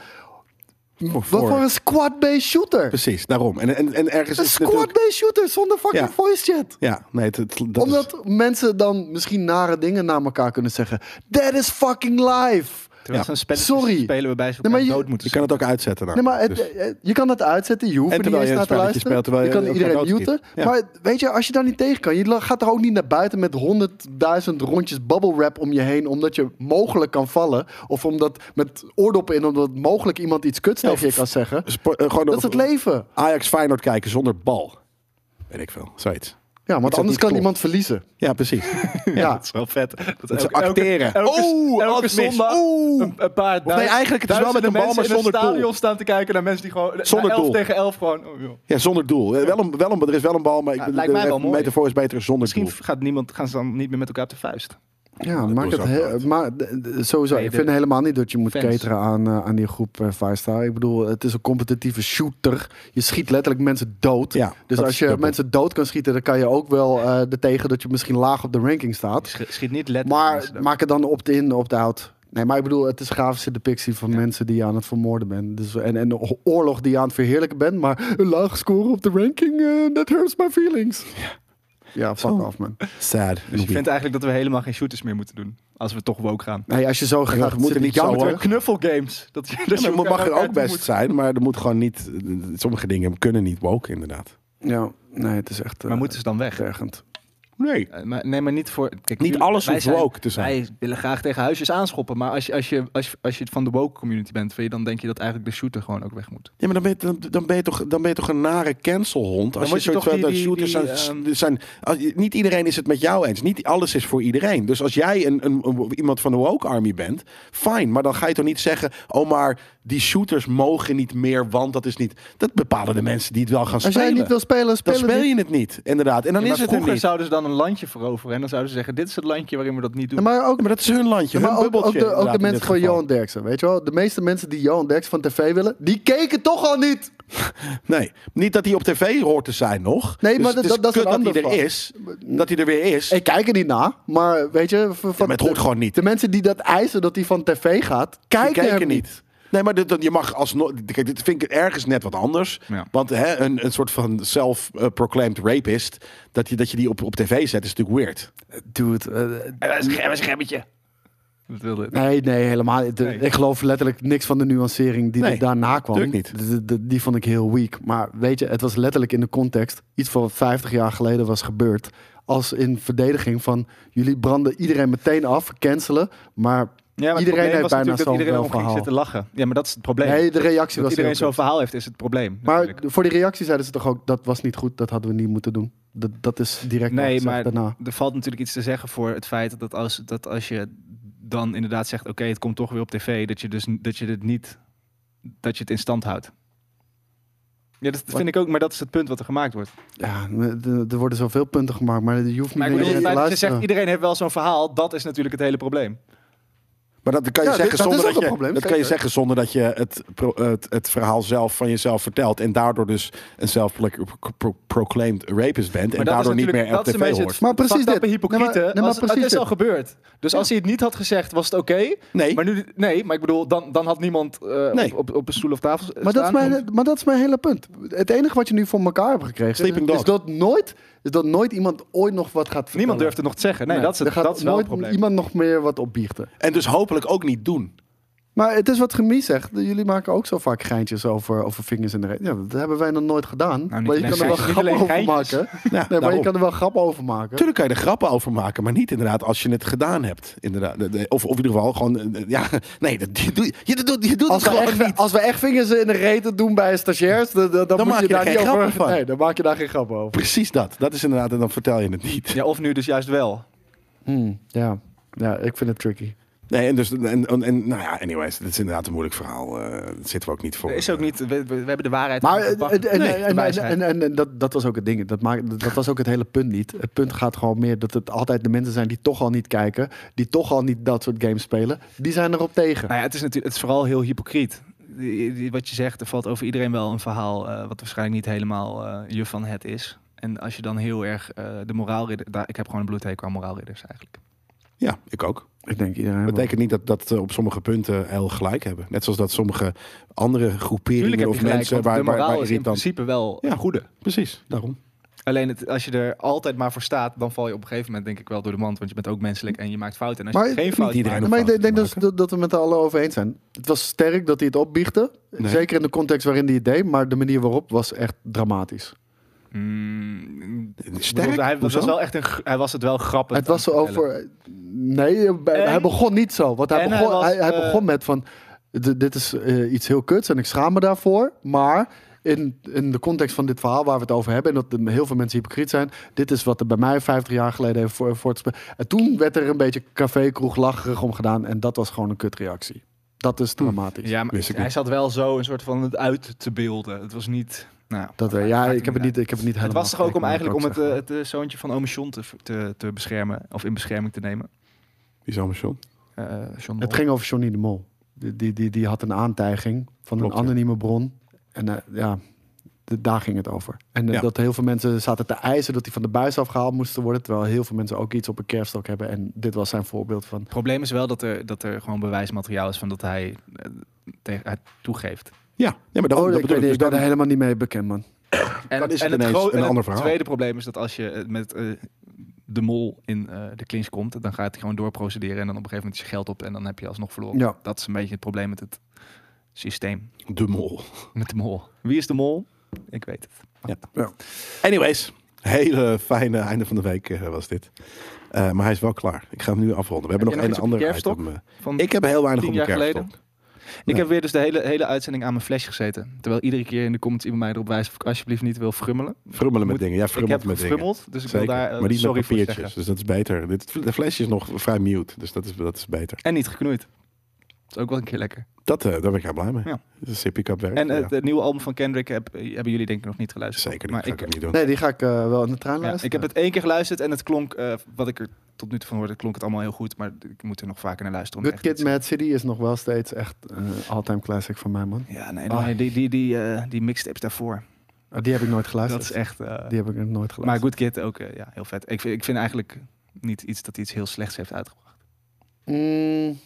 A: Oh,
B: Wat voor een squad-based shooter?
A: Precies, daarom. En, en, en ergens
B: Een
A: is het natuurlijk...
B: squad-based shooter zonder fucking
A: Ja.
B: voice chat.
A: Ja, nee, het, het- dat
B: Omdat mensen dan misschien nare dingen naar elkaar kunnen zeggen. That is fucking life.
C: Terwijl ze een spelletje
B: Sorry.
C: spelen waarbij ze
B: Nee,
C: elkaar
B: maar je-
C: dood
A: is, je
C: moeten
A: kan het ook uitzetten. Nou.
B: Nee, maar het-
A: Dus-
B: eh, je kan het uitzetten. Je hoeft
A: En
B: er niet
A: terwijl
B: eens
A: je
B: naar
A: een
B: te
A: spelletje
B: luisteren.
A: speelt, terwijl
B: je
A: je
B: kan
A: elkaar
B: iedereen
A: doodschiet.
B: muten.
A: Ja.
B: Maar weet je, als je daar niet tegen kan, je gaat er ook niet naar buiten met honderdduizend rondjes bubble wrap om je heen, omdat je mogelijk kan vallen. Of omdat met oordoppen in, omdat mogelijk iemand iets kuts
A: Ja,
B: tegen je
A: of-
B: kan zeggen.
A: Spo- eh, gewoon
B: Dat is het leven.
A: Ajax Feyenoord kijken zonder bal. Weet ik veel, zoiets.
B: Ja, want
A: dat
B: anders
A: niet
B: kan
A: klopt.
B: iemand verliezen.
A: Ja, precies.
C: zijn.
B: ja.
C: Dat is wel vet. Dat
A: Dat
C: elke-
A: ze acteren.
C: Elke, elke,
A: Oeh,
C: elke
A: alles mis.
C: zondag
A: Oeh.
C: een, een paar duizend,
A: nee, eigenlijk het is wel met een bal, maar zonder
C: in
A: doel.
C: het stadion staan te kijken naar mensen die gewoon
A: Zonder
C: elf
A: doel.
C: tegen 11 gewoon... oh, joh.
A: Ja, zonder doel. Eh, Wel een, wel een, er is wel een bal, maar ik,
C: Ja,
A: de,
C: lijkt mij
A: de
C: wel mooi.
A: metafoor is beter zonder
C: Misschien
A: doel.
C: gaat niemand, gaan ze dan niet meer met elkaar op de vuist.
B: Ja, maak het
A: was
B: he-
A: apart.
B: maar d- d- sowieso.
C: Nee,
B: Ik
C: de
B: vind helemaal niet dat je moet
C: fans.
B: cateren aan, eh, aan die groep eh, Five Star. Ik bedoel, het is een competitieve shooter. Je schiet letterlijk mensen dood.
A: Ja,
B: dus
A: dat
B: als
A: is
B: je
A: dubbel.
B: mensen dood kan schieten, dan kan je ook wel eh er tegen dat je misschien laag op de ranking staat.
C: Sch- Schiet niet letterlijk.
B: Maar
C: mensen dood.
B: maak het dan opt-in, opt-out. Nee, maar ik bedoel, het is grafische depictie van mensen die je aan het vermoorden bent. Dus, en, en de oorlog die je aan het verheerlijken bent. Maar een laag score op de ranking, eh, that hurts my feelings. Ja, fuck
A: Zo.
B: off, man.
A: Sad.
C: dus ik vind eigenlijk dat we helemaal geen shooters meer moeten doen. Als we toch woke gaan.
B: Nee, als je zo
A: we
B: graag...
A: moeten
B: zit
A: niet
B: jou
A: zo,
B: te-
A: hoor.
C: Knuffelgames. Dat, je- dat
A: Ja,
C: Dus je
A: maar
C: elkaar
A: mag Dus er
C: elkaar
A: ook
C: toe
A: best
C: moet-
A: zijn, maar er moet gewoon niet. Sommige dingen kunnen niet woke, inderdaad.
B: Ja, nee, het is echt eh,
C: Maar moeten ze dan weg?
B: ergend.
A: Nee.
C: Eh, Maar, nee, maar niet voor. Kijk,
A: Niet
C: jullie-
A: alles
C: wij
A: hoeft woke te zijn.
C: Wij willen graag tegen huisjes aanschoppen. Maar als je, als je, als je, als je van de woke community bent, vind je- dan denk je dat eigenlijk de shooter gewoon ook weg moet.
A: Ja, maar dan ben je, dan, dan ben je, toch, dan ben je toch een nare cancelhond. Als
C: word
A: je
C: je
A: soort
C: toch
A: van
C: die-
A: dat
C: die-
A: shooters
C: die,
A: zijn.
C: ehm,
A: zijn als je- niet iedereen is het met jou eens. Niet alles is voor iedereen. Dus als jij een, een, een- iemand van de woke army bent, fijn. Maar dan ga je toch niet zeggen: oh, maar die shooters mogen niet meer, want dat is niet. Dat bepalen de mensen die het wel gaan
B: Als
A: spelen.
B: jij niet wil spelen,
A: dan
B: spelen
A: speel je het niet, inderdaad. En dan
C: Ja, maar
A: is het er
C: vroeger
A: niet.
C: zouden ze dan een landje veroveren. En dan zouden ze zeggen: Dit is het landje waarin we dat niet doen.
B: Maar ook,
A: Ja, maar dat is hun landje.
B: maar
A: hun
B: ook, ook
A: bubbeltje,
B: de, ook
A: inderdaad,
B: de
A: in
B: mensen
A: dit
B: van
A: geval.
B: Johan Derksen, weet je wel? De meeste mensen die Johan Derksen van tv willen, die keken toch al niet.
A: Nee, niet dat hij op tv hoort te zijn nog. Dus
B: Nee, maar
A: het
B: dat- dat- dat is
A: kut
B: een
A: dat hij er
B: ander vak.
A: is. Dat hij er weer is.
B: Ik kijk er niet naar, maar weet je... v- Van,
A: maar het hoort
B: de-
A: gewoon niet.
B: De mensen die dat eisen dat hij van tv gaat,
A: Die
B: kijken,
A: kijken
B: hem
A: niet. Nee, maar dit, dat- je mag alsnog. Kijk, dit vind ik ergens net wat anders.
C: Ja.
A: Want hè, een, een soort van self-proclaimed rapist. Dat je, dat je die op, op tv zet, is natuurlijk weird.
B: Dude, eh,
C: een schermetje. Dat wilde het.
B: nee, nee, helemaal niet. De-
C: Nee.
B: Ik geloof letterlijk niks van de nuancering die
A: Nee,
B: er daarna kwam.
A: tuurlijk niet.
B: De- de- die vond ik heel weak. Maar weet je, het was letterlijk in de context. Iets van 50 jaar geleden was gebeurd. Als in verdediging van, jullie branden iedereen meteen af, cancelen. Maar
C: Ja, maar
B: iedereen
C: het probleem
B: heeft
C: was
B: bijna
C: natuurlijk dat
B: zo'n
C: iedereen
B: wel
C: om ging
B: verhaal.
C: zitten lachen. Ja, maar dat is het probleem.
B: Nee, de reactie
C: dat
B: was
C: iedereen
B: heel
C: zo'n
B: kut.
C: verhaal heeft, is het probleem.
B: Maar
C: natuurlijk.
B: voor die reactie zeiden ze toch ook, dat was niet goed, dat hadden we niet moeten doen. Dat, dat is direct wat
C: Nee,
B: gezegd
C: maar
B: daarna.
C: er valt natuurlijk iets te zeggen voor het feit dat als, dat als je dan inderdaad zegt: oké, het komt toch weer op tv, dat je, dus, dat je dit niet, dat je het in stand houdt. Ja, dat vind ik ook, maar dat is het punt wat er gemaakt wordt.
B: Ja, er- er worden zoveel punten gemaakt, maar je hoeft niet
C: Maar
B: naar
C: ik bedoel,
B: iedereen
C: het
B: te
C: feit dat je
B: luisteren.
C: zegt: iedereen heeft wel zo'n verhaal, dat is natuurlijk het hele probleem.
A: Maar dat kan je,
B: Ja, dit-
A: zeggen,
B: dat
A: zonder
B: is ook
A: dat
B: een
A: je,
B: probleem,
A: dat kan je
B: zeker.
A: zeggen zonder dat je het, pro- het, het verhaal zelf van jezelf vertelt. En daardoor dus een self-proclaimed rapist bent. En
C: Maar dat is
A: daardoor niet
C: natuurlijk-
A: meer op
C: dat is een
A: tv
C: beetje
A: hoort.
B: Maar precies
C: Precies
B: dit.
C: dat hypocrieten.
B: Nee, maar- nee, maar
C: als-
B: precies
C: het is al
B: dit.
C: gebeurd. Dus als hij het niet had gezegd, was het oké.
A: Nee.
C: Maar nu, nee, maar ik bedoel, dan, dan had niemand eh,
A: Nee.
C: op, op, op een stoel of tafel
B: Maar dat, is
C: staan.
B: mijn, maar dat is mijn hele punt. Het enige wat je nu voor elkaar hebt gekregen...
A: Sleeping
B: is
A: dog.
B: dat nooit, is dat nooit iemand ooit nog wat gaat vertellen.
C: Niemand durft het nog te zeggen. Nee,
B: Nee,
C: dat is,
B: er
C: het,
B: gaat
C: dat is wel
B: nooit
C: het probleem.
B: iemand nog meer wat opbiechten.
A: En dus hopelijk ook niet doen.
B: Maar het is wat Gemie zegt. Jullie maken ook zo vaak geintjes over, over vingers in de reet. Ja, dat hebben wij nog nooit gedaan.
C: Nou, niet
B: maar je
C: alleen
B: kan er wel
C: geintjes,
B: grappen
C: niet
B: over
C: alleen
B: maken.
A: Ja,
B: Nee, maar je
A: daarom.
B: kan er wel grappen over maken.
A: Tuurlijk kan je er grappen over maken, maar niet inderdaad als je het gedaan hebt. Inderdaad. De- de- Of, of in ieder geval gewoon, eh, eh, ja, nee, dat, je, doet- je, doet, je doet
B: Als
A: het
B: we,
A: gewoon
B: echt,
A: niet.
B: als we echt vingers in de reten doen bij stagiairs, dan, dan, dan moet
A: maak je
B: je,
A: er
B: daar
A: geen
B: niet over.
A: grappen van.
B: Nee, dan maak je daar geen grappen over.
A: Precies dat. Dat is inderdaad, en dan vertel je het niet.
C: Ja, of nu dus juist wel.
B: Hmm, ja. ja, ik vind het tricky.
A: Nee, en dus, en, en, en, nou ja, anyways, het is inderdaad een moeilijk verhaal. eh dat zitten we ook niet voor.
C: Er is ook niet, we, we- we hebben de waarheid.
B: Maar
C: niet te
B: en,
C: pakken.
B: en, eh,
C: Nee, de
B: en, en,
C: wijsheid.
B: en, en- en dat, dat was ook het ding. Dat, maakt, dat- dat was ook het hele punt niet. Het punt gaat gewoon meer dat het altijd de mensen zijn die toch al niet kijken. Die toch al niet dat soort games spelen. Die zijn erop tegen.
C: Nou ja, het is natuurlijk, het is vooral heel hypocriet. Die- die- wat je zegt, er valt over iedereen wel een verhaal eh, wat waarschijnlijk niet helemaal eh, je van het is. En als je dan heel erg eh, de moraalridder, daar, ik heb gewoon een bloedhekel aan moraalridders eigenlijk.
A: Ja, ik ook.
B: Ik denk iedereen.
A: Dat betekent niet dat, dat ze op sommige punten heel gelijk hebben. Net zoals dat sommige andere
C: Tuurlijk
A: groeperingen
C: heb je
A: of
C: gelijk,
A: mensen
C: want
A: waar,
C: de
A: waar,
C: moraal
A: waar
C: is in
A: irritant...
C: principe wel
A: Ja.
C: een goede.
A: Precies, daarom.
C: Alleen het, als je er altijd maar voor staat, dan val je op een gegeven moment denk ik wel door de mand. Want je bent ook menselijk en je maakt fouten. En als
B: Maar
C: je geen
A: niet
C: fout
A: iedereen
C: maakt,
B: maar ik
A: fouten
B: denk, denk
A: te
B: dus dat, dat we met z'n allen over eens zijn. Het was sterk dat hij het opbiechte. Zeker in de context waarin hij het deed. Maar de manier waarop was echt dramatisch.
C: Mm,
A: Sterk?
C: bedoel, hij, was
A: Hoezo?
C: wel echt een, gr- hij was het wel grappig.
B: Het was zo
C: aan het vertellen.
B: over. Nee, eh, bij-
C: En-
B: hij begon niet zo. Want hij
C: en hij
B: begon,
C: was,
B: hij, hij
C: eh,
B: begon met van. "D- Dit is eh, iets heel kuts en ik schaam me daarvoor. Maar in, in de context van dit verhaal waar we het over hebben. En dat de- heel veel mensen hypocriet zijn. Dit is wat er bij mij 50 jaar geleden heeft voor, voortgespeeld. En toen werd er een beetje café, kroeg, lacherig om gedaan. En dat was gewoon een kutreactie. Dat is dramatisch.
C: Ja, maar
A: Wist ik
C: hij
A: niet.
C: zat wel zo een soort van het uit te beelden. Het was niet. Nou,
B: Dat, eh, ja, ik heb het niet, ik heb het niet
C: Het
B: helemaal
C: was toch ook om
B: gekeken,
C: eigenlijk
B: moet
C: om
B: ik
C: het,
B: ook
C: eh, het eh, zoontje van ome John te, te, te beschermen of in bescherming te nemen.
A: Wie is allemaal John?
G: eh, John Mol.
B: Het ging over Johnny de Mol. Die, die, die, die had een aantijging van
A: Klopt, ja.
B: een anonieme bron. En eh, ja, de- daar ging het over. En eh,
A: Ja.
B: dat heel veel mensen zaten te eisen dat hij van de buis afgehaald moest worden. Terwijl heel veel mensen ook iets op een kerfstok hebben. En dit was zijn voorbeeld van.
C: Het probleem is wel dat er, dat er gewoon bewijsmateriaal is van dat hij, eh, te- hij toegeeft.
A: Ja, nee, maar dat,
B: oh,
A: dat
B: ik,
A: bedoel
B: weet
A: ik.
B: niet,
A: Dus
B: ik ben er
A: dan,
B: helemaal niet mee bekend, man.
C: En,
A: Dan is het
C: en
A: ineens
C: gro-
A: een
C: en
A: ander verhaal.
C: tweede probleem is dat als je eh, met eh, de mol in eh, de clinch komt, dan gaat hij gewoon doorprocederen en dan op een gegeven moment is je geld op en dan heb je alsnog verloren.
B: Ja.
C: Dat is een beetje het probleem met het systeem,
A: de mol.
C: met de mol. Wie is de mol? Ik weet het.
A: Anyways, hele fijne einde van de week eh, was dit. Eh, maar hij is wel klaar. Ik ga hem nu afronden. We hebben
C: je
A: nog
C: nog
A: een
C: iets op je
A: ander
C: kerfstok?
A: item. eh.
C: Van
A: Ik heb heel weinig
C: tien
A: op mijn
C: jaar geleden?
A: kerfstok.
C: Ik heb weer dus de hele, hele uitzending aan mijn flash gezeten. Terwijl iedere keer in de comments iemand mij erop wijst of ik alsjeblieft niet wil frummelen.
A: Frummelen met
C: Moet-
A: dingen. Ja,
C: Ik heb
A: frummelt met dingen.
C: gefrummeld, dus ik
A: Zeker.
C: wil daar eh,
A: maar niet
C: sorry
A: met
C: voor
A: papiertjes,
C: zeggen.
A: dus dat is beter. Dit, de flesje is nog vrij mute, dus dat is, dat is beter.
C: En niet geknoeid. Dat is ook wel een keer lekker.
A: Dat, eh, daar ben ik heel blij mee.
C: Ja.
A: Dat is een sippie cup werk.
C: En
A: ja.
C: eh, het nieuwe album van Kendrick heb- hebben jullie denk ik nog niet geluisterd.
A: Zeker,
C: maar
A: dat ga
C: ik,
A: ik ook niet doen.
B: Nee, die ga ik eh, wel in de trein
C: Ja,
B: luisteren.
C: ik heb het één keer geluisterd en het klonk, eh, wat ik er tot nu toe van hoorde, klonk het allemaal heel goed. Maar ik moet er nog vaker naar luisteren. om
B: Good
C: echt
B: Kid,
C: iets-
B: Mad City is nog wel steeds echt een eh, all-time classic van mij, man.
C: Ja, nee,
B: Ah.
C: nee, die, die, die, eh, die mixtapes daarvoor.
B: Eh, Die heb ik nooit
C: dat
B: geluisterd.
C: is echt... eh,
B: Die heb ik nog nooit geluisterd.
C: maar Good Kid ook eh, ja, heel vet. Ik vind, ik vind eigenlijk niet iets dat hij iets heel slechts heeft uitgebracht.
B: Mm,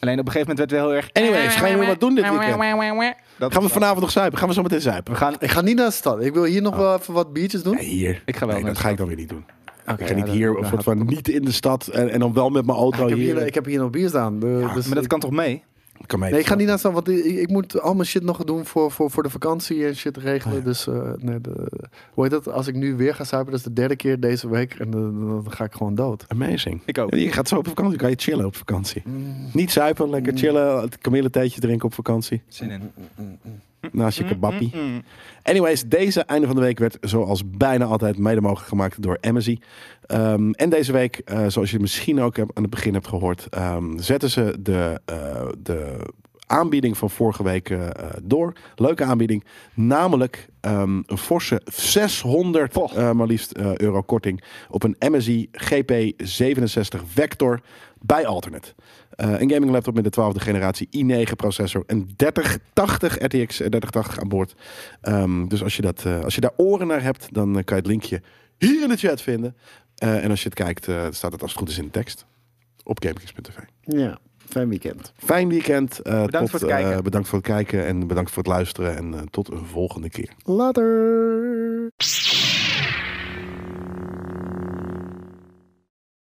C: Alleen op een gegeven moment werd wel heel erg...
A: Anyways, gaan jullie wat doen dit weekend?
C: Dat
A: Gaan we
C: dat-
A: vanavond nog zuipen? Gaan we zo meteen zuipen?
C: We gaan...
B: ik ga niet naar de stad. Ik wil hier nog wel even wat biertjes doen.
A: Nee, hier.
C: Ik ga wel
A: Nee,
C: naar
A: dat
C: de
A: ga ik dan weer niet doen.
B: Oké,
A: ik ga niet
B: ja,
A: hier,
B: dat-
A: of
B: dat
A: soort
B: gaat-
A: van niet in de stad en, en dan wel met mijn auto
B: ik, heb
A: hier.
B: hier, ik heb hier nog bier staan. de- dus
C: Maar dat
B: ik-
C: kan toch mee?
A: Kan mij
B: Nee, ik ga
A: niet
B: niet naar staan, want ik, ik moet al mijn shit nog doen voor, voor, voor de vakantie en shit regelen. Dus eh, nee, de, hoe heet dat? Als ik nu weer ga zuipen, dat is de derde keer deze week en eh, dan ga ik gewoon dood.
A: Amazing.
C: Ik ook. Mm.
A: Ja, Je gaat zo op vakantie, kan je chillen op vakantie. Niet zuipen, lekker chillen, het kamillethijtje drinken op vakantie.
C: Zin in.
A: Naast je kebappie.
C: Mm, mm.
A: Anyways, deze einde van de week werd zoals bijna altijd mede mogelijk gemaakt door Amazon. Ehm, en deze week, eh, zoals je misschien ook heb- aan het begin hebt gehoord, ehm, zetten ze de, eh, de aanbieding van vorige week eh, eh, door. Leuke aanbieding. Namelijk ehm, een forse 600 eh, maar liefst eh, euro korting op een MSI GP67 Vector bij Alternate. Eh, een gaming laptop met de 12e generatie i9 processor en 3080 RTX eh, 3080 aan boord. Ehm, dus als je, dat, eh, als je daar oren naar hebt, dan eh, kan je het linkje hier in de chat vinden. Eh, en als je het kijkt, eh, staat het als het goed is in de tekst op GameKings.tv.
B: Ja, fijn weekend.
A: Fijn weekend. eh,
C: Bedankt
A: tot,
C: voor het
A: eh,
C: kijken.
A: bedankt voor het kijken en bedankt voor het luisteren. En eh, tot een volgende keer.
B: Later!